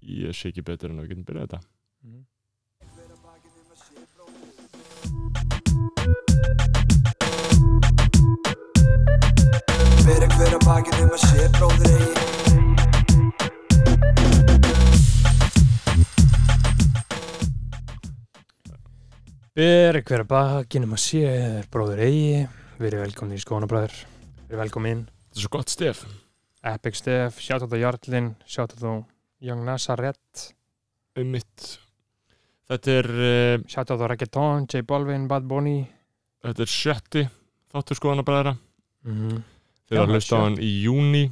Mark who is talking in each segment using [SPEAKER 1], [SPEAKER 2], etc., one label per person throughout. [SPEAKER 1] ég sé ekki betur en að við getum byrjað þetta
[SPEAKER 2] Mhm.
[SPEAKER 3] Fyrir hver að bakið um að sé bróður eigi
[SPEAKER 2] Ber hver að bakinum að sé er bróður eigi, verið velkomin í skónabræður, verið velkomin
[SPEAKER 1] Þetta er svo gott stef
[SPEAKER 2] Epic Steph, shoutout á Jarlinn, shoutout á Young Nazareth,
[SPEAKER 1] um mitt þetta er, uh,
[SPEAKER 2] shoutout á Reggaeton, J Balvin, Bad Bunny
[SPEAKER 1] þetta er sjötti þáttur skoðanabræðra
[SPEAKER 2] Já,
[SPEAKER 1] þegar að hlusta á
[SPEAKER 2] sjö.
[SPEAKER 1] hann í júni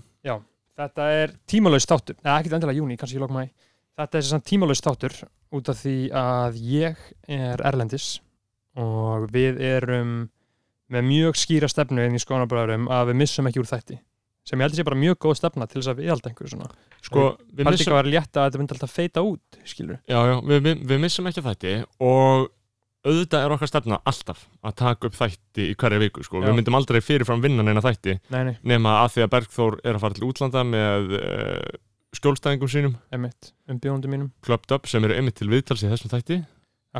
[SPEAKER 2] Þetta er tímalaust þáttur, neða ekkert endilega júni, kannski ég lók mæ Þetta er þessan tímalaust þáttur út af því að ég er erlendis og við erum með mjög skýra stefnu inn í skónabræðurum að við missum ekki úr þætti sem ég held að sé bara mjög góð stefna til þess að við held einhver svona
[SPEAKER 1] sko, við
[SPEAKER 2] Haldi
[SPEAKER 1] missum
[SPEAKER 2] ekki að vera létt að þetta myndi alltaf feita út, skilur
[SPEAKER 1] já, já, við, við, við missum ekki þætti og auðvitað er okkar stefna alltaf að taka upp þætti í hverja viku sko.
[SPEAKER 2] Já.
[SPEAKER 1] við myndum aldrei fyrirfram vinna neina þætti
[SPEAKER 2] Nei, nei,
[SPEAKER 1] nema að því að Bergþór er að fara til útlanda með uh, skjólstæðingum sínum
[SPEAKER 2] emitt, um bjóðundum mínum
[SPEAKER 1] Clubbed Up sem eru einmitt til viðtals í þessum þætti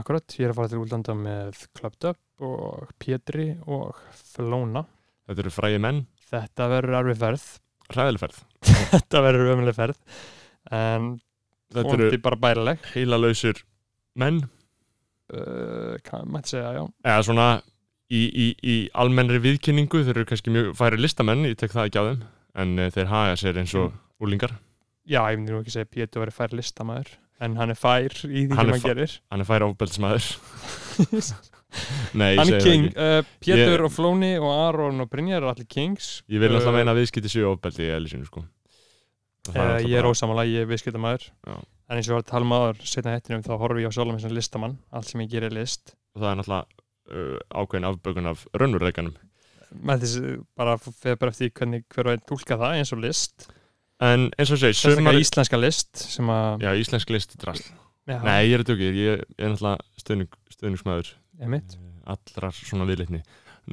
[SPEAKER 2] Akkurat, ég er að fara til útlanda með Clubbed Up og Pétri og Flóna
[SPEAKER 1] þetta eru frægi menn,
[SPEAKER 2] Þetta verður arfi ferð
[SPEAKER 1] hræðilferð
[SPEAKER 2] Þetta verður ömuleg ferð En
[SPEAKER 1] þetta eru
[SPEAKER 2] vondi bara bærileg
[SPEAKER 1] heilalausir menn
[SPEAKER 2] uh, Hvað mætti segja, já
[SPEAKER 1] eða svona í, í, í almennri viðkynningu þeir eru kannski mjög færi listamenn, ég tek það ekki á þeim en uh, þeir haga sér eins og
[SPEAKER 2] Mm.
[SPEAKER 1] úlingar
[SPEAKER 2] Já, ég myndi nú ekki segja að Pétur verður fær listamæður En hann er fær í því
[SPEAKER 1] Hann
[SPEAKER 2] sem
[SPEAKER 1] er
[SPEAKER 2] hann
[SPEAKER 1] fa-
[SPEAKER 2] gerir
[SPEAKER 1] hann er færi ábælsmaður Nei, ég
[SPEAKER 2] Hann
[SPEAKER 1] segi
[SPEAKER 2] er
[SPEAKER 1] það
[SPEAKER 2] king
[SPEAKER 1] ekki
[SPEAKER 2] uh, Pétur
[SPEAKER 1] Ég-
[SPEAKER 2] og Flóni og Aron og Brynjar eru allir kings
[SPEAKER 1] Ég vil alltaf
[SPEAKER 2] Uh,
[SPEAKER 1] meina að viðskipti séu ofbeldi í eðlisínu sko Það
[SPEAKER 2] Eh,
[SPEAKER 1] náttúrulega
[SPEAKER 2] ég er
[SPEAKER 1] bara-
[SPEAKER 2] ósamála, ég er viðskiptamæður
[SPEAKER 1] Já.
[SPEAKER 2] en eins og ég var að tala um maður setna hættinum þá horfi ég á sjálfum sem listamann allt sem ég gerir er list
[SPEAKER 1] það er náttúrulega uh, ákveðin afbökun af raunveruleikanum
[SPEAKER 2] með þess bara fyrir bara eftir því hvernig hver og einn tólka það eins og list
[SPEAKER 1] en eins og ég segi,
[SPEAKER 2] sérstaklega
[SPEAKER 1] sumar
[SPEAKER 2] íslenska list sem að
[SPEAKER 1] já, íslensk list er drasl
[SPEAKER 2] Já,
[SPEAKER 1] nei, ég er þetta ekki, ég ég er náttúrulega stuðning, stuðningsmaður
[SPEAKER 2] einmitt.
[SPEAKER 1] eh, allrar svona viðlitni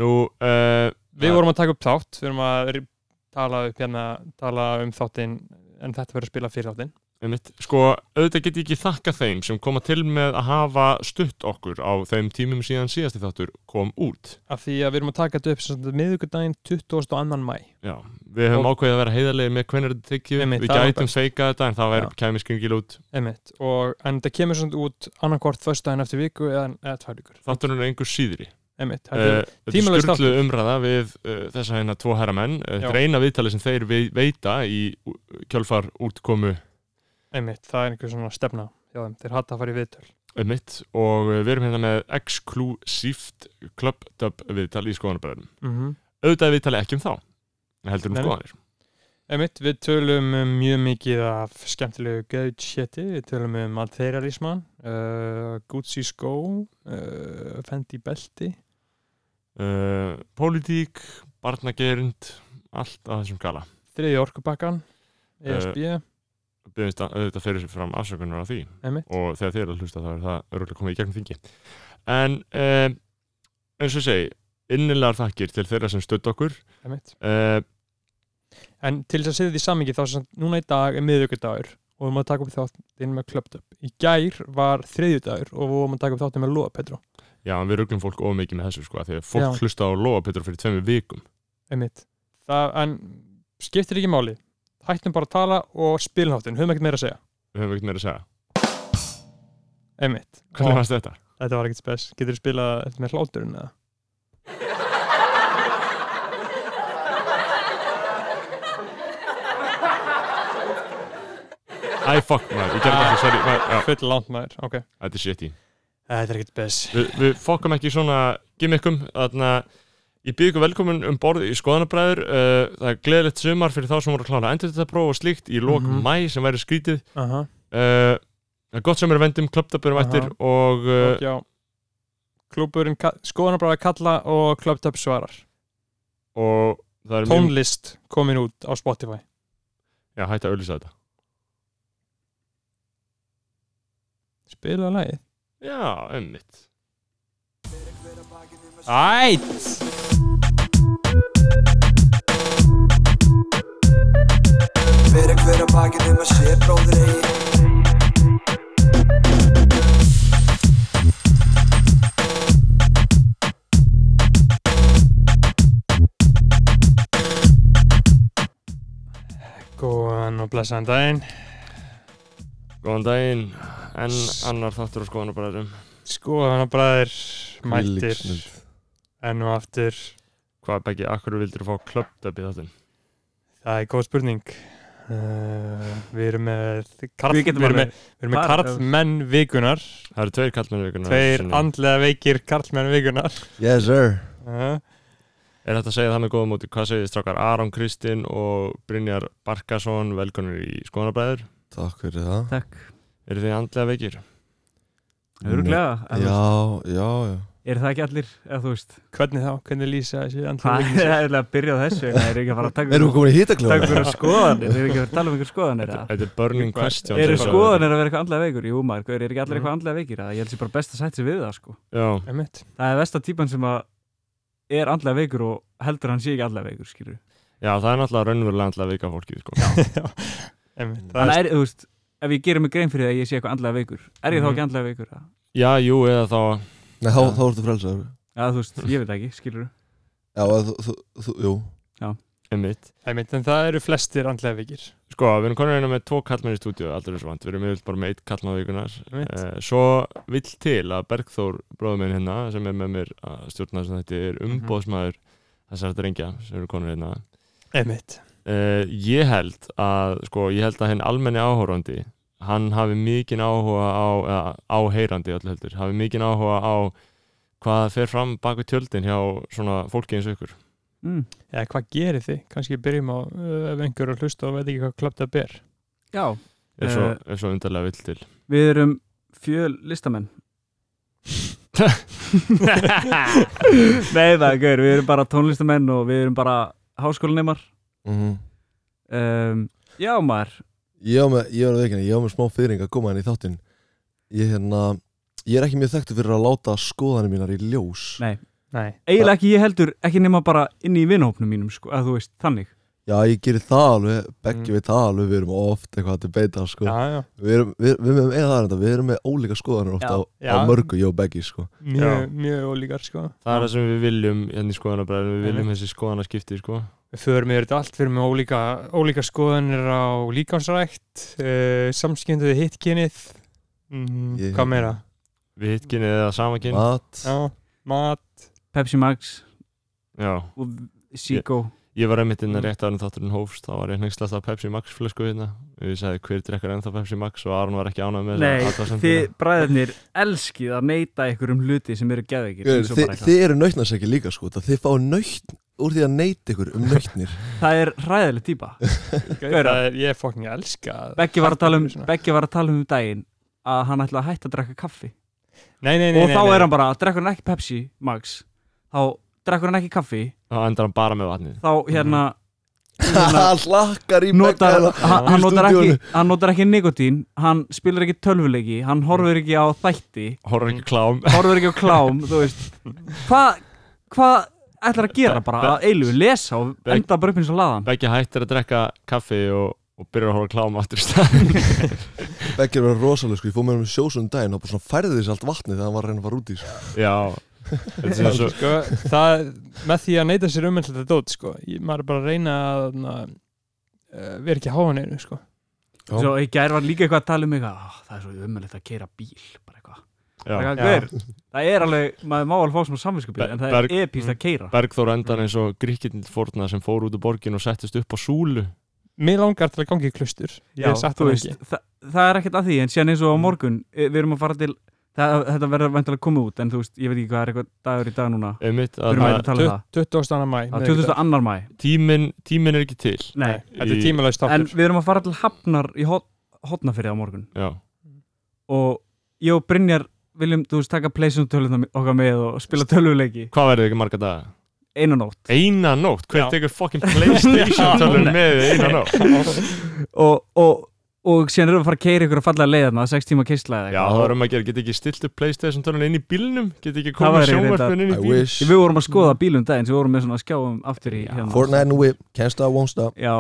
[SPEAKER 1] nú, uh,
[SPEAKER 2] við vorum að taka upp þátt við vorum að ri- tala, upp hérna, tala um þáttinn en þetta verður að spila fyrir þáttinn
[SPEAKER 1] einmitt, sko, auðvitað get ég ekki þakka þeim sem koma til með að hafa stutt okkur á þeim tímum síðan síðasti þáttur kom út
[SPEAKER 2] af því að við erum að taka þetta upp sem sagt miðvikudaginn 22. mæ
[SPEAKER 1] já, við höfum ákveðið að vera heiðarlega með hvernig þetta tekið,
[SPEAKER 2] Einmitt,
[SPEAKER 1] við
[SPEAKER 2] það var
[SPEAKER 1] gætum feika þetta en það væri kæmi skringil út
[SPEAKER 2] einmitt. og en þetta kemur svona út annarkvort föstudaginn eftir viku eða, eða tvær vikur
[SPEAKER 1] þátturinn er einhver síðri
[SPEAKER 2] einmitt, þetta er
[SPEAKER 1] Eh, Þetta er
[SPEAKER 2] Tímalaus
[SPEAKER 1] skurlu umræða við uh, þessa hérna tvo herramenn uh,
[SPEAKER 2] Já.
[SPEAKER 1] reyna viðtalið sem þeir vei- veita í ú- kjölfar útkomu
[SPEAKER 2] Einmitt, það er einhver svona stefna hjá þeim, þeir hata að fara í viðtöl
[SPEAKER 1] um mitt og uh, við erum hérna með exklusíft klubbdöp viðtal í skoðanabræðum
[SPEAKER 2] mm -hmm.
[SPEAKER 1] auðvitað er viðtalið ekki um þá heldur um
[SPEAKER 2] Nei, nei.
[SPEAKER 1] skoðanir
[SPEAKER 2] Einmitt, við tölum um mjög mikið af skemmtilegu gauð shiti, við tölum um materialisma, uh, Gucci skó, uh, Fendi belti
[SPEAKER 1] uh, pólitík, barnagerind allt að þessum gala
[SPEAKER 2] þriði orkubakkan ESB,
[SPEAKER 1] Biðumst að- auðvitað fyrir sér fram afsökunar á því
[SPEAKER 2] einmitt
[SPEAKER 1] og þegar þið eru að hlusta þá er það örgulega komið í gegnum þingi en uh, eins og ég segi innilegar þakkir til þeirra sem stödd okkur
[SPEAKER 2] einmitt,
[SPEAKER 1] uh,
[SPEAKER 2] en til þess að setja því samingi þá sem sagt, núna í dag er miðvikudagur og við erum að taka upp þáttinn með klöptöp í gær var þriðjudagur og við vorum að taka upp þáttinn með Lóa Petro,
[SPEAKER 1] já, en við ruglum fólk ómikið með þessu sko, af því að fólk
[SPEAKER 2] Já.
[SPEAKER 1] hlusta á Lóa Petru fyrir tveimur vikum
[SPEAKER 2] einmitt það, en skiptir ekki máli hættum bara að tala og spilum þáttinn, höfum ekkert meira að segja
[SPEAKER 1] við höfum ekkert meira að segja,
[SPEAKER 2] Einmitt.
[SPEAKER 1] hvernig
[SPEAKER 2] Og
[SPEAKER 1] fannst þetta?
[SPEAKER 2] Þetta var ekkert spes. Getur þú spilað þetta með hláturinn eða?
[SPEAKER 1] Æ, fuck, maður, ég gerði ekki, sorry maður, já,
[SPEAKER 2] Full langt maður, ok.
[SPEAKER 1] þetta er shitty
[SPEAKER 2] Eh, Þetta er ekkert spes.
[SPEAKER 1] við, við fokkum ekki í svona gimmickum þarna Ég bygg ykkur velkomin um borð í skoðanabræður uh, Það er gleðilegt sumar fyrir þá sem voru að klára endur þetta próf og slíkt í lok
[SPEAKER 2] Mhm.
[SPEAKER 1] mæ sem væri skrítið
[SPEAKER 2] Aha,
[SPEAKER 1] uh, það er Gott sem er að vendum, klöptöpurum
[SPEAKER 2] Aha.
[SPEAKER 1] ættir og uh,
[SPEAKER 2] og já. Klúburinn, skoðanabræða kalla og klöptöp svarar.
[SPEAKER 1] og það er mjög
[SPEAKER 2] Tónlist komin út á Spotify.
[SPEAKER 1] Já, hætti að auðlýsa þetta
[SPEAKER 2] Spilaðu lagið.
[SPEAKER 1] Já, einmitt
[SPEAKER 2] Ætt!
[SPEAKER 3] Fyrir hver að bakið um að sé bróður eigi
[SPEAKER 2] og blessaðan daginn
[SPEAKER 1] Góðan daginn, en annar þáttur á skoðanabræðurum.
[SPEAKER 2] sko hann að bræðir
[SPEAKER 4] Hvílík
[SPEAKER 2] mættir
[SPEAKER 4] snilld.
[SPEAKER 2] enn og aftur
[SPEAKER 1] Hvað Beggi, akkur vildir þú fá klöptöp í þáttin?
[SPEAKER 2] það er góð spurning uh, við erum með karl,
[SPEAKER 5] Við
[SPEAKER 2] erum
[SPEAKER 5] getum alveg-
[SPEAKER 2] með, við erum með
[SPEAKER 5] Bara-
[SPEAKER 2] karlmenn vikunar
[SPEAKER 1] Það eru tveir kallmenn vikunar.
[SPEAKER 2] tveir andlega veikir karlmenn vikunar
[SPEAKER 4] Yes sir
[SPEAKER 2] uh,
[SPEAKER 1] Er þetta að segja það með góða móti? Hvað segir þið strákar? Aron Kristinn og Brynjar Barkason, velkonur í skoðanabræður.
[SPEAKER 4] Takk fyrir það
[SPEAKER 5] Takk.
[SPEAKER 1] Eru þið andlega veikir?
[SPEAKER 5] Öruglega. en þú veist,
[SPEAKER 4] Mm. Já, já, já
[SPEAKER 5] Er það ekki allir, eða þú veist,
[SPEAKER 2] hvernig þá, hvernig lýsa þessi
[SPEAKER 5] það
[SPEAKER 2] andlega
[SPEAKER 5] er eða að byrja á þessu, það er ekki að fara að taka
[SPEAKER 4] Erum við komin í
[SPEAKER 5] taka
[SPEAKER 4] hítakljóð?
[SPEAKER 5] fyrir sko- skoðanir, er ekki að tala um einhver skoðanir eða?
[SPEAKER 1] Þetta er burning
[SPEAKER 2] Eitthvað-
[SPEAKER 1] question.
[SPEAKER 5] Eru
[SPEAKER 1] sem-
[SPEAKER 5] skoðanir að vera eitthvað andlega veikur? Jú maður, gaur, er ekki allir
[SPEAKER 2] Mhm.
[SPEAKER 5] eitthvað andlega veikir? eða? Ég held sér bara best að sætt sér við það sko.
[SPEAKER 1] Já,
[SPEAKER 2] veikir
[SPEAKER 5] Það er versta típan sem að er andlega veikur og heldur að hann sé ekki andlega veikur, skilur.
[SPEAKER 1] já, það er náttúrulega raunverulega andlega veika fólkið, sko.
[SPEAKER 2] Einmitt, það
[SPEAKER 5] Þannig
[SPEAKER 2] er,
[SPEAKER 5] er, þú veist, ef ég gerir mig grein fyrir það að ég sé eitthvað andlega veikur, er ég þá
[SPEAKER 2] Mhm.
[SPEAKER 5] ekki andlega veikur? eða?
[SPEAKER 1] Já, jú, eða þá...
[SPEAKER 4] Nei, þá, þá ertu frelsaður
[SPEAKER 5] Já, þú veist, ég veit það ekki, skilur.
[SPEAKER 4] Já, eða þú, þú, þú, jú
[SPEAKER 1] Einmitt.
[SPEAKER 2] einmitt, en það eru flestir andlega veikir
[SPEAKER 1] Sko, við erum konur einu með tvo kallmenn í stúdíu, aldrei þessu vant. Við erum yfirleitt bara með eitt kallmenn vikunar.
[SPEAKER 2] Einmitt.
[SPEAKER 1] Uh, svo vill til að Bergþór, bróður minn hérna, sem er með mér að stjórna sem þetta er
[SPEAKER 5] Mhm.
[SPEAKER 1] umbóðsmaður þessar drengja sem eru konur hérna.
[SPEAKER 2] einmitt,
[SPEAKER 1] Uh, ég held að, sko, ég held að henn almenni áhórandi, hann hafi mikinn áhuga á, eða áheyrandi öllu heldur, hafi mikinn áhuga á hvað fer fram baku tjöldin hjá svona fólki eins og ykkur.
[SPEAKER 5] Mm.
[SPEAKER 2] eða hvað gerir þið kannski byrjum á, uh, ef einhver er að hlusta og veit ekki hvað klöpt að ber
[SPEAKER 5] Já,
[SPEAKER 1] Ef svo,
[SPEAKER 5] Eh.
[SPEAKER 1] ef svo undarlega vill til.
[SPEAKER 5] við erum fjöl listamenn. Nei, það er gaur, við erum bara tónlistamenn og við erum bara háskólaneymar.
[SPEAKER 4] Mhm.
[SPEAKER 5] Um, já, maður.
[SPEAKER 4] Ég á með, ég á með veikina, ég á með smá fyrring að koma henni í þáttinn Ég hérna, ég er ekki mjög þekktu fyrir að láta skoðanir mínar í ljós
[SPEAKER 5] Nei.
[SPEAKER 2] nei,
[SPEAKER 5] Eiginlega ekki ég heldur, ekki nema bara inn í vinahópnum mínum, sko, að þú veist, þannig.
[SPEAKER 4] Já, ég gerir það alveg, beggi
[SPEAKER 2] Mm.
[SPEAKER 4] við það alveg, við erum oft eitthvað að debata, sko
[SPEAKER 2] já, já
[SPEAKER 4] Við erum, við, við erum eða það er þetta, við erum með ólíka skoðanir oft
[SPEAKER 5] Já,
[SPEAKER 4] á,
[SPEAKER 2] já.
[SPEAKER 4] á mörgu, ég og beggi, sko
[SPEAKER 1] Já.
[SPEAKER 2] mjög, mjög ólíkar sko
[SPEAKER 1] Það er það sem við viljum hérna í skoðanabræðinu, við viljum
[SPEAKER 2] Einmitt.
[SPEAKER 1] þessi skoðanaskipti, sko.
[SPEAKER 2] við förum yfir þetta allt, við erum með ólíka, ólíka skoðanir á líkánsrækt uh, samskynduði hittkynið mm,
[SPEAKER 4] Ég-
[SPEAKER 2] hvað meira
[SPEAKER 1] Við hittkinni eða samakinn.
[SPEAKER 4] Mat,
[SPEAKER 2] já, mat,
[SPEAKER 5] Pepsi Max
[SPEAKER 1] Já.
[SPEAKER 5] og Zico.
[SPEAKER 1] Ég var einmitt inn
[SPEAKER 5] Mm.
[SPEAKER 1] að rétt árum þátturinn hófst, þá var ég hengslast af Pepsi Max flösku hérna. Við sagði hver drekkar ennþá Pepsi Max og Aron var ekki ánað með
[SPEAKER 5] Nei,
[SPEAKER 1] þessa athugasemdina.
[SPEAKER 5] þið bræðirnir elskið að neyta ykkur um hluti sem eru geðveikir
[SPEAKER 4] Guður,
[SPEAKER 5] eins og
[SPEAKER 4] þið,
[SPEAKER 5] bara eitthvað.
[SPEAKER 4] þið eru nautnarsekki líka sko það- Þið fá nautn úr því að neyta ykkur um nautnir
[SPEAKER 5] Það er hræðileg típa Gauðra.
[SPEAKER 2] það er, ég er fokkin elska að-
[SPEAKER 5] Beggi var að tala um,
[SPEAKER 2] Svona.
[SPEAKER 5] Beggi var að tala um um daginn að hann ætla að hætta að drekka kaffi
[SPEAKER 2] nei, nei, nei,
[SPEAKER 5] og
[SPEAKER 2] nei,
[SPEAKER 5] þá
[SPEAKER 2] nei.
[SPEAKER 5] er hann bara, drekkur hann ekki Pepsi Max þá drekkur hann ekki kaffi
[SPEAKER 1] Þá endar hann bara með vatnið.
[SPEAKER 5] þá hérna
[SPEAKER 2] Mhm.
[SPEAKER 5] hérna,
[SPEAKER 4] Það hlakkar í
[SPEAKER 5] notar,
[SPEAKER 4] beggaðina
[SPEAKER 5] hann, hann,
[SPEAKER 4] Í
[SPEAKER 5] notar ekki,
[SPEAKER 4] stúdíónu.
[SPEAKER 5] hann notar ekki nikotín hann spilar ekki tölvuleiki hann horfir ekki á þætti
[SPEAKER 1] Horfur ekki á klám.
[SPEAKER 5] horfir ekki á klám þú veist hvað hva ætlar að gera bara að eilu lesa og enda bara upp eins og laðan
[SPEAKER 1] Beggi hættir að drekka kaffi og, og byrjar að horfa á klám aftur í stað.
[SPEAKER 4] Beggi var rosalega sko, ég fór með hann um sjósun daginn og bara svona færði þessi allt vatnið þegar hann var að reyna að fara út í sko.
[SPEAKER 1] Já. Þetta er svo,
[SPEAKER 2] sko, það, með því að neyta sér um þetta dót, sko, ég, maður er bara að reyna að na, uh, vera ekki háan einu, sko
[SPEAKER 4] Já.
[SPEAKER 5] Svo í gær var líka eitthvað að tala um eitthvað "Ah, Það er svo umöðlegt að keira bíl bara eitthvað.
[SPEAKER 1] já.
[SPEAKER 5] Eitthvað, gaur, Það er alveg, maður má alveg fá svona samvinskupið
[SPEAKER 1] Ber-
[SPEAKER 5] En það er
[SPEAKER 1] Berg-
[SPEAKER 5] epíst að keira
[SPEAKER 1] Bergþór endar eins og gríkinn forna sem fór út úr borgin og settist upp á súlu.
[SPEAKER 2] mér langar til að gangi í klustur ég hef sagt
[SPEAKER 5] þú
[SPEAKER 2] það
[SPEAKER 5] veist,
[SPEAKER 2] ekki
[SPEAKER 5] það, það er ekkert að því En síðan eins og á morgun, eh, við erum að fara til það, Þetta verður vantilega að koma út En þú veist, ég veit ekki hvað er eitthvað dagur í dag núna
[SPEAKER 1] Einmitt,
[SPEAKER 5] Við
[SPEAKER 1] að
[SPEAKER 5] erum að tala um það
[SPEAKER 2] 22. mæ
[SPEAKER 5] Það er 22. mæ
[SPEAKER 1] tíminn tímin er ekki til.
[SPEAKER 5] Nei,
[SPEAKER 2] þetta er tímulegst
[SPEAKER 5] en
[SPEAKER 2] áttur
[SPEAKER 5] við erum að fara til Hafnar í hotnafyrði á morgun
[SPEAKER 1] Já.
[SPEAKER 5] Og ég og Brynjar viljum, þú veist, taka playsum tölvuna okkar með og spila tölvuleiki
[SPEAKER 1] Hvað verður ekki marga daga?
[SPEAKER 5] einu nótt
[SPEAKER 1] Eina nótt? Hver
[SPEAKER 2] Já.
[SPEAKER 1] tekur fucking Playstation tölun með þig eina nótt?
[SPEAKER 5] og, og, og síðan erum við að fara að keira ykkur að falla að leiðarna, 6 tíma keisla eða
[SPEAKER 1] Já,
[SPEAKER 5] eitthvað.
[SPEAKER 1] það verður maður að gera, get ekki stilt upp Playstation tölun inn í bílnum, get ekki
[SPEAKER 5] Það
[SPEAKER 1] komið
[SPEAKER 5] væri
[SPEAKER 1] sjónvarpun inn í
[SPEAKER 4] I
[SPEAKER 1] bíl
[SPEAKER 4] wish
[SPEAKER 5] Við vorum að skoða bílum daginn sem við vorum með svona skjáum aftur í hérna
[SPEAKER 4] Fortnite and whip, can't stop, won't stop
[SPEAKER 5] Já,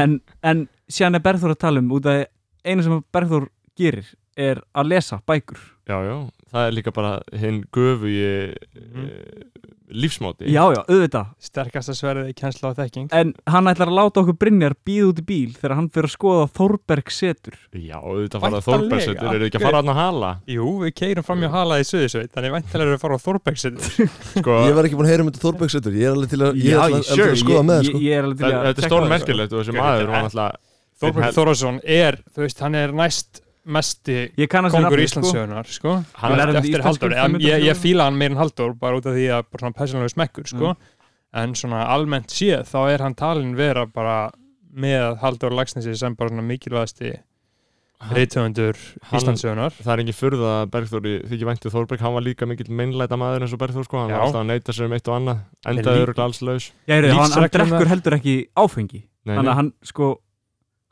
[SPEAKER 5] en, en síðan er Berður að tala um út af einu sem Berður gerir er að lesa bækur
[SPEAKER 1] já, já, það er líka bara hinn göfu í mm. lífsmáti
[SPEAKER 5] Mhm. Já, já, auðvitað
[SPEAKER 2] Sterkasta sverðið í kennsla og þekking
[SPEAKER 5] En hann ætlar að láta okkur Brynjar býða út í bíl þegar hann fyrir að skoða Þórberg setur
[SPEAKER 1] Já, auðvitað fara að
[SPEAKER 2] Væntanlega.
[SPEAKER 1] Þorbergsetur eru ekki að fara hann að hala
[SPEAKER 2] Jú, við keirum fram hjá hala í Suðisveit Þannig væntalega eru að fara á Þorbergsinn
[SPEAKER 1] sko,
[SPEAKER 4] Ég var ekki búin að heyra um þetta Þorbergsetur Ég er alveg til að, ég
[SPEAKER 1] Já,
[SPEAKER 4] er alveg,
[SPEAKER 1] sure,
[SPEAKER 4] alveg að skoða með það,
[SPEAKER 5] ég,
[SPEAKER 4] sko.
[SPEAKER 5] ég er alveg til
[SPEAKER 1] það-
[SPEAKER 5] að
[SPEAKER 1] þetta er
[SPEAKER 5] checka á þessu.
[SPEAKER 1] stórmerkilegt og þessi maður var alltaf
[SPEAKER 2] Þorberg Þorvarsson er, þú veist, hann er næst mesti
[SPEAKER 5] Ég kannast við
[SPEAKER 2] kongur
[SPEAKER 5] nafnið, sko.
[SPEAKER 2] Íslandsögunar sko.
[SPEAKER 1] Hann
[SPEAKER 2] hann
[SPEAKER 5] er
[SPEAKER 2] er
[SPEAKER 5] erfitt
[SPEAKER 2] eftir
[SPEAKER 5] íslensku
[SPEAKER 2] Halldór ég, ég, ég
[SPEAKER 5] framhjáhaldari.
[SPEAKER 2] fíla hann meir en Halldór bara út af því að bara svona persónulegu smekkur sko.
[SPEAKER 5] Mm.
[SPEAKER 2] en svona almennt séð þá er hann talin vera bara með Halldór Lagsnesi sem bara svona mikilvægasti reytöfundur
[SPEAKER 1] hann-
[SPEAKER 2] Íslandsögunar
[SPEAKER 1] Það er engin furða að Bergþóri þykir væntu Þorberg, hann var líka mikill meinlæta maður eins og Bergþór sko, hann
[SPEAKER 2] Já.
[SPEAKER 1] var alltaf að neyta sér um eitt og annað,
[SPEAKER 2] líka-
[SPEAKER 1] endaði öruglega alls laus
[SPEAKER 5] Já, ég er, hann, hann
[SPEAKER 2] Lífsreglurnar-
[SPEAKER 5] drekkur heldur ekki áfengi
[SPEAKER 1] Nei,
[SPEAKER 5] Þannig
[SPEAKER 1] nei.
[SPEAKER 5] að hann sko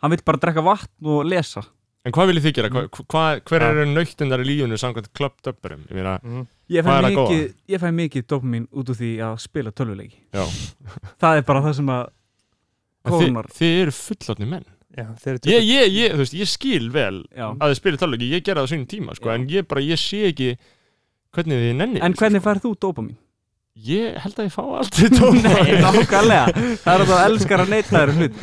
[SPEAKER 5] Hann vil bara drekka vatn og lesa
[SPEAKER 1] En hvað vil ég þið gera?
[SPEAKER 5] Mm.
[SPEAKER 1] Hva, hva, hver
[SPEAKER 2] Ja.
[SPEAKER 1] eru nautindar í lífunu samkvæmt klöptöppurum? Ég meina,
[SPEAKER 2] Mhm.
[SPEAKER 5] Ég fæ
[SPEAKER 1] Hvað er það
[SPEAKER 5] mikið, ég fæ mikið dopamin út úr því að spila tölvuleiki
[SPEAKER 1] Já.
[SPEAKER 5] Það er bara það sem að
[SPEAKER 1] en þið,
[SPEAKER 5] Kórunar.
[SPEAKER 1] þið eru fullotni menn
[SPEAKER 2] Já, þeir eru
[SPEAKER 1] ég, ég, ég, þú veist, ég skil vel
[SPEAKER 5] Já.
[SPEAKER 1] að þið spilir tölvöki, ég gera það á sínum tíma sko,
[SPEAKER 5] Já.
[SPEAKER 1] en ég bara, ég sé ekki hvernig þið sko. nenni
[SPEAKER 5] En hvernig færð þú dopamin?
[SPEAKER 1] Ég held að ég fá aldrei tóma
[SPEAKER 5] Nákvæmlega, það er að þú elskar að neyta þér um hlut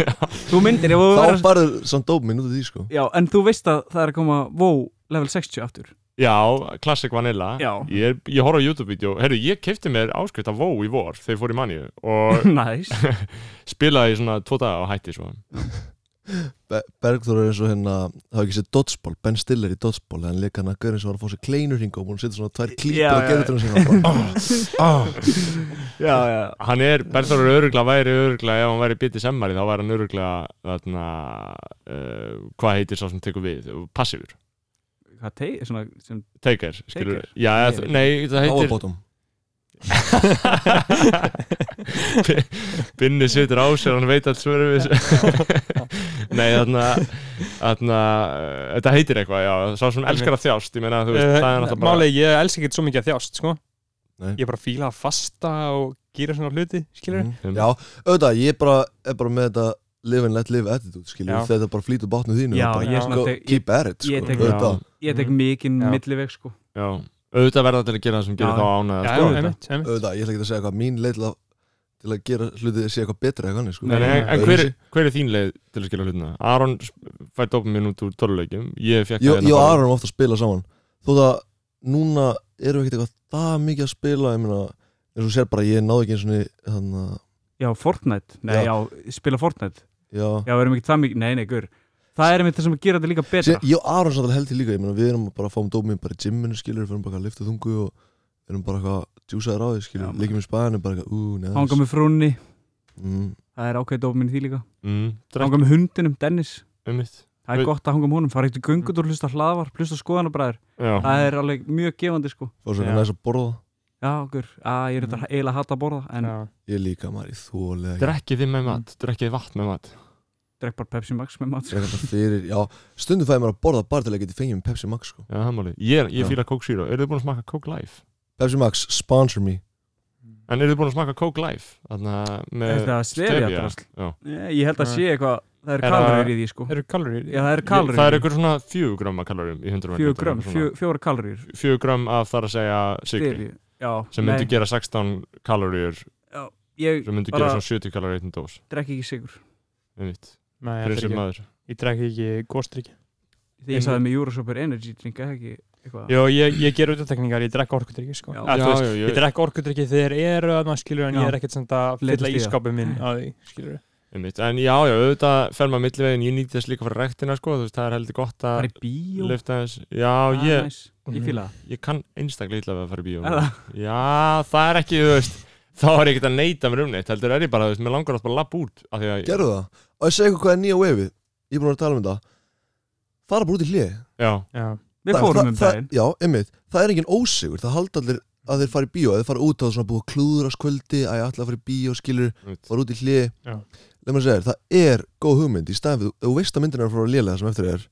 [SPEAKER 5] Þú myndir, ef þú
[SPEAKER 4] Þá
[SPEAKER 5] verður
[SPEAKER 4] barður samt dóp minn út af því sko
[SPEAKER 5] Já, en þú veist að það er að koma WoW level 60 aftur
[SPEAKER 1] Já, Classic Vanilla
[SPEAKER 5] Já.
[SPEAKER 1] Ég, er- ég horf á YouTube-vídeó Herru, ég kefti mér áskrift af WoW í vor þegar ég fór í manju og
[SPEAKER 5] Næs
[SPEAKER 1] spilaði í svona tvo daga og hætti sko. svo
[SPEAKER 4] Be- Bergþór er eins og hérna Það er ekki sér dodgeball, Ben Stiller í dodgeball Hann leik hann að gaurin sem var að fá sér kleinur hingum Hún setur svona tvær klípur
[SPEAKER 5] Já,
[SPEAKER 4] á
[SPEAKER 5] já,
[SPEAKER 4] gerðutunum sinna
[SPEAKER 5] Já, já
[SPEAKER 1] Hann er, Berður er öruglega væri öruglega ef hann væri bitið semmari þá væri hann öruglega þarna, uh, hvað heitir sá sem tekur við, passífur
[SPEAKER 5] Hvað tegi, svona sem,
[SPEAKER 1] Taker, skilur
[SPEAKER 5] Taker?
[SPEAKER 1] Já,
[SPEAKER 5] Ég
[SPEAKER 1] eða-
[SPEAKER 5] veit
[SPEAKER 1] nei, það heitir
[SPEAKER 4] Powerbottom
[SPEAKER 1] Binni situr á sér, hann veit allt svöru við Nei, þarna, þarna eh, Þetta heitir eitthvað, já Sá sem elskar að þjást, ég meina, þú veist, það er
[SPEAKER 2] Uh,
[SPEAKER 1] náttúrulega bara
[SPEAKER 2] Málið, ég elska ekki svo mikið að þjást sko.
[SPEAKER 4] Nei.
[SPEAKER 2] ég bara fíla að fasta og gera svona hluti, skilur
[SPEAKER 1] Mm.
[SPEAKER 4] Mhm. Já, auðvitað, ég bara, er bara með þetta live and let live attitude, skiljum
[SPEAKER 2] Já.
[SPEAKER 4] þetta bara flýtur bátnum þínu
[SPEAKER 5] Já,
[SPEAKER 4] og bara,
[SPEAKER 5] ég
[SPEAKER 2] er
[SPEAKER 5] svona
[SPEAKER 4] go-
[SPEAKER 5] teg-
[SPEAKER 4] keep at it, sko,
[SPEAKER 5] ég tek-
[SPEAKER 4] auðvitað
[SPEAKER 5] Ég
[SPEAKER 1] Mhm.
[SPEAKER 5] tek mikinn
[SPEAKER 2] Já.
[SPEAKER 5] milliveg sko
[SPEAKER 1] Já, auðvitað verða til að gera það sem
[SPEAKER 5] Já.
[SPEAKER 1] gerir þá ánæða
[SPEAKER 2] Já,
[SPEAKER 1] sko,
[SPEAKER 2] já,
[SPEAKER 1] þetta.
[SPEAKER 2] einmitt, einmitt.
[SPEAKER 4] auðvitað, ég ætla ekki að segja eitthvað mín leið til að, til að gera hlutið sé eitthvað betra eða kannið, sko
[SPEAKER 1] Nei, nei, en
[SPEAKER 4] Öðruvísi.
[SPEAKER 1] hver, hver er þín leið til að skilja hlutina? Aron sp- fær dopum minn út úr töluleikjum Ég fekk hérna
[SPEAKER 4] Ég, ég og Aron erum ofta að spila saman Þó það, núna erum við ekkert eitthvað það mikið að spila, ég meina eins og þú sér bara, ég náði ekki eins og þannig að,
[SPEAKER 5] Já, Fortnite, nei, já,
[SPEAKER 4] Já.
[SPEAKER 5] spila Fortnite
[SPEAKER 4] já
[SPEAKER 5] Já, erum ekki það mikið, nei, nei, gur Það er einmitt það sem gerir þetta líka betra
[SPEAKER 4] Sér, Ég og Aron samt alveg held í líka, ég meina við erum bara að fáum dómið bara í gymminu, skilur, við erum bara eitthvað að lifta þungu og við erum bara eitthvað að djúsa þér á því,
[SPEAKER 5] Já,
[SPEAKER 4] skilur,
[SPEAKER 5] maður.
[SPEAKER 4] líkjum í spæðinu bara eitthvað, ú, neðans
[SPEAKER 5] Hanga með frúnni,
[SPEAKER 4] mm.
[SPEAKER 5] það er ákveðið dopamin í því líka
[SPEAKER 1] mm, Drengt
[SPEAKER 5] Hanga með hundinum, Dennis
[SPEAKER 1] um mitt
[SPEAKER 5] Það er
[SPEAKER 1] Við-
[SPEAKER 5] gott að hanga með honum, fara eitt í göngutur, hlusta á hlaðvarp, hlusta á skoðanabræður
[SPEAKER 1] Já,
[SPEAKER 5] Það er alveg mjög gefandi sko
[SPEAKER 4] Fá svo
[SPEAKER 2] Já.
[SPEAKER 4] næst að borða
[SPEAKER 5] Já, gur, að ég
[SPEAKER 1] Mm.
[SPEAKER 5] er þetta eiginlega að hata að borða En
[SPEAKER 2] Já.
[SPEAKER 4] Ég líka maður í þólega
[SPEAKER 1] drekkið þið með mat, drekkið þið vatn með mat
[SPEAKER 5] drekk bara Pepsi Max með mat sko.
[SPEAKER 4] Drekka bara fyrir, já Stundum fæði maður að borða bara til að geti fengið með Pepsi Max sko
[SPEAKER 1] Já, það er málið Ég, ég
[SPEAKER 4] Já.
[SPEAKER 1] fýla Coke Zero, eru þið búin að smakka Coke Life?
[SPEAKER 4] Pepsi Max, sponsor me
[SPEAKER 1] En eru þið búin að smaka Coke Life? Þarna með
[SPEAKER 5] Þetta stefja drasl
[SPEAKER 1] Já.
[SPEAKER 5] Nei, Ég held að
[SPEAKER 2] Nei.
[SPEAKER 5] sé eitthvað, það eru
[SPEAKER 1] Er það-
[SPEAKER 5] kalorir í því sko
[SPEAKER 2] eru kalorir
[SPEAKER 5] Já, það eru
[SPEAKER 1] Ég-
[SPEAKER 5] kalorir
[SPEAKER 1] Það
[SPEAKER 5] í
[SPEAKER 1] er
[SPEAKER 5] því.
[SPEAKER 1] einhver svona fjögur gramma kalorum í 100
[SPEAKER 5] Fjögur grömm, fjö- fjórar kalorir
[SPEAKER 1] Fjögur gramm af þar að segja sigri
[SPEAKER 5] Stefju, já
[SPEAKER 1] sem myndi gera 16 kalorir
[SPEAKER 5] Ég
[SPEAKER 1] sem myndi
[SPEAKER 5] Bara-
[SPEAKER 1] gera svona 70 kalorir einn dós
[SPEAKER 5] drekk ekki sigur
[SPEAKER 1] einmitt,
[SPEAKER 2] Nei, ég
[SPEAKER 1] prinsip
[SPEAKER 2] drekk ekki-
[SPEAKER 1] maður
[SPEAKER 2] ég drekk ekki góstrykki
[SPEAKER 5] Þegar ég sagði með Euroshopper Energy drink eða ekki eitthvað
[SPEAKER 2] Jó, ég, ég ger auðvitaðtekningar, ég drekk orkudrykki sko.
[SPEAKER 5] Já.
[SPEAKER 2] Eða, þú veist,
[SPEAKER 1] já,
[SPEAKER 2] Ég drekk orkudrykki þegar ég er að maður skilur en
[SPEAKER 5] Já.
[SPEAKER 2] ég er ekkert sem að
[SPEAKER 5] Leitast
[SPEAKER 2] fylla
[SPEAKER 5] í það.
[SPEAKER 2] ískapið minn að því skilur
[SPEAKER 1] Einmitt. En já, já, auðvitað fer maður millivegin, ég nýti þess líka fyrir rektina sko, þú veist, það er heldur gott
[SPEAKER 5] Það
[SPEAKER 1] að
[SPEAKER 5] er í bíó
[SPEAKER 1] lifta þess. Já,
[SPEAKER 5] Ah,
[SPEAKER 1] ég, Mm.
[SPEAKER 5] nice. Ég fíla það
[SPEAKER 1] ég kann einstaklega illa við að fara í bíó.
[SPEAKER 5] Er það?
[SPEAKER 1] Já, það er ekki, þú veist, þá er ég ekkert að neyta mér um neitt, heldur er ég bara, þú veist, mér langar oft bara að lappa út. af því að-
[SPEAKER 4] Gerðu það Og ég segi ykkur hvað er nýja waveið Ég er búin að vera að tala um þetta Fara bara út í hlið
[SPEAKER 1] Já,
[SPEAKER 2] Já,
[SPEAKER 5] Við
[SPEAKER 4] Það-
[SPEAKER 5] fórum
[SPEAKER 4] það-
[SPEAKER 5] um
[SPEAKER 4] það-
[SPEAKER 5] daginn
[SPEAKER 4] Já, ymmið Það er engin ósigur Það halda allir að þeir fara í bíó Að þeir fara út á svona búið að klúðrast kvöldi Að ég ætla að fara í bíó skilur
[SPEAKER 1] einmitt.
[SPEAKER 4] Fara út í hlið
[SPEAKER 2] Já.
[SPEAKER 4] Leif maður segir Það er góð hugmynd Í staðan fyrir Þú veist að myndin er að fara að lélega sem eftir er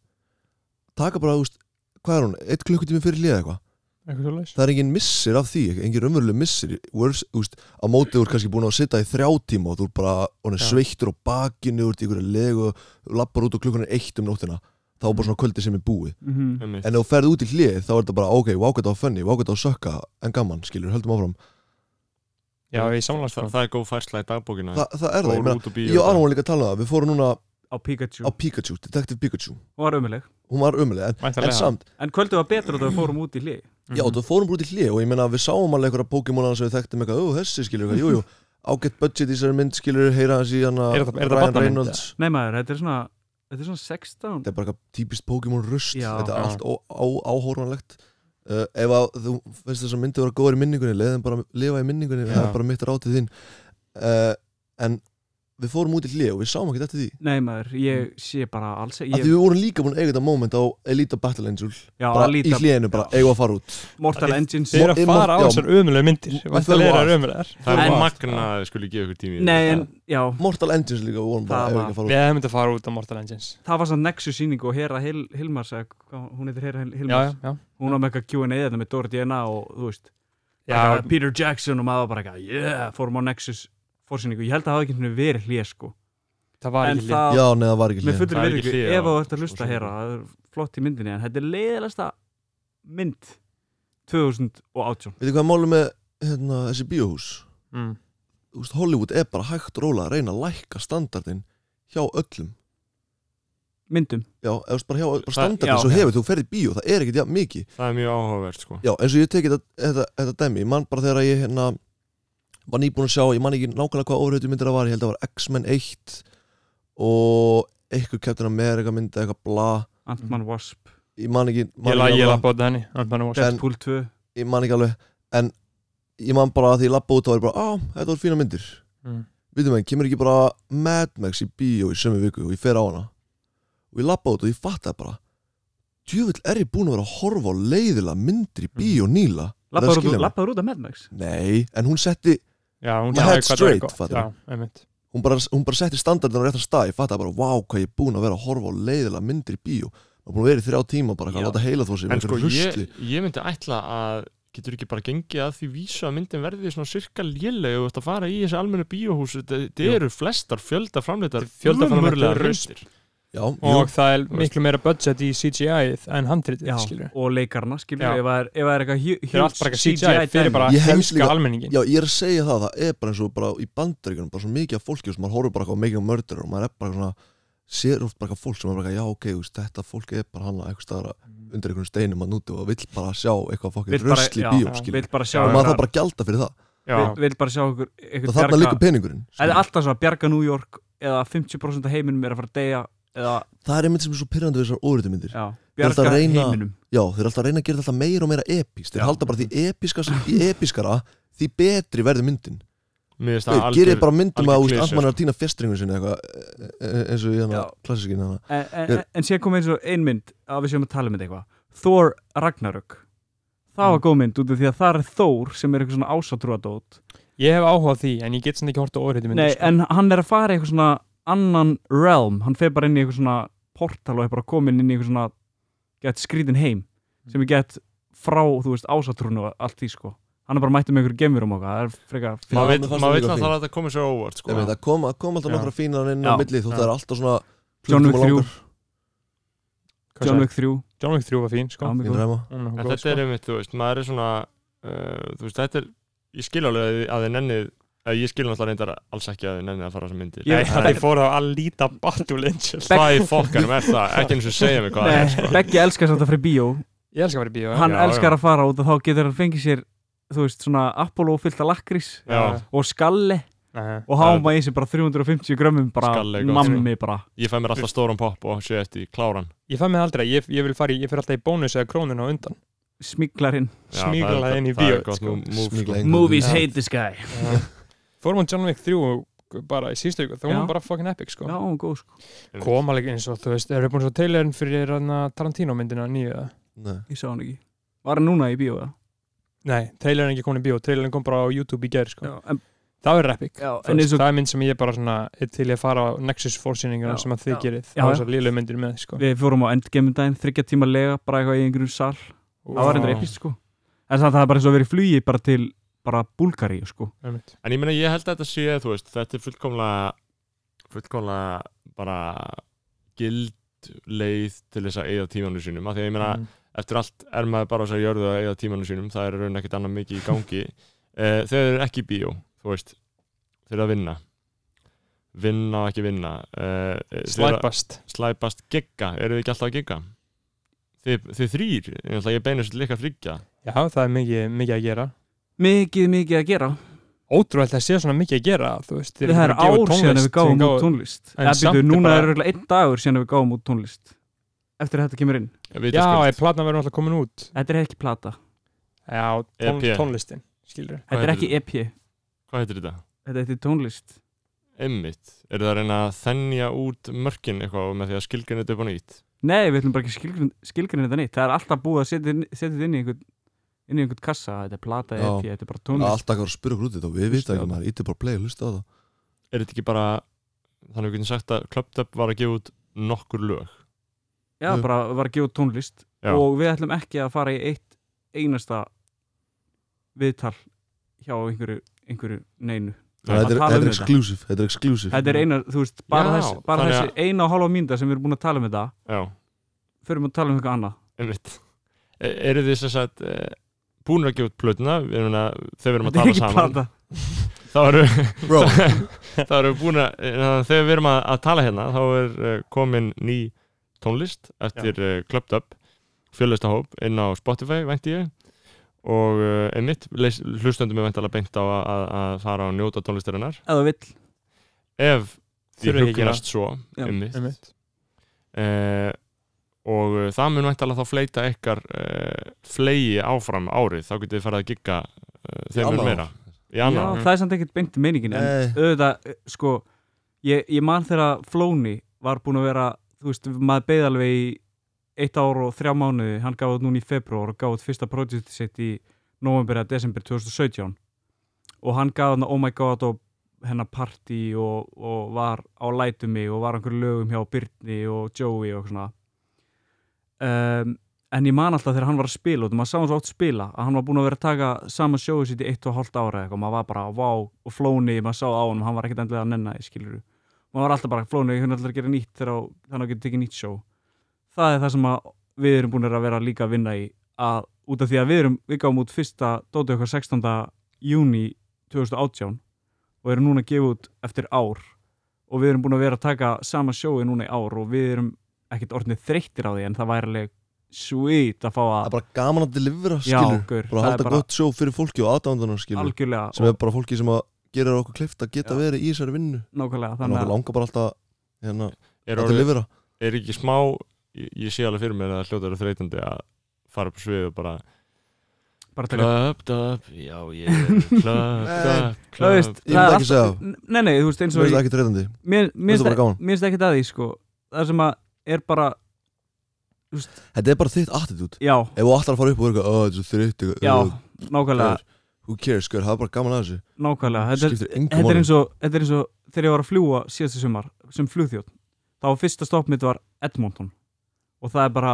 [SPEAKER 4] Taka bara, þú veist Hvað er hún? Eitt klukkutími fyrir lélega eitthvað
[SPEAKER 2] eitthvað svo leys
[SPEAKER 4] það er engin missir af því, engin raunveruleg missir Worst, úst, á móti þú er kannski búin að sitja í þrjá tíma og þú er bara orðinn
[SPEAKER 2] Já.
[SPEAKER 4] sveittur á bakinu, þú ert í einhverju legu þú lappar út og klukkan er eitt um nóttina þá er bara svona kvöldi sem er búið
[SPEAKER 5] Mhm.
[SPEAKER 1] einmitt.
[SPEAKER 4] en ef þú ferð út í hlið þá er þetta bara ok, vákvæmt á funny, vákvæmt á sökka en gaman, skilur, höldum áfram
[SPEAKER 2] Já, ég samlega
[SPEAKER 1] Þa,
[SPEAKER 2] sko
[SPEAKER 1] það er góð færsla í dagbókina
[SPEAKER 4] Þa, það er
[SPEAKER 1] Mm.
[SPEAKER 4] það, ég
[SPEAKER 1] Fór
[SPEAKER 4] meina
[SPEAKER 1] út úr bíó
[SPEAKER 4] ég og
[SPEAKER 1] í dag.
[SPEAKER 4] Aron vorum líka að tala um það, við fórum núna
[SPEAKER 5] á Pikachu
[SPEAKER 4] á Pikachu, Detective Pikachu
[SPEAKER 5] og var ömuleg
[SPEAKER 4] hún var umlega, en,
[SPEAKER 2] Væntanlega.
[SPEAKER 4] en samt
[SPEAKER 5] en kvöldu var betra þegar við fórum út í hlið
[SPEAKER 4] já, þú fórum bara út í hlið og ég meina við sáum alveg einhverja Pokémonana sem við þekktum eitthvað, ó, þessi skilur eitthvað, jú, jú ágætt budget í þessari mynd skilur, heyra hans í hana
[SPEAKER 2] Er þetta- er þetta
[SPEAKER 4] Ryan
[SPEAKER 2] barnamynd,
[SPEAKER 4] Reynolds
[SPEAKER 5] nei maður, þetta er svona þetta er svona 16
[SPEAKER 4] þetta er bara eitthvað típist Pokémon rust
[SPEAKER 5] Já.
[SPEAKER 4] þetta
[SPEAKER 2] Já.
[SPEAKER 4] er allt ó- á- áhorfanlegt uh, ef að þú finnst þess að myndi vera góður í minningunni leiðin bara lifa í minningunni það
[SPEAKER 1] Já.
[SPEAKER 4] er bara mitt rátið þín uh, en við fórum út í hlið og við sáum ekki eftir því
[SPEAKER 5] nei maður,
[SPEAKER 2] Mm.
[SPEAKER 5] ég sé bara alls
[SPEAKER 4] af
[SPEAKER 5] ég,
[SPEAKER 4] því við vorum líka búin að eiga þetta moment á Elita Battle Angel
[SPEAKER 5] já,
[SPEAKER 4] bara
[SPEAKER 5] Alita,
[SPEAKER 4] í hliðinu, bara
[SPEAKER 5] já.
[SPEAKER 4] eigum við að fara út
[SPEAKER 5] Mortal Engines
[SPEAKER 2] Þeir eru að
[SPEAKER 4] Ég-
[SPEAKER 2] fara á
[SPEAKER 4] já.
[SPEAKER 2] þessar ömulega myndir
[SPEAKER 4] Við
[SPEAKER 2] Væntalega
[SPEAKER 4] förum á
[SPEAKER 2] eru þær
[SPEAKER 4] allt.
[SPEAKER 2] ömulegar
[SPEAKER 1] það
[SPEAKER 5] En-
[SPEAKER 1] er magna að þið skuli gefa ykkur tími í
[SPEAKER 5] nei,
[SPEAKER 1] þetta.
[SPEAKER 5] en, já,
[SPEAKER 4] Mortal Engines líka, við vorum bara
[SPEAKER 5] Það
[SPEAKER 4] eigum við
[SPEAKER 5] var-
[SPEAKER 4] ekki að fara
[SPEAKER 2] Við hefum myndið að fara út á Mortal Engines
[SPEAKER 5] það var samt Nexus síningu og Hera Hil Hilmars eða hvað hún heitir Hera Hil
[SPEAKER 2] Já, já,
[SPEAKER 5] Hilmars
[SPEAKER 2] já
[SPEAKER 5] hún var með eitthvað Q&A þetta með Dóri DNA og þú veist
[SPEAKER 2] Já,
[SPEAKER 5] já, Peter Jackson og maður bara eitthvað yeah, fórum á Nexus fórsýningu, ég held að það hafi ekki einu sinni verið hlið sko,
[SPEAKER 2] það var
[SPEAKER 5] en
[SPEAKER 2] ekki
[SPEAKER 5] það
[SPEAKER 4] út já, neða var ekki
[SPEAKER 5] með
[SPEAKER 4] hlið
[SPEAKER 5] fullri
[SPEAKER 1] Það er
[SPEAKER 5] verið
[SPEAKER 1] ekki hlé
[SPEAKER 5] ef
[SPEAKER 1] á
[SPEAKER 5] þú ert að hlusta
[SPEAKER 1] fórsýningu.
[SPEAKER 5] hér það er flott í myndinni, en þetta er leiðilegsta mynd 2018
[SPEAKER 4] veitir hvað er málið með hérna, þessi bíóhús
[SPEAKER 2] Mm.
[SPEAKER 4] Þú veist, Hollywood er bara hægt og rólega að reyna að lækka standardin hjá öllum
[SPEAKER 5] myndum,
[SPEAKER 4] Já, eða þú veist, bara hjá bara
[SPEAKER 1] Það-
[SPEAKER 4] standardin
[SPEAKER 5] já.
[SPEAKER 4] sem þú hefur, þú ferð í bíó, það er ekkert jafn mikið
[SPEAKER 1] það er mjög áhugavert sko.
[SPEAKER 4] Já, eins og ég tekið þetta, þetta, þetta dæmi, ég man bara þegar ég hérna var nýbúin að sjá, ég man ekki nákvæmlega hvað ofröðu myndir það var, ég held að það var X-Men 1 og eitthvað Captain America mynd eða eitthvað bla,
[SPEAKER 2] Mhm.
[SPEAKER 5] Ant-Man Wasp
[SPEAKER 4] ég man ekki man
[SPEAKER 2] Ég
[SPEAKER 4] ekki
[SPEAKER 2] la- ég
[SPEAKER 4] alveg-
[SPEAKER 2] lappa á þetta henni Ant-Man og Wasp.
[SPEAKER 4] En-
[SPEAKER 5] Deadpool 2
[SPEAKER 4] Ég man ekki alveg, en ég man bara að því ég lappa út og var ég bara, á, þetta voru fína myndir
[SPEAKER 2] Mm.
[SPEAKER 4] Vitum enn, kemur ekki bara Mad Max í bíó í sömu viku og ég fer á hana og ég lappa út og ég fatta bara djöfull er ég búin að vera að horfa á leiðilega myndir í bíó nýla Er það að
[SPEAKER 5] Labbaður
[SPEAKER 4] skilja
[SPEAKER 5] út-
[SPEAKER 4] mig?
[SPEAKER 5] labbaður út af Mad Max
[SPEAKER 4] Nei, en hún setti
[SPEAKER 2] Já, hún
[SPEAKER 4] My
[SPEAKER 2] sagði
[SPEAKER 4] head
[SPEAKER 2] hvað það var
[SPEAKER 4] straight,
[SPEAKER 2] gott.
[SPEAKER 4] fattar
[SPEAKER 2] Já, einmitt
[SPEAKER 4] hún bara, hún bara setti standardin á réttan stað ég fatta bara, vá, hvað ég er búin að vera að horfa á leiðilega myndir í bíó maður er búin að vera í þrjá tíma bara að
[SPEAKER 5] Já.
[SPEAKER 4] láta heila þó sig
[SPEAKER 1] en
[SPEAKER 4] með
[SPEAKER 1] sko
[SPEAKER 4] einhverju
[SPEAKER 1] ég,
[SPEAKER 4] rusli.
[SPEAKER 1] ég myndi ætla að getur ekki bara gengið að því vísu að myndin verði svona sirka léleg og þú ert að fara í þessi almennu bíóhús þetta
[SPEAKER 2] Jú.
[SPEAKER 1] eru flestar fjölda framleitar
[SPEAKER 2] Þetta er fjöldaframleiddar rusl.
[SPEAKER 1] myndir
[SPEAKER 4] já, jú,
[SPEAKER 2] Og það er miklu meira budget í CGI-ið en handritið,
[SPEAKER 5] Já,
[SPEAKER 2] skilur
[SPEAKER 5] og leikarna, skilur
[SPEAKER 2] Já.
[SPEAKER 5] ef það er- ef það er eitthvað hu-
[SPEAKER 2] Þeir eru allt bara
[SPEAKER 5] huge
[SPEAKER 2] eitthvað CGI fyrir
[SPEAKER 5] dæmi.
[SPEAKER 2] bara
[SPEAKER 4] Ég held
[SPEAKER 2] heimska
[SPEAKER 4] líka-
[SPEAKER 2] almenningin
[SPEAKER 4] já, ég er að segja það það er bara eins og bara í bandaríkunum bara svo mikið af fólki, þú veist, maður horfir bara eitthvað á making a murderer og maður er bara svona sér oft bara eitthvað fólk sem er bara, eitthvað, já, ok, þú veist, þetta fólk er bara hann að eitthvað staðar undir einhvern steinum að núti og vill bara sjá eitthvað
[SPEAKER 5] Mm. Vill
[SPEAKER 4] fokkið
[SPEAKER 5] bara-
[SPEAKER 4] rusli
[SPEAKER 5] já,
[SPEAKER 4] bíó,
[SPEAKER 2] já,
[SPEAKER 4] skilur
[SPEAKER 5] vill bara sjá
[SPEAKER 2] Já,
[SPEAKER 4] og maður
[SPEAKER 5] einhverjar-
[SPEAKER 4] þarf bara að gjalda fyrir það
[SPEAKER 2] Já,
[SPEAKER 5] vill- vill bara sjá ykkur
[SPEAKER 4] og þarna líka
[SPEAKER 5] Það
[SPEAKER 4] peningurinn skilur.
[SPEAKER 5] er alltaf svona bjarga New York eða 50% af heiminum er að fara að deyja eða
[SPEAKER 4] það er einmitt sem er svo pyrrandi við þessar óriðmyndir
[SPEAKER 5] já,
[SPEAKER 4] ert
[SPEAKER 5] bjarga
[SPEAKER 4] að reyna-
[SPEAKER 5] heiminum
[SPEAKER 4] Já, þeir eru alltaf að reyna að gera þetta alltaf meira og meira epíst Þeir
[SPEAKER 5] Já.
[SPEAKER 4] halda bara því episkast í episkara því betri verður myndin
[SPEAKER 1] Mér finnst það
[SPEAKER 4] Þeir gerir bara myndum
[SPEAKER 1] algjör
[SPEAKER 4] að úst
[SPEAKER 1] klisja,
[SPEAKER 4] allt mann er að týna fjestringun sinni eitthvað e- e- eins og í hérna. hana
[SPEAKER 5] sko. Já.
[SPEAKER 4] klassískin hana
[SPEAKER 5] en, en,
[SPEAKER 4] Þeir-
[SPEAKER 5] en síðan kom eins og ein mynd að við séum að tala um þetta eitthvað Thor Ragnarök það var góð mynd út af því að það er Thor sem er eitthvað svona ásatrúadót
[SPEAKER 2] ég hef áhuga á því en ég get samt ekki hort á orðið
[SPEAKER 5] Nei,
[SPEAKER 2] myndir sko.
[SPEAKER 5] en hann er að fara í eitthvað svona annan realm, hann fer bara inn í eitthvað svona portal og er bara komin inn í eitthvað svona gett skrítin heim sem er gett frá, þú veist, ásatrúnu og allt því sko, hann er bara mættið með einhverjum gemurum og eitthvað, það er frekar
[SPEAKER 4] Já,
[SPEAKER 1] maður
[SPEAKER 4] mér
[SPEAKER 1] veit
[SPEAKER 4] fannst
[SPEAKER 1] maður
[SPEAKER 4] það
[SPEAKER 1] veit að
[SPEAKER 4] líka
[SPEAKER 1] það
[SPEAKER 4] fínt.
[SPEAKER 1] er að það komið sér á óvart
[SPEAKER 4] Ég
[SPEAKER 1] sko.
[SPEAKER 4] veit, Það kom, það kom alltaf
[SPEAKER 2] Já.
[SPEAKER 4] nokkra fínan inn
[SPEAKER 5] Já.
[SPEAKER 4] á milli þú
[SPEAKER 2] Já.
[SPEAKER 4] það er alltaf svona
[SPEAKER 5] John Wick
[SPEAKER 4] klukkutíma langar.
[SPEAKER 5] 3,
[SPEAKER 2] Hvað
[SPEAKER 5] John
[SPEAKER 2] sagði-
[SPEAKER 5] Wick 3
[SPEAKER 2] John Wick 3 var fín sko.
[SPEAKER 5] Já, mjög
[SPEAKER 4] Fín
[SPEAKER 5] góð.
[SPEAKER 4] ræma.
[SPEAKER 2] Hún var
[SPEAKER 1] en
[SPEAKER 2] góð,
[SPEAKER 1] þetta
[SPEAKER 2] sko.
[SPEAKER 1] er einmitt, þú veist, maður er svona uh, þú veist, þetta er ég skil alveg að þið- að þið nennið að ég skil náttúrulega reyndar alls ekki að þið nennið að fara á þessar myndir
[SPEAKER 5] Ég-
[SPEAKER 2] Nei,
[SPEAKER 5] það
[SPEAKER 2] það fór á Alita Battle Angel
[SPEAKER 1] hvað í fokkanum er það, ekki eins og segja mig hvað það er
[SPEAKER 5] Nei, Eh, Beggi elskar samt að fara í bíó
[SPEAKER 2] Ég elskar að vera í bíó
[SPEAKER 5] Hann
[SPEAKER 1] Já, já.
[SPEAKER 5] elskar að fara út og þá getur hann fengið sér þú veist, svona Apollo fyllt af lakrís
[SPEAKER 1] Já.
[SPEAKER 5] og skalli
[SPEAKER 2] Nei.
[SPEAKER 5] og háma í sig bara 350 grömmum bara
[SPEAKER 1] Skalli er gott, sko.
[SPEAKER 5] nammi bara
[SPEAKER 1] ég fæ mér alltaf stóran pop og sé eftir kláran
[SPEAKER 2] Ég fæ mig aldrei, ég, ég vil fara í, ég fyrir alltaf í bónus eða krónuna á undan
[SPEAKER 5] smíklarinn
[SPEAKER 1] Já, það er-
[SPEAKER 2] Smígla inn í
[SPEAKER 1] það er
[SPEAKER 2] bíó,
[SPEAKER 1] gott
[SPEAKER 2] sko.
[SPEAKER 1] move- move, sko.
[SPEAKER 4] Smígla inn.
[SPEAKER 5] Movies
[SPEAKER 2] Já.
[SPEAKER 5] hate this guy
[SPEAKER 2] Fórum á John Wick 3 og bara í síðustu ykkur, það
[SPEAKER 5] Já.
[SPEAKER 2] var hún bara fucking epic sko
[SPEAKER 5] Já, hún er góð sko
[SPEAKER 2] Koma líka eins og þú veist, eru búin svo trailerinn fyrir hana Tarantino myndina nýju eða?
[SPEAKER 4] Nei.
[SPEAKER 5] Ég sá hann ekki Var hann núna í bíó eða?
[SPEAKER 2] Nei, trailerinn er ekki komin í bíó, trailerinn kom bara á YouTube í gerð sko
[SPEAKER 5] en,
[SPEAKER 2] Það verður epic
[SPEAKER 5] já,
[SPEAKER 2] Þú
[SPEAKER 5] en
[SPEAKER 2] veist,
[SPEAKER 5] eins og
[SPEAKER 2] Það er mynd sem ég bara svona er til í að fara á Nexus fórsýninguna
[SPEAKER 5] Já,
[SPEAKER 2] sem að þið
[SPEAKER 5] já.
[SPEAKER 2] gerið
[SPEAKER 5] Já,
[SPEAKER 2] á
[SPEAKER 5] já.
[SPEAKER 2] þessar lílu myndir með sko.
[SPEAKER 5] við fórum á endgame um daginn þryggja tíma lega, bara eitthvað í einhverjum sal Það var hendur epist sko En það, það er bara eins og að vera í flugi bara til bara Búlgari sko
[SPEAKER 2] Einmitt.
[SPEAKER 1] En ég meina ég held að þetta sé, þú veist, þetta er fullkomlega fullkomlega bara gild leið til þess að eigða tímanu sínum af því að ég meina,
[SPEAKER 2] Mm.
[SPEAKER 1] eftir allt er maður bara á þess að jörðu að eigða tímanu sínum, það er í raun ekkert annað mikið í gangi eh, þegar þeir eru ekki í bíó þú veist, þeir eru að vinna vinna og ekki vinna eh, eh, þeir eru að-
[SPEAKER 2] Slæpast
[SPEAKER 1] slæpast gegga, eru þið ekki alltaf að gegga þið, þið þrýr, ég ætla að ég beinu sér líka þryggja
[SPEAKER 2] Já, það er mikið, mikið að gera
[SPEAKER 5] mikið, mikið að gera
[SPEAKER 2] Ótrúvægt að sé svona mikið að gera þú veist, þeir eru
[SPEAKER 5] það
[SPEAKER 2] búin
[SPEAKER 5] er
[SPEAKER 2] að gefa
[SPEAKER 5] ár
[SPEAKER 2] út
[SPEAKER 5] síðan
[SPEAKER 2] tónlist
[SPEAKER 5] við gáum
[SPEAKER 2] sem
[SPEAKER 5] út
[SPEAKER 2] gáfu-
[SPEAKER 5] tónlist
[SPEAKER 2] En
[SPEAKER 5] eða
[SPEAKER 2] samt
[SPEAKER 5] byrju,
[SPEAKER 2] er
[SPEAKER 5] núna
[SPEAKER 2] bara-
[SPEAKER 5] er örugglega einn dagur síðan við gáum út tónlist eftir að þetta kemur inn
[SPEAKER 2] Já, eða platan verður alltaf komin út
[SPEAKER 5] þetta er ekki plata,
[SPEAKER 2] Já,
[SPEAKER 1] E
[SPEAKER 2] tón,
[SPEAKER 1] EP.
[SPEAKER 2] tónlistin, skilur
[SPEAKER 5] þetta er
[SPEAKER 1] heitir
[SPEAKER 5] ekki EP
[SPEAKER 1] hvað heitir þetta?
[SPEAKER 5] þetta er tónlist
[SPEAKER 1] Emmitt, eru það að reyna að þennja út mörkin eitthvað með því að skilgjörn þetta upp á nýtt
[SPEAKER 5] nei, við ætlum bara ekki skilgrin, skilgrin þetta neitt það er alltaf búið að setja inn- setja þetta inn í einhvern inn í einhvern kassa, þetta er plata,
[SPEAKER 4] Já.
[SPEAKER 5] EP, þetta er bara
[SPEAKER 4] Það er
[SPEAKER 5] tónlist
[SPEAKER 4] alltaf að spyrja okkur út í þetta og við
[SPEAKER 5] Hlusta
[SPEAKER 4] vitum
[SPEAKER 5] á
[SPEAKER 4] ekki maður ítti bara play og hlusta á það
[SPEAKER 1] er þetta ekki bara þannig við getum sagt að Club Dub var að gefa út nokkur lög
[SPEAKER 5] já,
[SPEAKER 4] Jú.
[SPEAKER 5] bara var að gefa út tónlist
[SPEAKER 1] Já.
[SPEAKER 5] og við ætlum ekki að fara í eitt einasta viðtal hjá einhverju, einhverju neinu
[SPEAKER 1] Að
[SPEAKER 5] tala
[SPEAKER 4] Þetta er,
[SPEAKER 5] um
[SPEAKER 4] þetta er
[SPEAKER 5] þetta.
[SPEAKER 4] exclusive, þetta er exclusive
[SPEAKER 5] þetta er eina, þú veist, bara,
[SPEAKER 1] Já,
[SPEAKER 5] þess, bara
[SPEAKER 1] þannig
[SPEAKER 5] þessi eina og halva mínúta sem við erum búin að tala um þetta
[SPEAKER 1] já,
[SPEAKER 5] förum að tala um eitthvað annað
[SPEAKER 1] Emmitt e eru þið sem sagt e búin að gefa út plötuna við erum að, þegar við erum að
[SPEAKER 5] þetta er
[SPEAKER 1] tala
[SPEAKER 5] ekki
[SPEAKER 1] saman
[SPEAKER 5] plata
[SPEAKER 1] þá eru,
[SPEAKER 4] Bro,
[SPEAKER 1] þá eru búin að eh, þegar við erum að, að tala hérna þá er uh, komin ný tónlist eftir uh, Club Dub fjölistahóp inn á Spotify vænti ég og uh, einmitt leys- hlustendum er væntalega beint á að- að að fara og njóta tónlistarinnar
[SPEAKER 5] eða vill,
[SPEAKER 1] ef því
[SPEAKER 2] Þurfa ekki að gera.
[SPEAKER 1] hugnast svo
[SPEAKER 5] Já,
[SPEAKER 1] um mitt
[SPEAKER 2] Einmitt.
[SPEAKER 1] uh, og uh, það mun væntalega þá fleita ykkar uh, flegi áfram árið þá getið þið farið að gigga uh, þeim mun
[SPEAKER 4] annað ár.
[SPEAKER 1] meira í Mm.
[SPEAKER 5] já,
[SPEAKER 1] annað
[SPEAKER 5] það er samt ekkert beint meiningin en
[SPEAKER 4] Nei.
[SPEAKER 5] auðvitað, eh, sko ég, ég man þegar Flóni var búin að vera þú veist, maður beið alveg í eitt ár og þrjá mánuði, hann gaf út núna í februar og gaf út fyrsta projekti sitt í november eða desember 2017 og hann gaf hann Oh My God og hennar party og, og var á lætumi og var á einhverju lögum hjá Byrni og Joey og eitthvað svona um, en ég man alltaf þegar hann var að spila og maður sá hann svo oft spila að hann var búin að vera að taka saman sjóðu sitt í eitt og hálft ára eitthvað, maður var bara vá og flóni, maður sá á hann, hann var ekkert endilega að nenna skilur þú, maður var alltaf bara flóni hann er alltaf að gera nýtt þegar á- þannig að geta tekið nýtt sjó það er það sem að við erum búin að vera líka að vinna í að, út af því að við erum, við gáum út fyrsta dótið okkar 16. júni 2018 og erum núna að gefa út eftir ár og við erum búin að vera að taka sama sjói núna í ár og við erum ekkert orðnið þreyttir á því en það væri alveg sweet að fá
[SPEAKER 4] það er
[SPEAKER 5] að
[SPEAKER 4] bara gaman að delivera
[SPEAKER 5] Já,
[SPEAKER 4] skilur
[SPEAKER 5] gaur, það
[SPEAKER 4] Bara að
[SPEAKER 5] er
[SPEAKER 4] halda
[SPEAKER 5] bara-
[SPEAKER 4] gott sjó fyrir fólki og aðdándunar skilur
[SPEAKER 5] algjörlega
[SPEAKER 4] Sem er bara fólki sem að gerir okkur kleift að geta
[SPEAKER 5] Já.
[SPEAKER 4] verið í þessari vinnu
[SPEAKER 5] nákvæmlega þannig
[SPEAKER 4] Þannig að
[SPEAKER 5] að
[SPEAKER 4] okkur langar bara alltaf hérna,
[SPEAKER 1] er,
[SPEAKER 4] að
[SPEAKER 1] orðið,
[SPEAKER 4] delivera
[SPEAKER 1] er ekki smá ég, ég sé alveg fyrir mér að hljóta eru þreytandi að fara upp á svið og bara
[SPEAKER 5] bara taka
[SPEAKER 1] Club Dub, já ég er Club
[SPEAKER 4] Nei.
[SPEAKER 1] Dub,
[SPEAKER 5] Það
[SPEAKER 1] Club
[SPEAKER 5] veist,
[SPEAKER 4] Ég myndi
[SPEAKER 5] það er
[SPEAKER 4] ekki segja það.
[SPEAKER 5] alltaf- Nei, nei, þú veist eins
[SPEAKER 4] Svo
[SPEAKER 5] og
[SPEAKER 4] er
[SPEAKER 5] ég-
[SPEAKER 4] þetta ekki treytandi
[SPEAKER 5] Mér mér
[SPEAKER 4] Finnst það bara gaman?
[SPEAKER 5] mér finnst ekkert að því sko Það sem að er bara
[SPEAKER 4] Þetta er bara þitt attitút
[SPEAKER 5] Já,
[SPEAKER 4] Ef þú ætlar að fara upp og verka "Ó, Þetta er svo þreytti
[SPEAKER 5] já, nákvæmlega
[SPEAKER 4] Who cares, skur, það er bara gaman að þessu
[SPEAKER 5] Nákvæmlega Þetta er-
[SPEAKER 4] Skiptir engum
[SPEAKER 5] Þetta er
[SPEAKER 4] máli.
[SPEAKER 5] eins og, þetta er eins og þegar ég var að fljúa síðastu sumar sem flugþjótt þá var fyrsta stopp mitt var Edmonton og það er bara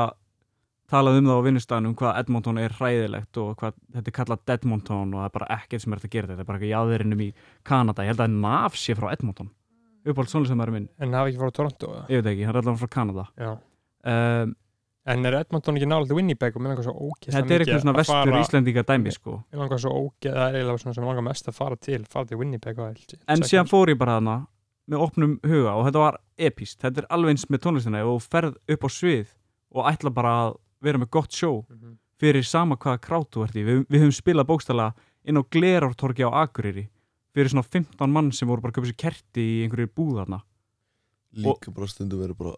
[SPEAKER 5] talað um það á vinnustæðanum hvað Edmonton er hræðilegt og hvað þetta er kallað Deadmonton og það er bara ekkert sem er hægt að gera þetta, þetta er bara ekki jáðurinnum í Kanada, ég held að NAF sé frá Edmonton uppáld sónlistamæður minn,
[SPEAKER 2] En hafa ekki farað á Toronto eða?
[SPEAKER 5] ég veit ekki, hann er allavega frá Kanada
[SPEAKER 2] Já.
[SPEAKER 5] um,
[SPEAKER 2] En er Edmonton ekki nálega Winnipeg og mér langar svo ógeðslega
[SPEAKER 5] þetta er
[SPEAKER 2] mikið
[SPEAKER 5] eitthvað svona
[SPEAKER 2] að
[SPEAKER 5] vestur
[SPEAKER 2] fara-
[SPEAKER 5] íslendinga dæmi sko
[SPEAKER 2] Mér langar svo ógeð Það er eiginlega svona sem mér langar mest að fara til fara til Winnipeg og allt
[SPEAKER 5] en síðan fór ég bara þarna með opnum huga og þetta var epíst þetta er alveg eins með tónlistina ef þú ferð upp á svið og ætla bara að vera með gott sjó
[SPEAKER 2] Mhm.
[SPEAKER 5] fyrir sama hvaða krát þú ert í við, við höfum spilað bókstala inn á Glerártorgi á Akureyri fyrir svona 15 mann sem voru bara að köpa sér kerti í einhverju búðarna
[SPEAKER 4] Líka bara stundum verið bara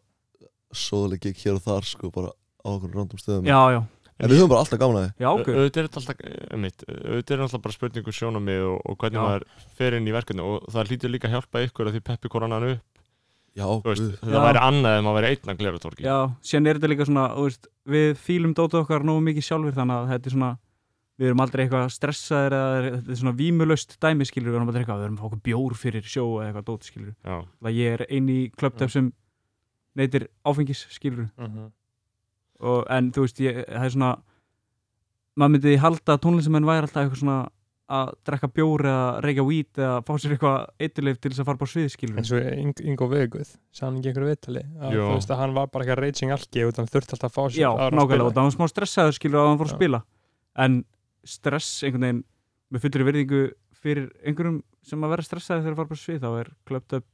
[SPEAKER 4] Svoðaleg gig hér og þar sko Bara á okkur random stöðum
[SPEAKER 5] já, já,
[SPEAKER 4] En við höfum bara alltaf gaman að
[SPEAKER 5] já,
[SPEAKER 1] Au-
[SPEAKER 5] okkur
[SPEAKER 1] auðvitað er þetta alltaf eh, einmitt, auðvitað er alltaf bara spurningu sjónamið og, og hvernig
[SPEAKER 5] Já.
[SPEAKER 1] maður fer inn í verkefni og það hlýtur líka að hjálpa ykkur að því peppi koranan upp
[SPEAKER 4] því Já,
[SPEAKER 1] Þú veist,
[SPEAKER 4] guð
[SPEAKER 1] það
[SPEAKER 5] Já.
[SPEAKER 1] væri annað ef maður væri einn að glera torki
[SPEAKER 5] já, síðan er þetta líka svona þú veist, við fílum dótið okkar nógu mikið sjálfur þannig að þetta er svona við erum aldrei eitthvað stressaðir eða þetta er svona vímulöst dæmiskilur við erum aldrei eitthvað, við erum að fá okkur bjór fyrir sjó eða eitthvað dótiskilur
[SPEAKER 1] Já.
[SPEAKER 5] Það ég er eini í klöptöf sem neytir áfengis, skilur
[SPEAKER 2] Mhm.
[SPEAKER 5] og, en þú veist, ég, það er svona maður myndi halda að tónlistamenn væri alltaf eitthvað svona að drekka bjór eða reykja weed eða fá sér eitthvað eitthvað til þess að fara bara sviðskilur
[SPEAKER 2] eins og Ing- Ingo Veguð sagði hann ekki einhverju viðtali að,
[SPEAKER 1] Jó.
[SPEAKER 2] þú veist, að hann var bara ekki að raging algi og hann þurfti alltaf að fá sér
[SPEAKER 5] Já,
[SPEAKER 2] aðra að
[SPEAKER 5] nákvæmlega,
[SPEAKER 2] spila.
[SPEAKER 5] og það var smá stressaður skilur að hann fór að
[SPEAKER 2] Já.
[SPEAKER 5] spila en stress einhvern veginn með fullri verðingu fyrir einhverjum sem að vera stressaður þegar að fara bara á svið þá er klöpt upp,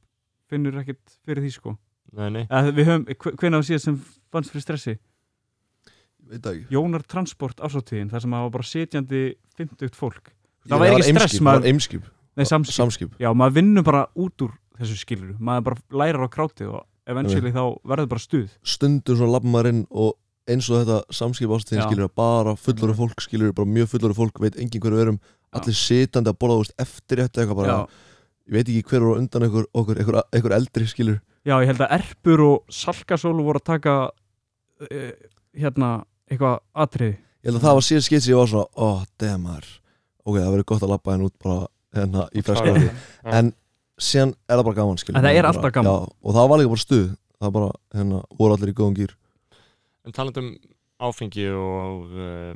[SPEAKER 5] finnur ekkert fyrir því sko
[SPEAKER 1] Nei, nei,
[SPEAKER 5] Eða, við höfum, hvenær var síðast sem fannst fyrir stressi?
[SPEAKER 4] ég veit það ekki
[SPEAKER 5] Jónar Transport ásáttíðin, þar sem það var bara sitjandi 50 fólk
[SPEAKER 4] Ég-
[SPEAKER 5] Það væri ekki stress,
[SPEAKER 4] Eimskip, það
[SPEAKER 5] maður-
[SPEAKER 4] var eimskip,
[SPEAKER 5] Nei, samskip,
[SPEAKER 4] samskip
[SPEAKER 5] já, maður vinnur bara út úr þessu skilur, maður bara lærar á krátið og eventually þá verður bara stuð
[SPEAKER 4] stundum svona lappum maður inn og eins og þetta samskip
[SPEAKER 5] Já.
[SPEAKER 4] ástíðin skilur bara fullur fólk skilur, bara mjög fullur fólk veit engin hverju erum,
[SPEAKER 5] Já.
[SPEAKER 4] allir sitandi að borða þú veist, eftir þetta eitthvað bara
[SPEAKER 5] Já.
[SPEAKER 4] ég veit ekki hver voru á undan ykkur, okkur, ykkur, ykkur eldri skilur
[SPEAKER 5] Já, ég held að Erpur og Salkasólu voru að taka uh, hérna eitthvað atriði
[SPEAKER 4] ég held að það var síðan skeitt sem ég var svona oh damn maður, ok það verður gott að lappa henn út bara hérna í freskurði
[SPEAKER 2] Já.
[SPEAKER 4] en síðan er það bara gaman skilur
[SPEAKER 5] En það er
[SPEAKER 4] bara-
[SPEAKER 5] alltaf gaman.
[SPEAKER 4] já, og það var líka bara stuð það bara, hérna, voru allir í góðum gýr
[SPEAKER 1] en talandi um áfengi og, uh,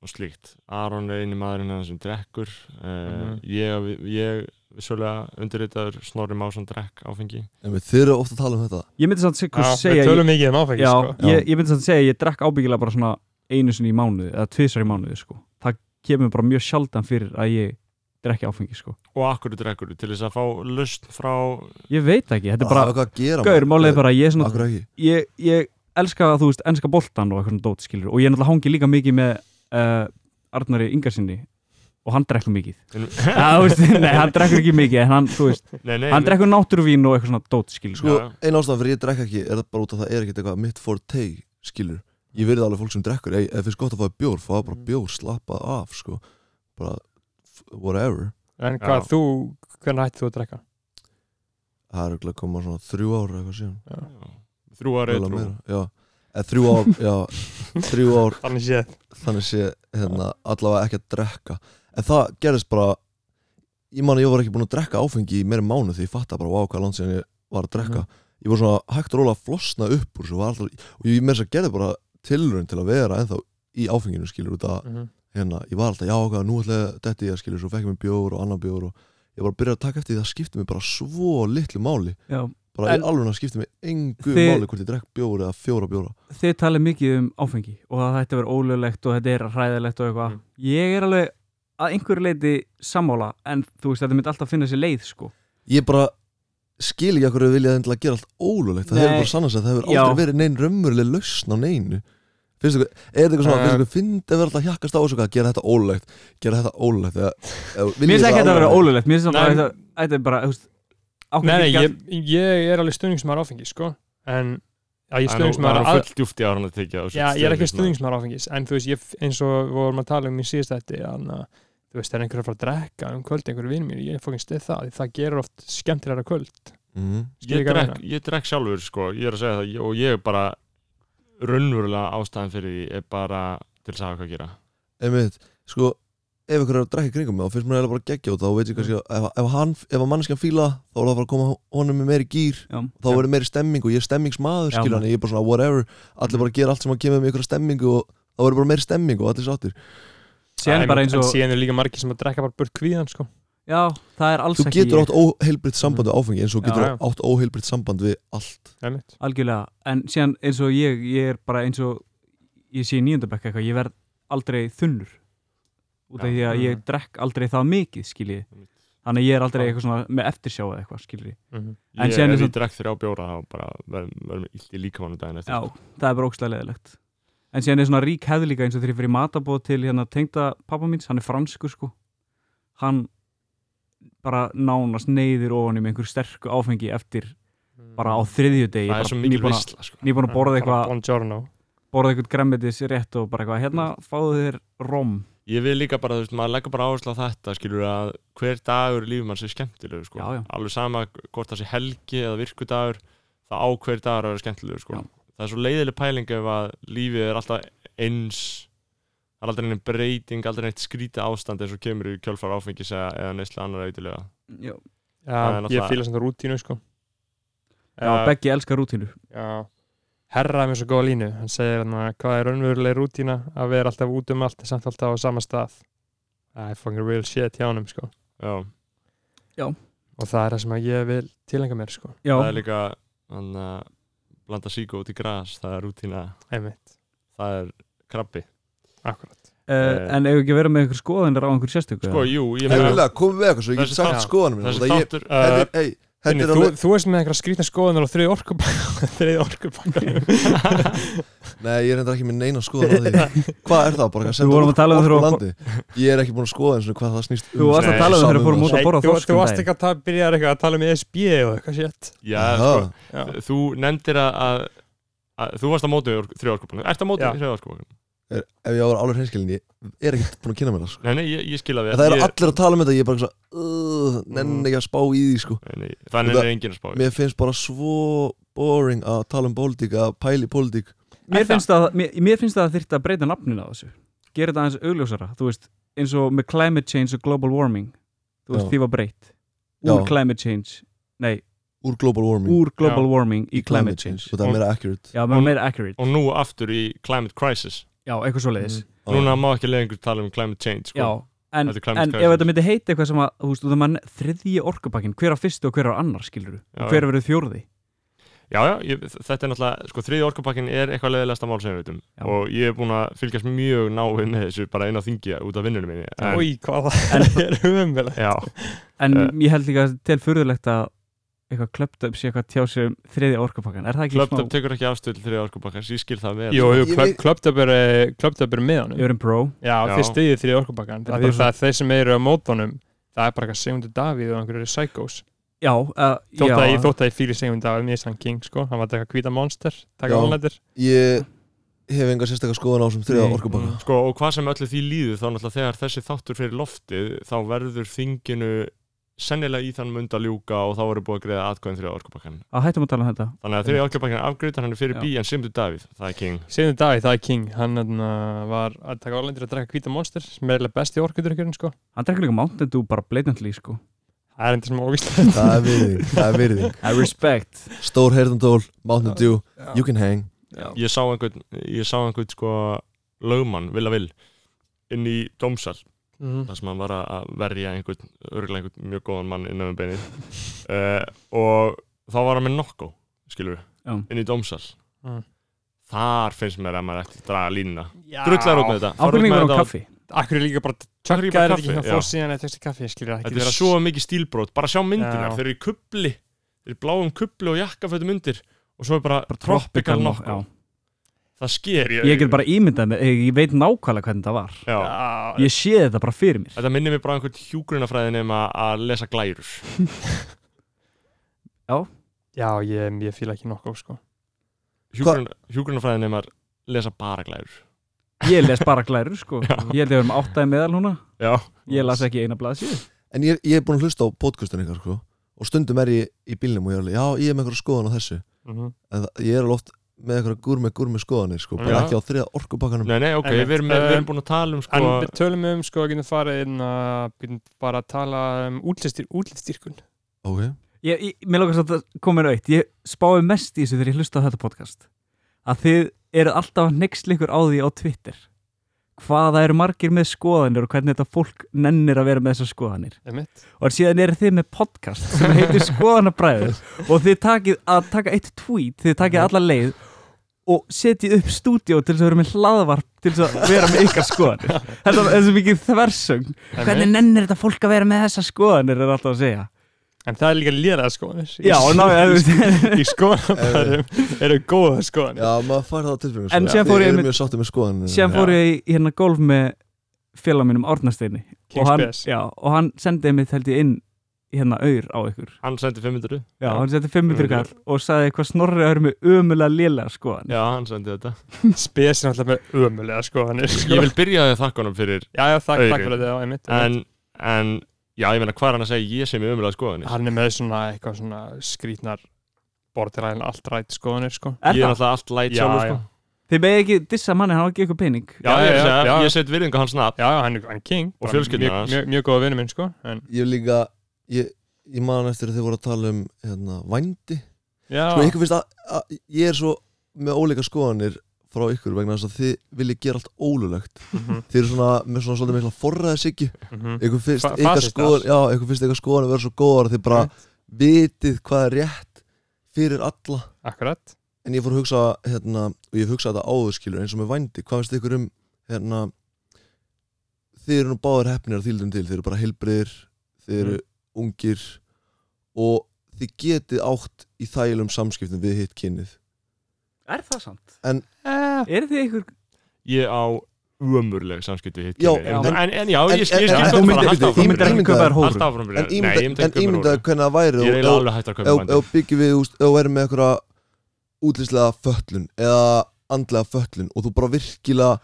[SPEAKER 1] og slíkt Aron er eini maðurinn hérna sem drekkur uh,
[SPEAKER 2] Mhm.
[SPEAKER 1] ég, ég vissulega undirritaður Snorri Másson drekk áfengi
[SPEAKER 4] en við þurfum ofta að tala um þetta
[SPEAKER 5] Ég myndi samt sikur
[SPEAKER 2] Já,
[SPEAKER 5] segja
[SPEAKER 2] við
[SPEAKER 5] ég,
[SPEAKER 2] tölum mikið um áfengi
[SPEAKER 5] já,
[SPEAKER 2] sko.
[SPEAKER 5] ég, ég myndi samt segja að ég drekk ábyggilega bara svona einu sinni í mánuði eða tvisar í mánuði sko Það kemur bara mjög sjaldan fyrir að ég drekki áfengi sko
[SPEAKER 1] og akkur drekkur til þess að fá lust frá
[SPEAKER 5] Ég veit ekki, þetta er bara
[SPEAKER 4] Það er hvað að gera
[SPEAKER 5] Gaur, málið er bara, að ég, er svona,
[SPEAKER 4] akkur ekki
[SPEAKER 5] ég, ég elska þú veist, enska boltan og eitthvað svona dót skilur og ég náttúrulega hangi líka mikið með uh, Arnari Ingarsinni og hann drekkur mikið Já, þú veist, Nei, hann drekkur ekki mikið en hann, þú veist
[SPEAKER 1] nei, nei,
[SPEAKER 5] hann drekkur náttúruvín og eitthvað svona dót skil
[SPEAKER 4] sko,
[SPEAKER 1] Já.
[SPEAKER 4] ein ástæðan fyrir ég drekka ekki er það bara út af það er ekkert eitthvað mitt for take skilur, ég verði alveg fólk sem drekkur ef það finnst gott að fá þér bjór, fá bara bjór slappa af, sko bara, f- whatever,
[SPEAKER 2] en hvað
[SPEAKER 1] Já.
[SPEAKER 2] þú, hvernig hætti þú að drekka?
[SPEAKER 4] það er örugglega að koma svona þrjú ára eitthvað síðan,
[SPEAKER 1] Já. þrjú ára
[SPEAKER 4] Mögulega
[SPEAKER 1] eitrú
[SPEAKER 4] meira, já eða þrjú ár, já, þrjú ár
[SPEAKER 2] Þannig séð
[SPEAKER 4] þannig sé hérna, allavega ekki að drekka en það gerðist bara ég man að ég var ekki búin að drekka áfengi í meira en mánu því ég fatta bara wow, hvað land síðan ég var að
[SPEAKER 5] Mhm.
[SPEAKER 4] drekka ég var svona hægt og róla að flosna upp úr þessu, var alltaf, og ég með þess að gerði bara tilurinn til að vera ennþá í áfenginu skilur út að
[SPEAKER 2] Mhm.
[SPEAKER 4] hérna, ég var alltaf já okkar, nú ætla ég þetta ég að skilur svo fekk ég mér bjór og annan bjór og ég var að byrja að taka eftir því það skipti mig bara svo litlu máli
[SPEAKER 5] Já.
[SPEAKER 4] bara
[SPEAKER 5] En-
[SPEAKER 4] en, í alveg að skipti mig engu
[SPEAKER 5] Þið-
[SPEAKER 4] máli hvort ég drekk bjór eða fjóra bjóra
[SPEAKER 5] þið talið mikið um áfengi og að þetta verður ólöglegt og þetta er hræðilegt og eitthvað
[SPEAKER 2] Mm.
[SPEAKER 5] ég er alveg að einhverju leiti sammála en þú veist þetta myndi alltaf finna sér leið sko
[SPEAKER 4] ég bara skil ekki okkur að vilja endilega gera allt ólulegt það
[SPEAKER 5] Nei.
[SPEAKER 4] hefur bara sannast að það hefur
[SPEAKER 5] Já.
[SPEAKER 4] aldrei verið neinn raunveruleg lausn á neinu finnst ykkur, er þetta eitthvað svona,
[SPEAKER 2] Eh.
[SPEAKER 4] finnst ykkur fyndið að vera alltaf að hjakkast á þessu hvað, gera þetta ólulegt gera þetta ólulegt eða, eða,
[SPEAKER 5] mér
[SPEAKER 4] viljið
[SPEAKER 5] finnst ekki að þetta
[SPEAKER 4] alveg-
[SPEAKER 5] verður ólöglegt mér finnst
[SPEAKER 2] Nei.
[SPEAKER 5] þetta að þetta er bara þú veist, áfengi
[SPEAKER 2] Nei, nei,
[SPEAKER 5] gæti-
[SPEAKER 2] ég, ég er alveg stuðningsmæður áfengi sko. en já, ég er stuðningsmæður
[SPEAKER 1] Það er full djúft í Aron að tekja
[SPEAKER 2] Já, ég er ekki stuðningsmæður áfengis en þú veist, ég, eins og við vorum að tala um í síðast þetta, þannig að þú veist, það er einhverja frá að drekka um kvöld, einhverju vinur mér, ég fókinn stið það því það gerur oft skemmtilega kvöld
[SPEAKER 4] Mhm.
[SPEAKER 1] Ég drekk, ég drekk sjálfur sko, ég er að segja það og ég er bara raunverulega ástæðan fyrir því er bara til þess að hafa hvað að gera
[SPEAKER 4] einmitt, sko ef ykkur er að drekka í kringum mig og finnst mér eða bara geggja út þá veit ég kannski að ef, ef, hann, ef mannskjan fíla þá er það bara að koma honum með meiri gýr
[SPEAKER 5] Já.
[SPEAKER 4] þá
[SPEAKER 2] Já.
[SPEAKER 4] verður meiri stemming og ég er stemmingsmaður
[SPEAKER 5] Já,
[SPEAKER 4] skilur hann, ég er bara svona whatever allir bara gera allt sem að kemur með ykkur stemmingu og þá verður bara meiri stemming og allir sáttir
[SPEAKER 5] síðan er bara eins
[SPEAKER 2] en
[SPEAKER 5] og
[SPEAKER 2] síðan er líka margir sem að drekka bara burt kvíðan sko.
[SPEAKER 5] já, það er alls
[SPEAKER 4] þú
[SPEAKER 5] ekki
[SPEAKER 4] getur
[SPEAKER 5] ég Mm.
[SPEAKER 4] átt óheilbritt samband við áfengi eins og
[SPEAKER 2] Já,
[SPEAKER 4] getur
[SPEAKER 2] já.
[SPEAKER 4] átt óheilbritt samband við allt
[SPEAKER 2] Einmitt.
[SPEAKER 5] algjörlega, en síðan eins og ég ég er bara eins og ég sé í nýjöndabekk eitthvað, ég verð aldrei þunnur út af
[SPEAKER 1] Já.
[SPEAKER 5] því að ég
[SPEAKER 2] Mhm.
[SPEAKER 5] drekk aldrei það mikið skiljið, þannig að ég er aldrei eitthvað svona með eftirsjá eða eitthvað skiljið
[SPEAKER 2] Mhm.
[SPEAKER 5] En
[SPEAKER 1] Ég,
[SPEAKER 5] síðan er
[SPEAKER 1] ef
[SPEAKER 5] samt-
[SPEAKER 1] ég drekk þrjá bjóra þá bara verður verð mér illt í líkamannu daginn eftir
[SPEAKER 5] Já, það er bara ógstlega leðilegt En síðan er svona rík hefð líka eins og þegar ég fyrir matabóð til hérna tengda pappa míns, hann er franskur sko Hann bara nánast neyðir ofan í með einhver sterku áfengi eftir bara á þriðju degi
[SPEAKER 1] Mm. Það er svo mikil veistla sko.
[SPEAKER 5] Nýbúin að borða eitthvað,
[SPEAKER 2] Mm, Buongiorno
[SPEAKER 5] borða eitthvað gremmetis rétt og bara eitthvað Hérna fáðu þér rom
[SPEAKER 1] Ég vil líka bara, þú veist, maður leggur bara áherslu á þetta skilur að hver dagur í lífi mann sé skemmtilegur sko.
[SPEAKER 5] Já, já.
[SPEAKER 1] alveg sama hvort það sé helgi eða virkudagur þá á hver dagur að vera skemmtilegur sko.
[SPEAKER 5] Já.
[SPEAKER 1] það er svo leiðileg pæling ef að lífið er alltaf eins það er aldrei neinn breyting, aldrei neitt skrýta ástand eins og kemur í kjölfar áfengis eða, eða neysla annar eitthvað
[SPEAKER 5] Já,
[SPEAKER 1] Það er
[SPEAKER 2] Já, ég
[SPEAKER 1] náttúrulega-
[SPEAKER 2] fýla sem það rútínu sko.
[SPEAKER 5] já
[SPEAKER 2] Já,
[SPEAKER 5] Beggi elskar rútínu
[SPEAKER 2] Já, herra er með svo góða línu hann segir hann hvað er raunveruleg rútína að vera alltaf út um allt en samt alltaf á sama stað það er fucking real shit hjá honum sko.
[SPEAKER 1] já,
[SPEAKER 2] og það er það sem að ég vil tilhenga mér sko.
[SPEAKER 5] já,
[SPEAKER 1] það er líka hann að blanda síku út í gras það er rútína,
[SPEAKER 2] einmitt,
[SPEAKER 1] það er krabbi
[SPEAKER 2] akkurat
[SPEAKER 5] uh, en eigum ekki verið með einhver skoðanir á einhver sérstöku
[SPEAKER 1] eh. sko,
[SPEAKER 5] eða?
[SPEAKER 1] jú, ég
[SPEAKER 4] Hey,
[SPEAKER 1] meina
[SPEAKER 4] vilja, komum við eitthvað svo ég get
[SPEAKER 1] Þessi
[SPEAKER 4] sagt
[SPEAKER 2] þáttur-
[SPEAKER 4] skoðanum minn
[SPEAKER 1] þessi þáttur
[SPEAKER 2] uh,
[SPEAKER 4] Hei,
[SPEAKER 2] Inni,
[SPEAKER 4] þetta er
[SPEAKER 2] þú,
[SPEAKER 4] alveg
[SPEAKER 2] þú veist með einhverja skrýtna skoðunar á þriði orkupakka þriði orkupakka
[SPEAKER 4] Nei, ég er reyndar ekki með neina skoðan á því Hvað er það bara? eitthvað að senda
[SPEAKER 5] Við vorum
[SPEAKER 4] fólk
[SPEAKER 5] að tala um
[SPEAKER 4] úr
[SPEAKER 5] þegar við-
[SPEAKER 4] landi? Ég er ekki búin að skoða eins og hvað það snýst
[SPEAKER 5] Þú varst
[SPEAKER 1] að tala
[SPEAKER 5] um þegar við fórum
[SPEAKER 4] Samum
[SPEAKER 5] út að
[SPEAKER 2] Nei,
[SPEAKER 5] borða
[SPEAKER 2] þú,
[SPEAKER 5] þorsk
[SPEAKER 2] þú
[SPEAKER 5] um
[SPEAKER 2] varst
[SPEAKER 5] daginn.
[SPEAKER 2] ekki að ta- byrja eitthvað að tala um ESB og eitthvað shit
[SPEAKER 1] já,
[SPEAKER 4] það.
[SPEAKER 1] sko,
[SPEAKER 4] Aha,
[SPEAKER 2] Já.
[SPEAKER 1] þú nefndir að, að, að þú varst á móti þrjóðarskópan ert á móti
[SPEAKER 2] Já.
[SPEAKER 1] þrjóðarskópan
[SPEAKER 4] er- Ef ég var alveg hreinskilin Ég er ekki búin að kynna mér það sko.
[SPEAKER 1] nei, nei, ég, ég skila við
[SPEAKER 4] En Það eru
[SPEAKER 1] ég, Mm.
[SPEAKER 4] allir að tala um þetta Ég er bara eitthvað Nenn ekki að spá í því sko
[SPEAKER 1] nei, nei, þannig er enginn að spá í.
[SPEAKER 4] Mér finnst bara svo boring að tala um pólitík Að pæli pólitík
[SPEAKER 5] mér finnst að mér, mér finnst að það þyrfti að breyta nafninu á þessu gera þetta aðeins augljósara þú veist, eins og með climate change og global warming þú veist,
[SPEAKER 4] Já.
[SPEAKER 5] því var breytt úr
[SPEAKER 4] Já.
[SPEAKER 5] climate change, nei,
[SPEAKER 4] Úr global warming
[SPEAKER 5] úr global warming Mm. í climate change
[SPEAKER 4] Og það er meira accurate
[SPEAKER 5] já, maður meira accurate,
[SPEAKER 1] og nú aftur í climate crisis
[SPEAKER 5] já, eitthvað svo leiðis
[SPEAKER 4] Já.
[SPEAKER 1] núna má ekki lengur tala um climate change
[SPEAKER 5] já,
[SPEAKER 1] sko.
[SPEAKER 5] en,
[SPEAKER 1] Þetta er climate
[SPEAKER 5] en ef
[SPEAKER 1] crisis.
[SPEAKER 5] þetta myndi heita eitthvað sem að, þú veist, þú veist, mann þriðji orkupakkin, hver á fyrstu og hver á annar skilur
[SPEAKER 1] Já,
[SPEAKER 5] og hver verður fjórði
[SPEAKER 1] já, já ég, þetta er náttúrulega sko, þriði orkupakkin er eitthvað leðilegasta mál sem við veitum
[SPEAKER 5] Já.
[SPEAKER 1] og ég er búin að fylgjast mjög náið með þessu bara inn á þingja út af vinnunum minni en,
[SPEAKER 2] Új, hvað það er umvel
[SPEAKER 1] já,
[SPEAKER 5] en
[SPEAKER 1] Eh.
[SPEAKER 5] ég held líka til furðulegt að eitthvað klöpt upp sé eitthvað tjá sig um þriðji orkupakkan, er það ekki
[SPEAKER 1] klöpt
[SPEAKER 5] smá
[SPEAKER 1] tekur ekki afstöð til þriði orkupakkans, ég skil það vel
[SPEAKER 2] Jú, jú,
[SPEAKER 4] Ég
[SPEAKER 2] klöp-
[SPEAKER 4] veit-
[SPEAKER 2] klöptöp er eh, klöptöp er með honum
[SPEAKER 5] Ég er um bró
[SPEAKER 2] Já,
[SPEAKER 1] Já.
[SPEAKER 2] þeir stiðið þriði orkupakkan
[SPEAKER 5] Þetta er
[SPEAKER 2] Það er
[SPEAKER 5] bara
[SPEAKER 2] það þeir sem eru á mótónum Það er bara eitthvað segundu Davíð og einhverju psychos
[SPEAKER 5] Já, uh,
[SPEAKER 2] Þótt
[SPEAKER 5] já,
[SPEAKER 2] að ég þótt að ég fýli segundu Davíð Mér er sann king, sko Hann var að taka hvíta monster
[SPEAKER 4] Já.
[SPEAKER 2] Taka ánættir
[SPEAKER 4] Ég hef enga sérstakar skoðan á þessum þriða
[SPEAKER 5] Nei.
[SPEAKER 4] orkubakka
[SPEAKER 1] sko, og hvað sem öllu því líður þá náttúrulega þegar þessi þáttur fyrir loftið þá verður þinginu sennilega í þann mund að ljúka og þá verður búið að greiða atkvæðin þriði orkupakkan
[SPEAKER 5] að hættum að tala um þetta
[SPEAKER 1] þannig að þriði orkupakkan afgreitar hann er fyrir
[SPEAKER 5] Já.
[SPEAKER 1] bí en simdu Davíð, það er king
[SPEAKER 2] Segundu Davíð, það er king Hann þarna, var að taka ánættir að drekka hvíta monster Sem er eiginlega besti orkudrykkurinn, sko
[SPEAKER 5] Hann drekkur líka Mountain Dew bara blatantly sko
[SPEAKER 2] Það er enda sem óvíslega
[SPEAKER 4] Það er virðing, það er virðing
[SPEAKER 5] I respect
[SPEAKER 4] Stór heyrðandól, Mountain Dew, you can hang
[SPEAKER 1] ég sá einhvern, ég sá einhvern sko lögmann, vil að vil inn í dómsal
[SPEAKER 2] mm.
[SPEAKER 1] þar sem hann var að- að verja einhvern örgulega einhvern mjög góðan mann innan um beinið uh, og þá var hann með nokko skilur
[SPEAKER 5] Já.
[SPEAKER 1] inn í dómsal
[SPEAKER 2] Mm.
[SPEAKER 1] þar finnst mér að maður eftir að draga línuna
[SPEAKER 2] Já.
[SPEAKER 1] drullar út með þetta farðu út
[SPEAKER 5] Ákveðningur
[SPEAKER 1] með
[SPEAKER 5] á
[SPEAKER 1] þetta
[SPEAKER 5] kaffi
[SPEAKER 2] Akkur er líka bara
[SPEAKER 1] Af hverju er bara
[SPEAKER 2] Tjökkaðir
[SPEAKER 1] kaffi?
[SPEAKER 2] ekki hjá
[SPEAKER 1] Já.
[SPEAKER 2] fór síðan Þetta er kaffi, skilur það
[SPEAKER 1] þetta er svo mikið stílbrót, bara sjá myndinar
[SPEAKER 2] Já.
[SPEAKER 1] þeir eru í kubli, þeir eru í bláum kubli og jakkafötum undir og svo er bara,
[SPEAKER 5] Bara
[SPEAKER 1] tropical
[SPEAKER 5] tropical
[SPEAKER 1] nokko
[SPEAKER 5] já.
[SPEAKER 1] það sker
[SPEAKER 5] Ég get bara ímyndað með, ég ég veit nákvæmlega hvernig það var
[SPEAKER 1] já.
[SPEAKER 2] Já,
[SPEAKER 5] Ég sé þetta bara fyrir mér
[SPEAKER 1] þetta minnir mér bara á einhvern hjúgrunafræðin nema að lesa glærur
[SPEAKER 2] já ég, ég fíla ekki nokkuð sko.
[SPEAKER 1] Hjúgrun, hjúgrunafræðin nema að lesa bara glærur
[SPEAKER 5] Ég les bara glærur sko Ég held ég verðum áttaði meðal núna
[SPEAKER 1] já,
[SPEAKER 5] Ég las ekki eina blaða síðu
[SPEAKER 4] En ég, ég er búin að hlusta á podcastin ykkar sko, og stundum er ég í bílnum og ég er alveg, já, ég er með einhverja skoðan á þessu
[SPEAKER 2] Mhm.
[SPEAKER 4] en það, ég er alveg oft með einhverja gúrme gúrme skoðanir sko, bara
[SPEAKER 1] Já.
[SPEAKER 4] ekki á þriða orkubakkanum
[SPEAKER 1] nei, nei, ok,
[SPEAKER 2] Einmitt.
[SPEAKER 1] við erum, með, við
[SPEAKER 2] Um,
[SPEAKER 1] erum búin að tala um
[SPEAKER 2] En
[SPEAKER 1] sko,
[SPEAKER 2] við tölum um sko að getum farið inn að getum bara að tala um útlýstir, útlýststyrkun
[SPEAKER 4] Ok,
[SPEAKER 5] Ég, ég, mér lókast að það komið aukt Ég spáði mest í þessu þegar ég hlusta á þetta podcast Að þið eru alltaf að nexla ykkur á því á Twitter Hvað það eru margir með skoðanir og hvernig þetta fólk nennir að vera með þessar skoðanir
[SPEAKER 2] Einmitt.
[SPEAKER 5] og síðan eru þið með podcast sem heitir skoðanabræður og þið takið að taka eitt tweet þið takið alla leið og setjið upp stúdíó til þess að vera með hlaðvarp til þess að vera með ykkar skoðanir þetta er svo mikið þversögn hvernig
[SPEAKER 2] Einmitt.
[SPEAKER 5] nennir þetta fólk að vera með þessa skoðanir er alltaf að segja
[SPEAKER 2] En það er líka lélega skoðanir
[SPEAKER 5] já, ná, ég, þú veist,
[SPEAKER 2] Í skoðanabæðum eru góða skoðanir
[SPEAKER 4] já, maður fær það á tilfengjum
[SPEAKER 5] En síðan fór ég
[SPEAKER 4] erum
[SPEAKER 5] einmitt-
[SPEAKER 4] mjög sáttið með skoðanir
[SPEAKER 1] Mm,
[SPEAKER 5] síðan fór ég í hérna golf með félag mínum Árnasteini og
[SPEAKER 2] Kings
[SPEAKER 5] hann,
[SPEAKER 2] BS
[SPEAKER 5] já, og hann sendiði mig held ég inn í hérna auður á ykkur
[SPEAKER 1] hann sendi 500
[SPEAKER 5] já, hann setti 500 kall og sagði hvað snorrið að vera með ömulega lélega skoðanir
[SPEAKER 1] já, hann sendi þetta
[SPEAKER 2] Spes er alltaf með ömulega skoðanir sko.
[SPEAKER 1] ég vil byrja því að þakka honum fyrir
[SPEAKER 2] Já, já, takk,
[SPEAKER 1] Auðvitað.
[SPEAKER 2] takk fyrir þetta, já, einmitt einmitt.
[SPEAKER 1] en, en já, ég meina hvað er hann að segja ég sem er umlega skoðanir
[SPEAKER 2] Hann er með svona eitthvað svona skrýtnar borderline allt rætt skoðanir sko
[SPEAKER 5] Er
[SPEAKER 1] ég er
[SPEAKER 5] það?
[SPEAKER 1] alltaf allt læt
[SPEAKER 2] Já,
[SPEAKER 1] sjálfur
[SPEAKER 2] já.
[SPEAKER 1] sko.
[SPEAKER 5] Þið megið ekki dissa manni, hann á ekki eitthvað pening
[SPEAKER 1] já, já, já, já,
[SPEAKER 2] já.
[SPEAKER 1] ég set virðingu á hans nafn
[SPEAKER 2] Já, já, hann er hann er king
[SPEAKER 1] Og
[SPEAKER 2] bara
[SPEAKER 1] fjölskylduna
[SPEAKER 2] mjög-
[SPEAKER 1] hans.
[SPEAKER 2] Mjög mjög góða vinnu minn sko en,
[SPEAKER 4] Ég hef líka, ég, ég man eftir að þið voru að tala um hérna, vændi
[SPEAKER 2] Já,
[SPEAKER 4] sko, ykkur finnst að, að ég er svo með óleika skoðanir frá ykkur vegna þess að þið viljið gera allt ólulegt
[SPEAKER 2] Mhm.
[SPEAKER 4] þið eru svona með svona svolítið mikla forræðis ekki ykkur finnst
[SPEAKER 2] Fa-
[SPEAKER 4] ykkar
[SPEAKER 2] fasistar.
[SPEAKER 4] skoðan já, ykkur finnst ykkar skoðan að vera svo góðar að þið bara vitið hvað er rétt fyrir alla
[SPEAKER 2] Akkurat
[SPEAKER 4] en ég fór að hugsa hérna, og ég hef hugsað þetta áður skilur eins og með vændi, hvað finnst ykkur um hérna, þið eru nú báðir hefnir að þýldum til, þið eru bara heilbriðir
[SPEAKER 1] Mm.
[SPEAKER 4] þið eru ungir og þið getið átt í þælum samskiptum við hitt kynnið
[SPEAKER 5] Er það sant?
[SPEAKER 2] eh,
[SPEAKER 5] Er þið ykkur
[SPEAKER 1] Ég á umurleg samskipti hitt
[SPEAKER 4] Já,
[SPEAKER 1] kynið.
[SPEAKER 4] já.
[SPEAKER 1] en, en, en já,
[SPEAKER 4] En-
[SPEAKER 1] ég skil
[SPEAKER 4] en-
[SPEAKER 1] skil
[SPEAKER 4] en-
[SPEAKER 1] hvað þú
[SPEAKER 4] þú myndir-
[SPEAKER 1] bara halda
[SPEAKER 4] þú
[SPEAKER 1] áfram mér.
[SPEAKER 4] myndir ekki
[SPEAKER 5] kaupa þér
[SPEAKER 1] Halda
[SPEAKER 5] hóru?
[SPEAKER 1] áfram mér.
[SPEAKER 4] en
[SPEAKER 1] Nei, ég myndi ekki kaupa mér
[SPEAKER 4] ímyndaðu
[SPEAKER 1] hóru.
[SPEAKER 4] hvernig það væri
[SPEAKER 1] Ég er eiginlega alveg hægt að kaupa
[SPEAKER 4] ef
[SPEAKER 1] bandi
[SPEAKER 4] ef byggjum við úst, ef þú verður með einhverja útlýslega föllun eða andlega föllun og þú bara virkilega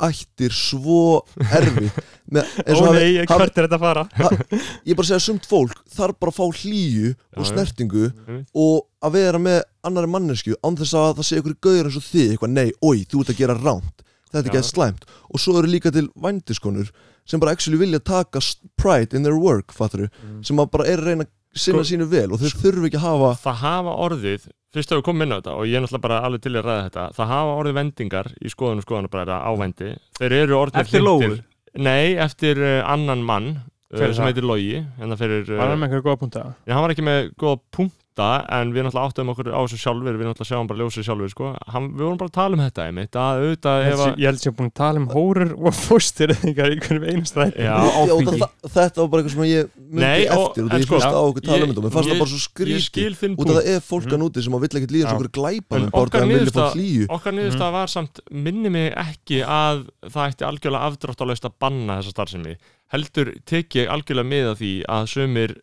[SPEAKER 4] ættir svo erfið með, eins
[SPEAKER 2] Ó
[SPEAKER 4] og hafi-
[SPEAKER 2] nei,
[SPEAKER 4] hafi-
[SPEAKER 2] hvert er þetta að fara?
[SPEAKER 4] ég er bara að segja að sumt fólk þarf bara að fá hlýju og
[SPEAKER 1] já.
[SPEAKER 4] snertingu
[SPEAKER 1] Einmitt.
[SPEAKER 4] og að vera með annari mannesku án þess að það sé ykkur gauður eins og þið eitthvað nei, oi, þú ert að gera ránt þetta er
[SPEAKER 1] Já.
[SPEAKER 4] ekki slæmt og svo eru líka til vændiskonur sem bara actually vilja taka s- pride in their work, fattur sem að bara er að reyna að sinna
[SPEAKER 1] Mm. Sko-
[SPEAKER 4] sínu vel og þau þurfi ekki að hafa
[SPEAKER 1] það hafa orðið fyrst hefur komið inn á þetta og ég er náttúrulega bara alveg til í að ræða þetta það hafa orðið vendingar í skoðun og skoðanabræða á vendi þeir eru orðnir
[SPEAKER 5] Eftir
[SPEAKER 1] hlynntir-
[SPEAKER 5] lóu?
[SPEAKER 1] nei, eftir uh, annan mann
[SPEAKER 2] Hver
[SPEAKER 1] uh,
[SPEAKER 2] er
[SPEAKER 1] sem
[SPEAKER 2] það?
[SPEAKER 1] heitir Logi en það fyrir
[SPEAKER 2] Var
[SPEAKER 1] uh,
[SPEAKER 2] hann með einhverja góða punta?
[SPEAKER 1] Já, hann var ekki með góða punkta en við náttúrulega áttum okkur á þessu sjálfur við náttúrulega sjáum bara ljósið sjálfur sko. hann, við vorum bara að tala um þetta einmitt að auðvitað
[SPEAKER 2] Ég
[SPEAKER 1] ef
[SPEAKER 2] held
[SPEAKER 1] að
[SPEAKER 2] ég held sem búin að tala um hórar og fóstir einhverjum einhverjum einastæð
[SPEAKER 1] Já,
[SPEAKER 4] Já,
[SPEAKER 5] áfengi.
[SPEAKER 4] það, þetta var bara eitthvað sem ég myndi
[SPEAKER 1] Nei, og-
[SPEAKER 4] eftir og
[SPEAKER 1] en
[SPEAKER 4] því ég
[SPEAKER 1] sko,
[SPEAKER 4] hlusta á okkur tala
[SPEAKER 1] ég-
[SPEAKER 4] um þetta og mér fannst
[SPEAKER 1] ég-
[SPEAKER 4] það bara svo
[SPEAKER 1] ég
[SPEAKER 4] skríti
[SPEAKER 1] skil þinn
[SPEAKER 4] út af
[SPEAKER 1] punkt
[SPEAKER 4] það er fólk að núti sem að vill ekkert líða eins og
[SPEAKER 2] Já.
[SPEAKER 4] okkur glæpa
[SPEAKER 1] En
[SPEAKER 4] með bara
[SPEAKER 1] okkar
[SPEAKER 4] að vilja fá
[SPEAKER 1] niðurstaða-
[SPEAKER 4] hlýju
[SPEAKER 1] okkar
[SPEAKER 4] Mhm.
[SPEAKER 1] niðurstaða var samt minni mig ekki að það ætti algjörlega afdráttalaust að banna þessa starfsemi heldur tek ég algjörlega með að því að sömur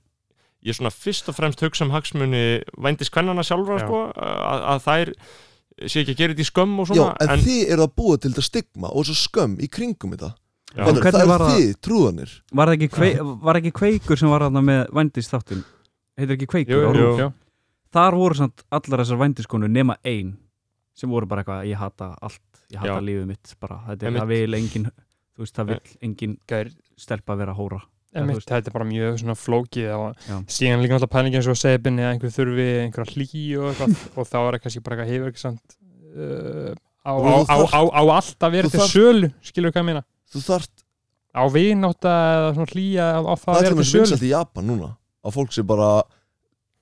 [SPEAKER 1] ég svona fyrst og fremst hugsa um hagsmuni vændis kvennana sjálfra
[SPEAKER 2] Já.
[SPEAKER 1] sko, að, að þær sé ekki að gera þetta í skömm og
[SPEAKER 4] Já,
[SPEAKER 1] svona
[SPEAKER 4] en, þið eru að búa til þetta stigma og þessu skömm í kringum þetta
[SPEAKER 1] Já.
[SPEAKER 4] Fattar,
[SPEAKER 5] Hvernig
[SPEAKER 4] Það
[SPEAKER 5] var
[SPEAKER 4] er
[SPEAKER 5] það-
[SPEAKER 4] þið, trúðanir
[SPEAKER 5] Var það ekki, kvei, var ekki kveikur sem var þarna með vændist þáttum? Heitir ekki kveikur? á RÚV?
[SPEAKER 1] jú.
[SPEAKER 5] Þar voru samt allar þessar vændiskonur nema ein sem voru bara eitthvað, ég hata allt ég hata
[SPEAKER 1] Já.
[SPEAKER 5] lífið mitt bara, þetta er,
[SPEAKER 1] Einmitt.
[SPEAKER 5] það vil engin þú veist, það vil engin stelpa vera hóra
[SPEAKER 2] Einmitt, þetta er bara mjög svona flókið og
[SPEAKER 5] Já.
[SPEAKER 2] síðan líka alltaf pælingi eins og að segja binni að einhver þurfi einhverja hlý og eitthvað og þá er það kannski bara eitthvað hefur ekki samt uh, á,
[SPEAKER 4] Og
[SPEAKER 2] á,
[SPEAKER 4] þú
[SPEAKER 2] á,
[SPEAKER 4] þarft-
[SPEAKER 2] á, á allt að vera
[SPEAKER 4] þú
[SPEAKER 2] til
[SPEAKER 4] þarft-
[SPEAKER 2] sölu skilur hvað ég meina
[SPEAKER 4] Þú þarft,
[SPEAKER 2] á vinátt eða svona hlýja á, á það
[SPEAKER 4] það
[SPEAKER 2] að
[SPEAKER 4] er
[SPEAKER 2] vera til
[SPEAKER 4] til mér
[SPEAKER 2] sölu
[SPEAKER 4] vinsalt í Japan núna að fólk sé bara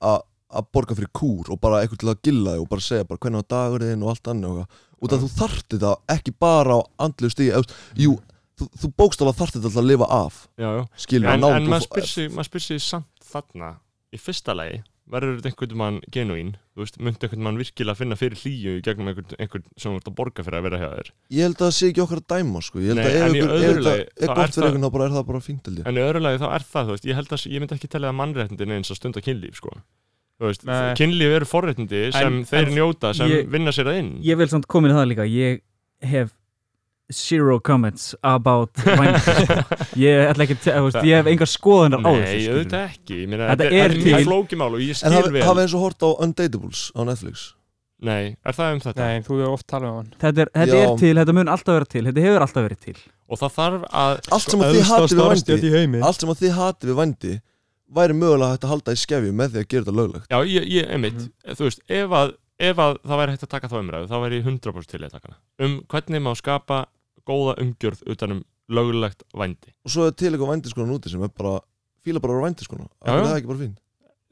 [SPEAKER 4] að að borga fyrir kúr og bara eitthvað til að gilla þig og bara segja bara hvernig á dagurinn og allt annað og eitthvað. út af þú þarft þetta ekki bara á andlu stíði, eða, þú veist, jú þú, þú bókstaflega þarft þetta alltaf að lifa af
[SPEAKER 1] Já, já.
[SPEAKER 4] skilur,
[SPEAKER 1] en,
[SPEAKER 4] náð,
[SPEAKER 1] en
[SPEAKER 4] þú-
[SPEAKER 1] maður spyr sig, maður spyr sig samt þarna í fyrsta lagi verður þetta einhvern mann genuín þú veist, myndi einhvern mann virkilega finna fyrir hlýju í gegnum einhvern, einhvern sem þú ert að borga fyrir að vera hjá þér
[SPEAKER 4] ég held að það sé ekki okkar að dæma sko. ég held
[SPEAKER 1] Nei,
[SPEAKER 4] að ef
[SPEAKER 1] en í
[SPEAKER 4] ykkur-
[SPEAKER 1] öðru
[SPEAKER 4] ef þetta
[SPEAKER 1] lagi,
[SPEAKER 4] er
[SPEAKER 1] þá er
[SPEAKER 4] gott fyrir
[SPEAKER 1] það-
[SPEAKER 4] einhvern þá bara er það bara fínt held ég
[SPEAKER 1] en í öðru lagi þá er það, þú veist, ég held að ég myndi ekki tella það mannréttindi neins að stunda kynlíf sko. þú veist,
[SPEAKER 2] Nei.
[SPEAKER 1] kynlíf eru forréttindi sem
[SPEAKER 5] En-
[SPEAKER 1] þeir
[SPEAKER 5] en-
[SPEAKER 1] njóta, sem
[SPEAKER 5] ég-
[SPEAKER 1] vinna sér það inn
[SPEAKER 5] Ég vil samt komin í það líka, ég hef zero comments about vændiskonur ég ætla ekki, að te- þú veist, ég hef enga skoðunar á
[SPEAKER 1] nei,
[SPEAKER 5] þessu skilurðu.
[SPEAKER 1] auðvitað ekki Ég meina,
[SPEAKER 5] Þetta
[SPEAKER 1] þetta
[SPEAKER 5] er
[SPEAKER 1] er mjög
[SPEAKER 5] til-
[SPEAKER 1] flókimál og ég
[SPEAKER 4] en
[SPEAKER 1] skil
[SPEAKER 4] hafi
[SPEAKER 1] vel
[SPEAKER 4] hafi eins og hort á Undatables á Netflix
[SPEAKER 1] nei, er það um þetta?
[SPEAKER 2] Nei, þú hefur oft talað um hann
[SPEAKER 5] Þetta, er, þetta
[SPEAKER 4] Já.
[SPEAKER 5] er til, þetta mun alltaf vera til þetta hefur alltaf verið til
[SPEAKER 1] og það þarf að
[SPEAKER 4] allt sem að þið hatið við vændi
[SPEAKER 2] heimi
[SPEAKER 4] allt sem að þið hatið við vændi væri mögulega hægt að halda í skefju með því að gera þetta löglegt
[SPEAKER 1] Já, ég, ég einmitt,
[SPEAKER 2] Mhm.
[SPEAKER 1] þú veist, ef að, ef að það væri hægt að taka þá umræðu, þá væri ég 100% til í að taka hana. Um hvernig má skapa góða umgjörð utanum lögulegt vændi.
[SPEAKER 4] og svo er til eitthvað vændiskonan úti sem er bara fíla bara að vera vændiskona
[SPEAKER 1] Já,
[SPEAKER 4] það
[SPEAKER 1] já.
[SPEAKER 4] er ekki bara fín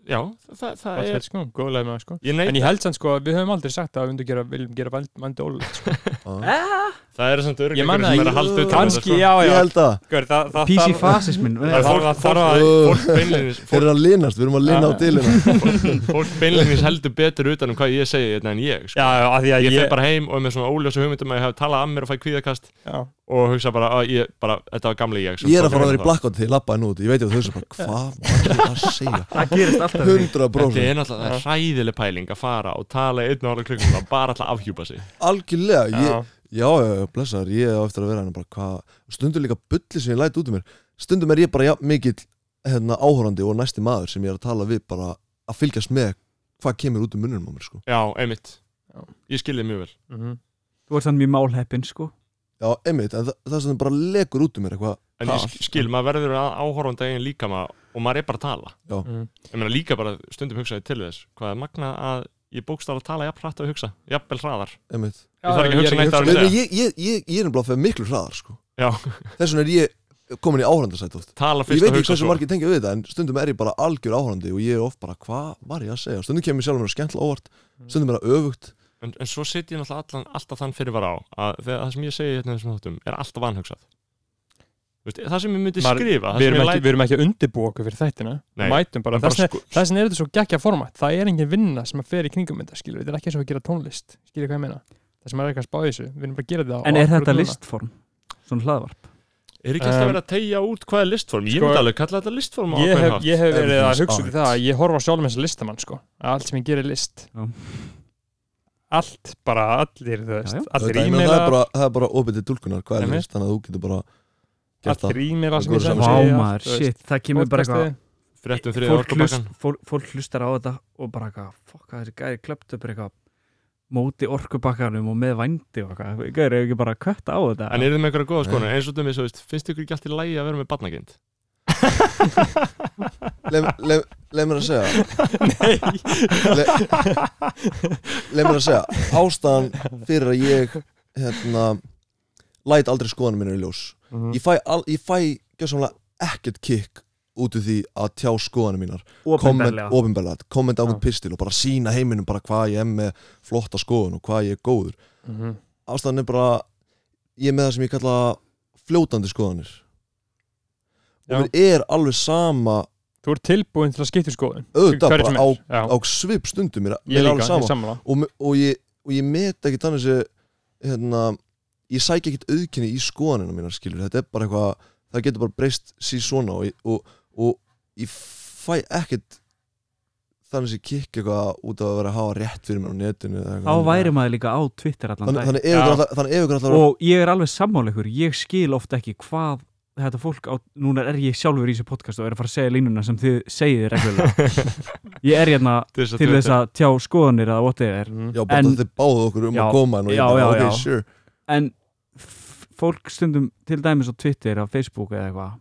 [SPEAKER 1] Já, það, það, það er,
[SPEAKER 2] sko, góðlega með það sko
[SPEAKER 1] ég neitt,
[SPEAKER 2] En ég held sann sko að við höfum aldrei sagt að við myndum gera, viljum gera vald, vandi ólögt sko.
[SPEAKER 4] Ah.
[SPEAKER 1] það er samt
[SPEAKER 2] Ég
[SPEAKER 1] örgleikur sem er
[SPEAKER 2] man það ekki.
[SPEAKER 1] að halda utanum
[SPEAKER 2] Kanski, já, já
[SPEAKER 4] ég held að
[SPEAKER 2] Gaur, það- það
[SPEAKER 5] PC
[SPEAKER 2] þarf-
[SPEAKER 5] fasismin
[SPEAKER 1] Það er
[SPEAKER 5] Nei,
[SPEAKER 1] fólk,
[SPEAKER 2] Það-
[SPEAKER 1] fólk,
[SPEAKER 2] það-
[SPEAKER 1] fólk, beinlínis,
[SPEAKER 4] þeir
[SPEAKER 1] fólk,
[SPEAKER 4] eru að linast, við erum að lina á
[SPEAKER 2] Já.
[SPEAKER 4] dilina
[SPEAKER 1] fólk beinlínis heldur betur utanum hvað ég segi hérna en ég.
[SPEAKER 2] Já,
[SPEAKER 1] Sko.
[SPEAKER 2] já, að því að
[SPEAKER 1] Ég
[SPEAKER 2] ég,
[SPEAKER 1] fer bara heim og er með svona óljósa hugmyndum að ég hef talað að mér og fæ kvíðakast
[SPEAKER 2] já.
[SPEAKER 1] og hugsa bara að ég bara, þetta var gamli ég. sko." sem
[SPEAKER 4] ég er að
[SPEAKER 1] tók
[SPEAKER 4] fara að vera í
[SPEAKER 1] það.
[SPEAKER 4] blackout þegar ég lappa henn úti ég veit ég að þau sem bara, hvað var ég að segja
[SPEAKER 5] það gerist alltaf verið
[SPEAKER 4] 100%
[SPEAKER 1] Þetta er náttúrulega það er hræðileg pæling að fara og tala í einn og halva klukkum og bara alltaf afhjúpa sig.
[SPEAKER 2] Já.
[SPEAKER 4] algjörlega, ég, já, já, já, blessaður, ég á eftir að vera henni bara hvað, stundum líka bulli sem ég læt út um mér, stundum er ég bara ja, mikill hérna, áhorandi og næsti maður sem ég er að tala við bara að fylgjast með hvað kemur út um munnum á mér, sko.
[SPEAKER 1] Já, einmitt
[SPEAKER 2] Já.
[SPEAKER 1] Ég skil þig mjög vel
[SPEAKER 2] Mhm.
[SPEAKER 5] Þú ert þannig mjög málheppin sko
[SPEAKER 4] Já, einmitt, en það, það sem bara lekur út um mér eitthvað,
[SPEAKER 1] En ég sk- skil, maður verður að áhorfum daginn líka maður, og maður er bara að tala
[SPEAKER 2] Mhm.
[SPEAKER 1] Ég meina líka bara stundum hugsaði til þess hvað er magnað að ég bókstala að tala jafn hratt og hugsa, jafnvel hraðar
[SPEAKER 4] einmitt,
[SPEAKER 1] þarf ekki að hugsa neitt
[SPEAKER 4] Ég,
[SPEAKER 1] aðra en
[SPEAKER 2] það.
[SPEAKER 1] segja.
[SPEAKER 4] ég, ég, ég, ég er nefnilega að fyrir miklu hraðar sko.
[SPEAKER 1] Já.
[SPEAKER 4] Þess vegna er ég komin í áhrandasætt oft
[SPEAKER 1] tala
[SPEAKER 4] Ég
[SPEAKER 1] fyrst
[SPEAKER 4] veit
[SPEAKER 1] og
[SPEAKER 4] ekki
[SPEAKER 1] hugsa
[SPEAKER 4] hversu
[SPEAKER 1] svo
[SPEAKER 4] margir tengja við þetta En stundum er ég bara algjör áhrandi Og ég er oft bara, hvað var ég að segja Stundum kemur sjálfur mér skemmtilega óvart Stundum er það öfugt
[SPEAKER 1] en, en svo sitt ég náttúrulega allan, alltaf þann fyrir var á að þegar, það sem ég segi hérna í þessum þáttum er alltaf vanhugsað Þú veist, það sem ég myndi
[SPEAKER 2] Maður-
[SPEAKER 1] skrifa það
[SPEAKER 2] Við
[SPEAKER 1] sem
[SPEAKER 2] erum,
[SPEAKER 1] ég
[SPEAKER 2] ekki, við erum ekki að undirbúa okkur fyrir þættina
[SPEAKER 1] Nei.
[SPEAKER 2] Við mætum bara,
[SPEAKER 1] bara
[SPEAKER 2] þess
[SPEAKER 1] sko-
[SPEAKER 2] vegna er þetta svo geggja format það er engin vinna sem að fer í kringum þetta skilur, þetta er ekki eins og að gera tónlist skilur hvað ég meina, það sem er eitthvað að spá í þessu við erum bara að gera þetta
[SPEAKER 5] En
[SPEAKER 2] á
[SPEAKER 5] er
[SPEAKER 2] akkúrat
[SPEAKER 5] þetta
[SPEAKER 2] núna.
[SPEAKER 5] listform? Svona hlaðvarp?
[SPEAKER 1] er ekki alltaf
[SPEAKER 2] Um,
[SPEAKER 1] verið að tegja út hvað er listform ég
[SPEAKER 2] sko,
[SPEAKER 1] myndi alveg kalla þetta listform á
[SPEAKER 2] Ég
[SPEAKER 1] ákveðinn
[SPEAKER 2] hef,
[SPEAKER 1] hátt.
[SPEAKER 2] ég hef verið
[SPEAKER 4] Everything
[SPEAKER 2] að
[SPEAKER 4] is
[SPEAKER 2] hugsa út í
[SPEAKER 4] art.
[SPEAKER 2] það að ég horfa á sjálfum eins og listamann sko, að allt sem ég gerir er list
[SPEAKER 5] Já.
[SPEAKER 2] allt, bara allir þú veist,
[SPEAKER 5] Já, já.
[SPEAKER 2] allir
[SPEAKER 4] Þetta, ég meina,
[SPEAKER 2] ímeila
[SPEAKER 4] það, er bara, það er bara opið til dúlkunar Hvað er
[SPEAKER 2] Einmitt.
[SPEAKER 4] list, þannig að þú getur bara gert
[SPEAKER 2] allir ímeila sem ég
[SPEAKER 4] Góður
[SPEAKER 2] sendi,
[SPEAKER 5] Vá
[SPEAKER 4] saman. Vá,
[SPEAKER 2] allt,
[SPEAKER 5] maður,
[SPEAKER 2] þú veist,
[SPEAKER 5] shit, það kemur bara eitthvað
[SPEAKER 2] podcastið.
[SPEAKER 1] fréttum þriða
[SPEAKER 5] fólk,
[SPEAKER 1] orkubakkan
[SPEAKER 5] hlust, fólk, fólk hlustar á þetta og bara eitthvað, fokk að þessi gæri klöpt upp eitthvað móti orkubakkanum og með vændi og eitthvað, gæri hefur ekki bara kött á þetta
[SPEAKER 1] en eru þið með einhverja góða
[SPEAKER 4] Nei.
[SPEAKER 1] skonu eins og dæmis, þú veist, finnst ykkur ekki allt í lægi að vera með barnagind
[SPEAKER 4] Leif leif- leif mér að segja Nei Leif mér að segja Ástæðan fyrir að ég hérna, Læt aldrei skoðanum minni í ljós
[SPEAKER 2] Mhm.
[SPEAKER 4] Ég fæ, al, ég fæ gjössamlega ekkert kick út úr því að tjá skoðanum mínar
[SPEAKER 5] Opinberlega.
[SPEAKER 4] ofinberlega, kommenta á
[SPEAKER 2] Já.
[SPEAKER 4] mjög pistil og bara sína heiminum bara hvað ég er með flotta skoðun og hvað ég er góður
[SPEAKER 2] Mhm.
[SPEAKER 4] ástæðan er bara ég er með það sem ég kalla fljótandi skoðanir
[SPEAKER 2] Já.
[SPEAKER 4] og mér er alveg sama
[SPEAKER 2] Þú ert tilbúin til að skipta um skoðun
[SPEAKER 4] auðvitað
[SPEAKER 2] Hverju sem
[SPEAKER 4] bara á,
[SPEAKER 2] er. Já.
[SPEAKER 4] á svip stundum mér,
[SPEAKER 2] Ég
[SPEAKER 4] mér er
[SPEAKER 2] líka,
[SPEAKER 4] alveg
[SPEAKER 2] ég
[SPEAKER 4] sama
[SPEAKER 2] samla
[SPEAKER 4] og, me- og ég, og ég met ekki þannig sem hérna, ég sækja ekkert auðkynni í skoðanina mínar skilur, þetta er bara eitthvað það getur bara breyst síð svona og, ég- og, og ég fæ ekkert þannig sem kikk eitthvað út af að vera að hafa rétt fyrir mér á netinu eða eitthvað
[SPEAKER 5] þá
[SPEAKER 4] þannig.
[SPEAKER 5] væri maður líka á Twitter allan
[SPEAKER 4] þannig,
[SPEAKER 5] dag
[SPEAKER 4] þannig ef
[SPEAKER 2] Já.
[SPEAKER 4] ykkur alltaf- þannig ef ykkur alltaf
[SPEAKER 5] og ég er alveg sammála ykkur, ég skil ofta ekki hvað þetta fólk á, núna er ég sjálfur í þessu podcast og er að fara að segja línuna sem þið segið reglulega ég er hérna til þess að tjá skoðanir eða whatever
[SPEAKER 4] já, bara
[SPEAKER 5] en-
[SPEAKER 4] þið báðu okkur um
[SPEAKER 5] Já.
[SPEAKER 4] að koma en og
[SPEAKER 5] Já,
[SPEAKER 4] ég bara,
[SPEAKER 5] já,
[SPEAKER 4] ok,
[SPEAKER 5] já.
[SPEAKER 4] sure
[SPEAKER 5] en f- fólk stundum til dæmis á Twitter, á Facebook eða eitthvað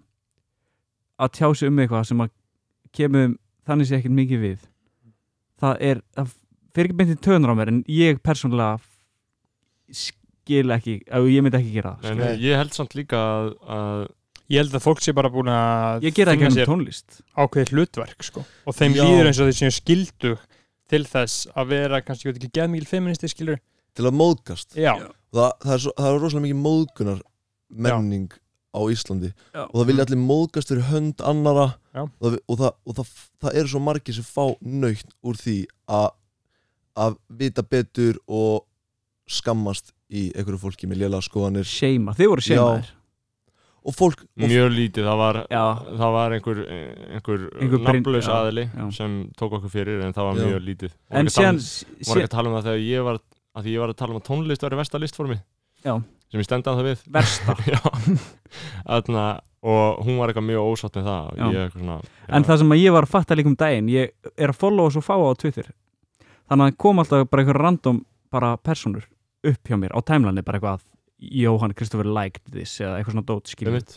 [SPEAKER 5] að tjá sig um eitthvað sem að kemur þannig sé ekkert mikið við það er, það fyrir ekki myndið tönar á mér en ég persónulega skil ekki, eða ég myndi ekki gera það
[SPEAKER 1] en, eh, ég held samt líka að, að
[SPEAKER 2] Ég held að fólk sé bara búin að
[SPEAKER 5] ég gera
[SPEAKER 2] finna
[SPEAKER 5] ekki um
[SPEAKER 2] sér
[SPEAKER 5] tónlist
[SPEAKER 2] ákveðið hlutverk sko. og þeim
[SPEAKER 4] Já.
[SPEAKER 2] líður eins og þeir sem skildu til þess að vera kannski ég veit ekki geðmikil feministi skilur
[SPEAKER 4] til að móðgast
[SPEAKER 2] já,
[SPEAKER 5] Já.
[SPEAKER 4] það, það, er svo, það er rosalega mikið móðgunar menning á Íslandi
[SPEAKER 5] Já.
[SPEAKER 4] og það vilja allir móðgast fyrir hönd annara
[SPEAKER 2] Já.
[SPEAKER 4] það, og, það, og það, það eru svo margir sem fá nöytt úr því að að vita betur og skammast í einhverju fólki með lélega skoðanir
[SPEAKER 5] seima, þið voru
[SPEAKER 4] Já.
[SPEAKER 5] seimaðir
[SPEAKER 4] og fólk, og
[SPEAKER 1] mjög lítið það var,
[SPEAKER 5] Já.
[SPEAKER 1] það var einhver, einhver,
[SPEAKER 5] Einhver
[SPEAKER 1] einhver
[SPEAKER 5] brin-
[SPEAKER 1] nafnlaus
[SPEAKER 5] já,
[SPEAKER 1] aðili
[SPEAKER 5] já.
[SPEAKER 1] sem tók okkur fyrir en það var
[SPEAKER 4] Já.
[SPEAKER 1] mjög lítið Voru
[SPEAKER 5] en
[SPEAKER 1] ekki að tala um-
[SPEAKER 5] síðan,
[SPEAKER 1] voru ekki
[SPEAKER 5] síðan
[SPEAKER 1] að tala um það þegar ég var að því ég var að tala um að tónlist væri versta listformi
[SPEAKER 5] Já.
[SPEAKER 1] sem ég stendaði það við
[SPEAKER 5] versta
[SPEAKER 1] Já. Þarna, og hún var eitthvað mjög ósátt með það
[SPEAKER 5] Já.
[SPEAKER 1] og ég eitthvað svona já.
[SPEAKER 5] en það sem að ég var að fatta líka um daginn ég er að followa svo fáa á Twitter þannig að það kom alltaf bara einhver random bara personur upp hjá mér á timelinei bara eitthvað að Jóhann Kristoffer liked this eða eitthvað svona dót skilur uh,
[SPEAKER 1] Einmitt.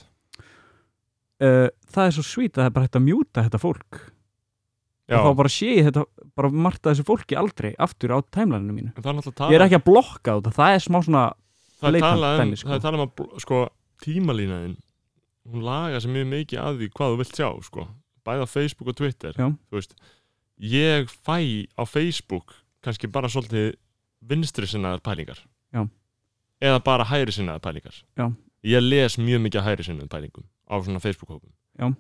[SPEAKER 5] það er svo sweet að það er bara hægt að mjúta þetta fólk
[SPEAKER 1] Já.
[SPEAKER 5] og þá bara sé ég þetta bara marta þessu fólki aldrei aftur á timelinei mínu
[SPEAKER 1] En það er náttúrulega
[SPEAKER 5] ég er
[SPEAKER 1] talað
[SPEAKER 5] ekki að blokka þetta, það er smá svona
[SPEAKER 1] það er
[SPEAKER 5] leitandi
[SPEAKER 1] talað um,
[SPEAKER 5] dæmi, sko.
[SPEAKER 1] það er talað um að bl- sko, tímalínaðin hún lagar sér mjög mikið að því hvað þú vilt sjá sko. bæði á Facebook og Twitter
[SPEAKER 5] Já.
[SPEAKER 1] Þú veist, ég fæ á Facebook kannski bara svolítið vinstri sinnaðar pælingar
[SPEAKER 5] Já.
[SPEAKER 1] eða bara hægri sinnaðar pælingar
[SPEAKER 5] Já.
[SPEAKER 1] ég les mjög mikið hægri sinnaðar pælingum á svona Facebook-hópum
[SPEAKER 5] Já.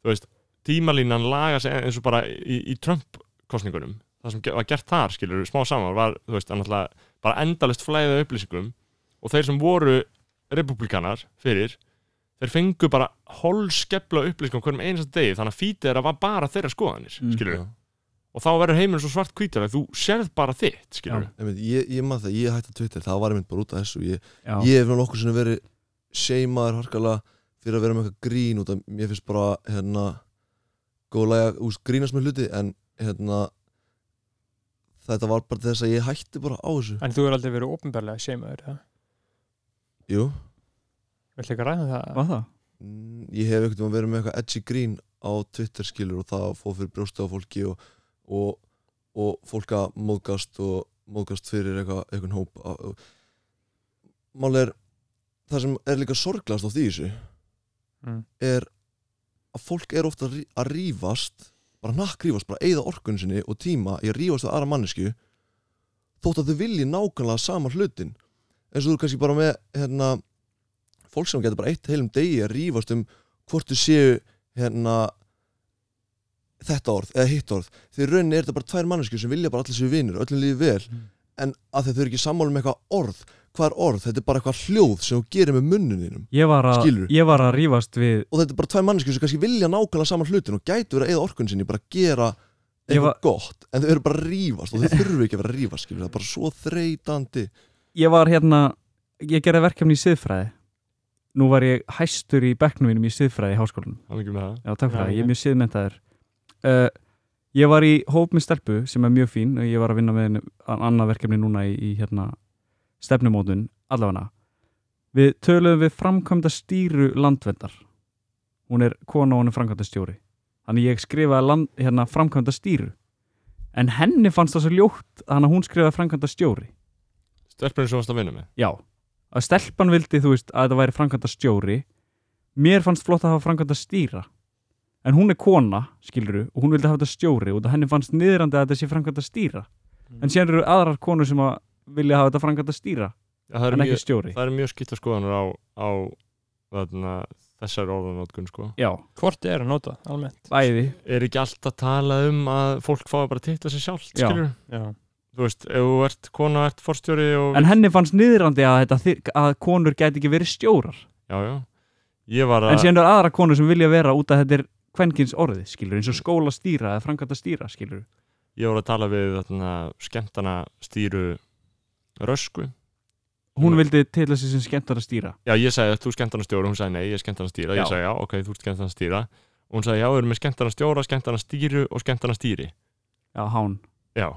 [SPEAKER 1] Þú veist, tímalínan lagar sér eins og bara í, í Trump-kostningunum það sem ge- var gert þar, skilur smá saman var, þú veist, að náttúrulega bara endalist flæðið af upplýsingum og þeir sem voru republikanar fyrir þeir fengu bara holskepla upplýsingum hverjum einasta degi þannig að fítið þeirra var bara þeirra skoðanir
[SPEAKER 5] Mm.
[SPEAKER 1] mm. og þá verður heiminn svo svart hvítur að þú sérð bara þitt skilur
[SPEAKER 4] einmitt, ég, ég maður það, ég hætti að Twitter það var einmitt bara út af þessu ég,
[SPEAKER 5] já,
[SPEAKER 4] ég hef nokkur sem verið seimaður harkalega fyrir að vera með eitthvað grín út af mér finnst bara hérna góðlega úst grínast með hluti en hérna þetta var bara til þess að ég hætti bara á þessu
[SPEAKER 2] en þú er aldrei verið ópenbarlega seimaður ja?
[SPEAKER 4] Jú,
[SPEAKER 2] Viltu ekki ræða það?
[SPEAKER 5] var það?
[SPEAKER 4] Mm, ég hef ekkert verið með eitthvað edgy grín á Twitter skilur og það fóð fyrir brjósti á fólki og, og, og fólk að móðgast og móðgast fyrir eitthvað, eitthvað hóp Á- mál er það sem er líka sorglast á því þessu
[SPEAKER 2] Mm.
[SPEAKER 4] er að fólk er ofta að rí- að rífast bara nakkrífast, bara eigða orkun sinni og tíma í að rífast við aðra mannesku þótt að þau vilji nákvæmlega sama hlutin eins og þú er kannski bara með hérna, fólk sem getur bara eitt heilum degi að rífast um hvort þau séu hérna, þetta orð eða hitt orð því rauninni er þetta bara tvær mannesku sem vilja bara allir séu vinur, öllum lífi vel
[SPEAKER 5] Mm.
[SPEAKER 4] en að þau eru ekki sammála um eitthvað orð hvað er orð, þetta er bara eitthvað hljóð sem þú gerir með munnum þínum
[SPEAKER 5] ég var, að,
[SPEAKER 4] Skilurðu?
[SPEAKER 5] ég var að rífast við
[SPEAKER 4] og þetta er bara tvær manneskjur sem kannski vilja nákvæmlega saman hlutin og gætu verið að eða orkun sinni bara að gera
[SPEAKER 5] Ég
[SPEAKER 4] eitthvað
[SPEAKER 5] var-
[SPEAKER 4] gott en þau eru bara að rífast og þau þurfu ekki að vera að rífast skilur, það er bara svo þreytandi
[SPEAKER 5] ég var hérna ég gerði verkefni í siðfræði nú var ég hæstur í bekknum mínum í siðfræði í háskólanum
[SPEAKER 1] hann ekki með það
[SPEAKER 5] já takk
[SPEAKER 2] Já,
[SPEAKER 5] fyrir það,
[SPEAKER 2] ok.
[SPEAKER 5] ég er mjög siðmentaður uh, ég var í hóp með stelpu sem er mjög fín og ég var að vinna með henni an- annað verkefni núna í, í hérna stefnumótun, allavega við töluðum við framkvæmda stýru landvendar hún er kona og hún er framkvæmda stjóri þannig ég skrifaði land, hérna, framkvæmda stýru en henni fannst það svo ljótt þannig að hún skrifaði framkvæmda stjóri
[SPEAKER 1] stelpunum sem varst að vinna með
[SPEAKER 5] Já, að stelpan vildi þú veist að þetta væri framkvæmda stjóri mér fannst flott að hafa framkvæmda stýra en hún er kona, skiluru og hún vildi hafa þetta stjóri og henni fannst niðrandi að þetta sé framkvæmda stýra
[SPEAKER 1] Mhm.
[SPEAKER 5] en síðan eru aðrar konur sem að vilja hafa þetta framkvæmda stýra
[SPEAKER 1] Já, það, er
[SPEAKER 5] en
[SPEAKER 1] mjög,
[SPEAKER 5] ekki stjóri
[SPEAKER 1] það er mjög skipta skoðanur á, á þarna, þessar orðanótkun sko.
[SPEAKER 5] Já,
[SPEAKER 2] Hvort er að nota, almennt
[SPEAKER 5] bæði
[SPEAKER 1] er ekki alltaf talað um að fólk fái bara titla sér sjálft
[SPEAKER 5] Já.
[SPEAKER 1] skilur
[SPEAKER 2] Já,
[SPEAKER 1] þú veist, ef þú ert kona, ert forstjóri og...
[SPEAKER 5] en henni fannst niðrandi að, þetta, þi- að konur gæti ekki verið stjórar
[SPEAKER 1] já, já, ég var
[SPEAKER 5] en
[SPEAKER 1] að
[SPEAKER 5] síðan eru aðrar konur sem vilja vera út að þetta er kvenkins orðið, skiluru, eins og skóla stýra eða framkvæmda stýra, skiluru
[SPEAKER 1] ég var að tala við þarna, skemmtana stýru rösku
[SPEAKER 5] hún
[SPEAKER 1] Mm.
[SPEAKER 5] vildi til þessi sem skemmtar að stýra
[SPEAKER 1] já, ég sagði, þú skemmtana stjóra, hún sagði nei, ég er skemmtana stýra
[SPEAKER 5] Já.
[SPEAKER 1] ég sagði, já, ok, þú ert skemmtana stýra og hún sagði, já, við erum með skemmtana stjóra, skemmtana stýru og skemmtana stýri
[SPEAKER 5] Já, hán
[SPEAKER 1] já,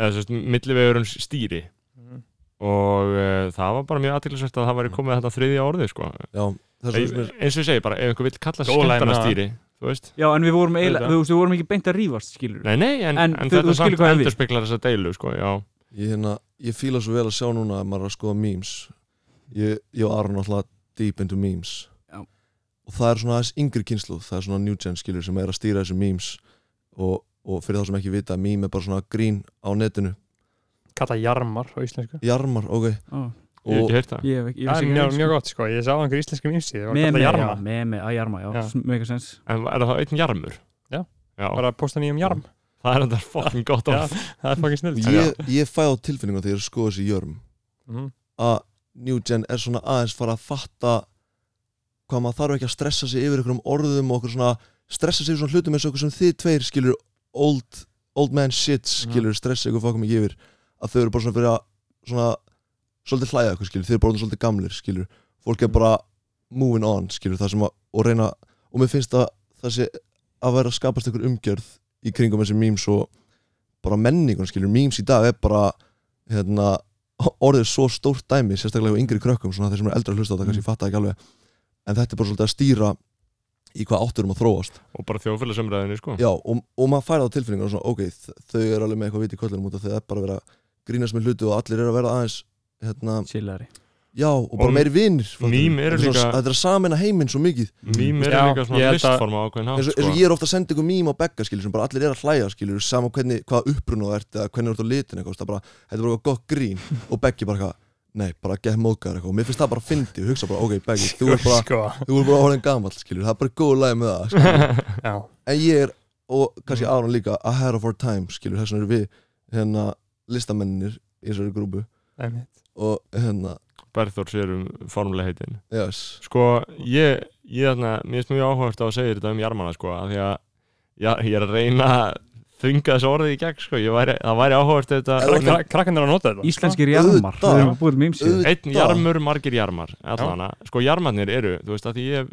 [SPEAKER 1] eða sérst, millivegurinn stýri
[SPEAKER 2] Mhm.
[SPEAKER 1] og uh, það var bara mjög aðtillisvægt að það væri komið þetta þriðja orðið sko.
[SPEAKER 4] já, Mm. það er svo sem
[SPEAKER 1] Ein,
[SPEAKER 4] er,
[SPEAKER 1] eins og ég segi bara, ef einhver vill kalla sig
[SPEAKER 2] Góð
[SPEAKER 1] skemmtana
[SPEAKER 2] læna.
[SPEAKER 1] stýri þú veist,
[SPEAKER 5] Já, en við vorum, eila,
[SPEAKER 2] Auðvitað.
[SPEAKER 5] við, við vorum ekki beint að rífast, skilur
[SPEAKER 1] nei, nei, en,
[SPEAKER 5] En
[SPEAKER 1] en,
[SPEAKER 5] þú- þú
[SPEAKER 1] þetta
[SPEAKER 5] skilur
[SPEAKER 1] samt
[SPEAKER 5] hvað ég við.
[SPEAKER 1] endur speklar þessa deilu sko, já,
[SPEAKER 4] ég, hérna, ég fíla svo vel að sjá núna að maður er að skoða memes ég, ég og Aron alltaf deep into memes
[SPEAKER 5] Já.
[SPEAKER 4] og það er svona aðeins yngri kynslu það er svona new gen skilur sem er að stýra þessu memes og, og fyrir þá sem ekki vita meme er bara svona grín á netinu
[SPEAKER 2] kalla jarmar á íslensku
[SPEAKER 4] jarmar, ok
[SPEAKER 5] Ó,
[SPEAKER 1] ég hef
[SPEAKER 4] og
[SPEAKER 1] ekki heyrt það
[SPEAKER 5] ég, hef ekki- ég
[SPEAKER 2] Það
[SPEAKER 5] vissi
[SPEAKER 2] er
[SPEAKER 5] ekki
[SPEAKER 2] mjög,
[SPEAKER 5] einu
[SPEAKER 2] mjög
[SPEAKER 5] sinni.
[SPEAKER 2] gott sko, ég sá einhver íslenskum ymsi það var
[SPEAKER 5] Meme,
[SPEAKER 2] kallað
[SPEAKER 5] já,
[SPEAKER 2] jarma,
[SPEAKER 5] meme, að jarma, já,
[SPEAKER 2] Já.
[SPEAKER 5] já. mega sens
[SPEAKER 1] En er það einn jarmur?
[SPEAKER 2] Já.
[SPEAKER 1] Já,
[SPEAKER 2] bara að posta nýjum jarm
[SPEAKER 1] það er þetta fokkin gott
[SPEAKER 2] Já,
[SPEAKER 1] orð.
[SPEAKER 2] það er fokkin snill
[SPEAKER 4] ég, ég fæ á tilfinningum þegar ég skoði þessi jörm
[SPEAKER 2] Mhm.
[SPEAKER 4] að New Gen er svona aðeins fara að fatta hvað maður þarf ekki að stressa sig yfir einhverjum orðum og okkur svona stressa sig yfir svona hlutum eins og okkur sem þið tveir skilur old, old man shit skilur stressa ykkur fokkum ekki yfir að þau eru bara svona fyrir að svona svolítið hlæða ykkur skilur, þau eru bara orðin svolítið gamlir skilur, fólk er bara moving on skilur, það sem að, og reyna og mér finnst að það sé að vera að skapast ykkur umgjörð í kringum þessi memes og bara menningun skilur, memes í dag er bara hérna, orðið er svo stórt dæmi sérstaklega á yngri krökkum, svona þeir sem eru eldra að
[SPEAKER 1] Mm.
[SPEAKER 4] hlusta á þetta kannski fatta ekki alveg, en þetta er bara svolítið að stýra í hvað átturum að þróast
[SPEAKER 1] Og bara þjóðfélagsumræðinu, sko.
[SPEAKER 4] já, og, og maður færi á tilfinningar og svona, ok, þ- þau eru alveg með eitthvað viti kvöldunum út af því að það er bara að vera að grínast með hluti og allir eru að vera aðeins hérna,
[SPEAKER 5] Chillari
[SPEAKER 4] já, og bara
[SPEAKER 1] Og
[SPEAKER 4] meiri vinnir
[SPEAKER 1] mím eru líka-
[SPEAKER 4] þetta er að samina heiminn svo mikið
[SPEAKER 1] Mím er
[SPEAKER 2] Já,
[SPEAKER 1] líka
[SPEAKER 2] ég
[SPEAKER 1] svona
[SPEAKER 2] held að-
[SPEAKER 1] listforma ákveðin hátt,
[SPEAKER 4] eins og, eins
[SPEAKER 1] sko.
[SPEAKER 4] og ég er ofta að senda ykkur mím á begga skilur sem bara allir er að hlæja skilur sama hvernig, hvað upprunu þú ert eða hvernig þú ert á litin eitthvað, þú veist, það bara, þetta er bara eitthvað gott grín og beggi bara eitthvað, nei, bara get mókaður eitthvað og mér finnst það bara fyndi og hugsa bara, ok, beggi þú er bara,
[SPEAKER 2] sko,
[SPEAKER 4] þú er bara orðin gamall skilur það er bara góð læg með það skilur.
[SPEAKER 2] já,
[SPEAKER 4] en ég er, og
[SPEAKER 1] Mm.
[SPEAKER 4] kannski Aron líka ahead of our time skilur, þess vegna eru við hérna, listamennir í þessari grúpu
[SPEAKER 2] einmitt
[SPEAKER 4] og hérna,
[SPEAKER 1] Berþór sér um formulega heitin.
[SPEAKER 4] yes
[SPEAKER 1] Sko, ég, ég þarna, mér finnst mjög áhugavert á að segja þetta um jarmana, sko, af því að já, ég er að reyna að þunga þessu orðið í gegn, sko. Ég Væri, það væri áhugavert ef þetta...
[SPEAKER 4] Ef þú-
[SPEAKER 2] Krakk- Krakkarnir eru að nota þetta
[SPEAKER 5] Íslenskir jarmar,
[SPEAKER 4] Auðvitað.
[SPEAKER 5] það erum við búið með ymsið
[SPEAKER 4] Auðvitað.
[SPEAKER 1] Einn jarmur, margir jarmar, allana. Sko, jarmarnir eru, þú veist, að því ég,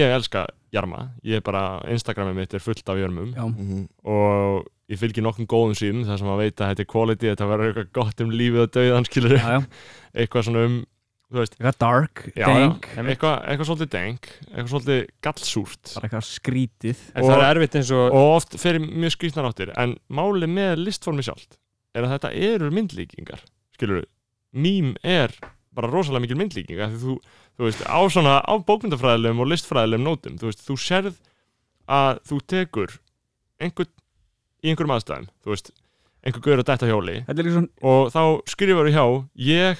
[SPEAKER 1] ég elska jarma. Ég er bara, Instagramið mitt er fullt af jarmum.
[SPEAKER 5] Já,
[SPEAKER 4] Mhm.
[SPEAKER 1] og ég fylgi nokkrum góðum síðum þar sem að veit að þetta er quality, þetta verður eitthvað gott um lífið og dauðan skilur
[SPEAKER 5] já, já,
[SPEAKER 1] eitthvað svona um, þú veist
[SPEAKER 5] eitthvað dark,
[SPEAKER 1] já,
[SPEAKER 5] dank
[SPEAKER 1] já, eitthvað, eitthvað svolítið denk eitthvað svolítið gallsúrt
[SPEAKER 5] bara eitthvað skrítið
[SPEAKER 1] En
[SPEAKER 2] En það er
[SPEAKER 1] það-
[SPEAKER 2] erfitt eins og
[SPEAKER 1] og oft fyrir mjög skrýtnar áttir en málið með listformi sjálft er að þetta eru myndlíkingar skilur, mím er bara rosalega mikil myndlíking af því þú, þú veist, á svona á bókmyndafræðilegum og listfræðilegum nótum þú veist, þú sérð að þú tekur einhvern í einhverjum aðstæðum, þú veist einhver gaur að detta á hjóli
[SPEAKER 5] Þetta er líka svona,
[SPEAKER 1] og þá skrifar þú hjá ég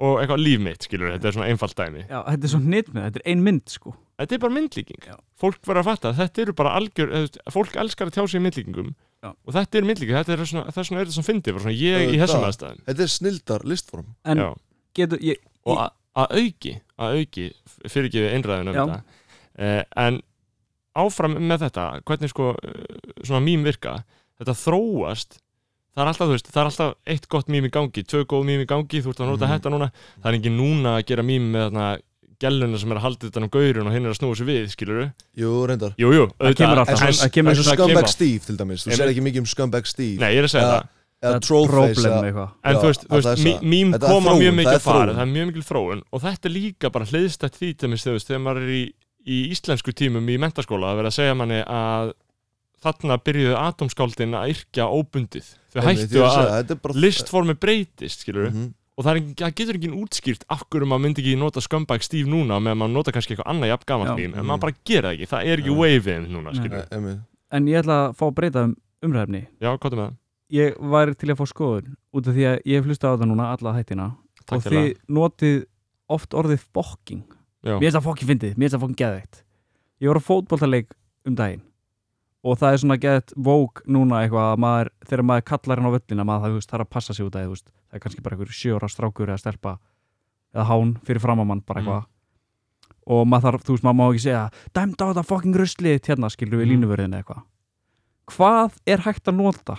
[SPEAKER 1] og eitthvað líf mitt, skilur þetta er svona einfalt dæmi
[SPEAKER 5] já, þetta er svona nýtt með, þetta er ein mynd sko
[SPEAKER 1] þetta er bara myndlíking,
[SPEAKER 5] Já.
[SPEAKER 1] fólk verður að fatta að þetta eru bara algjör, eða, þú veist, fólk elskar að tjá sig í myndlíkingum
[SPEAKER 5] Já.
[SPEAKER 1] og þetta er myndlíking, þetta er svona, þess vegna er þetta svona fyndið, bara svona ég í þessum
[SPEAKER 4] Auðvitað.
[SPEAKER 1] aðstæðum
[SPEAKER 4] Þetta er snildar listform
[SPEAKER 5] En
[SPEAKER 1] Já.
[SPEAKER 5] getur, ég,
[SPEAKER 1] og að- að auki að auki, fyrir ekki við einræðin um
[SPEAKER 5] Já.
[SPEAKER 1] þetta eh, en áfram með þetta, hvernig sko eh, svona mím virka, þetta þróast það er alltaf, þú veist, það er alltaf eitt gott mím í gangi, tvö góð mím í gangi þú ert að nota
[SPEAKER 4] Mhm.
[SPEAKER 1] þetta núna, það er ekki núna að gera mím með þarna gæluna sem er að halda þetta um gaurun og hinn er að snúa sér við, skilur
[SPEAKER 4] Jú, reyndar
[SPEAKER 1] Jú, jú,
[SPEAKER 5] kemur alltaf,
[SPEAKER 1] en-
[SPEAKER 5] það kemur
[SPEAKER 1] en-
[SPEAKER 4] eins og
[SPEAKER 1] það kemur
[SPEAKER 4] Scumbag
[SPEAKER 1] alltaf.
[SPEAKER 4] Steve til dæmis Þú
[SPEAKER 1] Einmitt.
[SPEAKER 4] sér ekki mikið um Scumbag Steve
[SPEAKER 1] Nei, ég er að segja
[SPEAKER 4] Eða-
[SPEAKER 1] það
[SPEAKER 4] Eða Trollface
[SPEAKER 5] problem
[SPEAKER 4] eða-
[SPEAKER 5] eitthvað
[SPEAKER 1] En
[SPEAKER 4] Já,
[SPEAKER 1] þú veist, þú
[SPEAKER 4] alla
[SPEAKER 1] veist
[SPEAKER 4] þessa-
[SPEAKER 1] mí- mím
[SPEAKER 4] þetta er
[SPEAKER 1] koma
[SPEAKER 4] þróun,
[SPEAKER 1] mjög mikið að
[SPEAKER 4] það er
[SPEAKER 1] fara,
[SPEAKER 4] þróun.
[SPEAKER 1] það er mjög mikil þróun og þetta er líka bara hliðstætt því til mér, þú veist, þegar maður er í, í íslensku tímum í mentaskóla að vera að segja manni að þarna byrjuðu atomskáldin að yrkja óbundið. Þau
[SPEAKER 4] Einmitt, ég
[SPEAKER 1] hættu
[SPEAKER 4] er að
[SPEAKER 1] að
[SPEAKER 4] segja, þetta er bara-
[SPEAKER 1] listformi breytist, skilur
[SPEAKER 4] Mhm.
[SPEAKER 1] og það, er, engin- það getur enginn útskýrt af hverju maður myndi ekki nota scumbag Steve núna meðan maður nota kannski eitthvað annað jafn
[SPEAKER 5] Já.
[SPEAKER 1] gaman mím, en maður bara gera það ekki, það er ekki
[SPEAKER 4] Nei.
[SPEAKER 1] wavein núna,
[SPEAKER 5] Nei.
[SPEAKER 1] skilur
[SPEAKER 4] Nei, e- einmitt.
[SPEAKER 5] En ég ætla að fá að breyta um umræfni
[SPEAKER 1] Já, hvað er með það?
[SPEAKER 5] Ég væri til að fá skoðun út af því að ég hef hlustað á það núna alla hættina
[SPEAKER 1] Takk
[SPEAKER 5] og
[SPEAKER 1] fyrir
[SPEAKER 5] þið notið oft orðið fokking
[SPEAKER 1] Já.
[SPEAKER 5] mér finnst það fokking fyndið, mér finnst það fokking geðveikt ég voru á fótboltaleik um daginn og það er svona geðt vók núna eitthvað að maður, þegar maður kallar hann á völlina maður það, þú veist, þarf að passa sig út að veist, það er kannski bara einhver sjö ára strákur eða stelpa eða hán fyrir framamann bara
[SPEAKER 1] Mm.
[SPEAKER 5] eitthvað og maður þarf, þú veist, maður má ekki segja dæmd á þetta fokking ruslið hérna skilur við
[SPEAKER 1] Mm.
[SPEAKER 5] línuvörðin eitthvað hvað er hægt að nota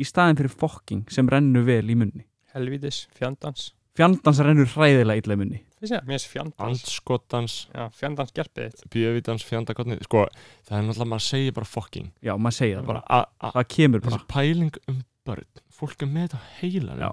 [SPEAKER 5] í staðin fyrir fokking sem rennur vel í munni
[SPEAKER 2] helvítis, fjandans
[SPEAKER 5] fjandans rennur hræðilega illa í munni
[SPEAKER 2] finnst ég það, mér finnst fjandans
[SPEAKER 1] Andskotans,
[SPEAKER 2] já, fjandans gerpið þitt
[SPEAKER 1] bjöfitans, fjandakotni, sko, það er náttúrulega maður segir bara fucking,
[SPEAKER 5] já, maður segja það bara,
[SPEAKER 1] bara a- a-
[SPEAKER 5] það kemur bara
[SPEAKER 1] þessi pæling um börn fólk er með þetta á heilanum
[SPEAKER 5] Já.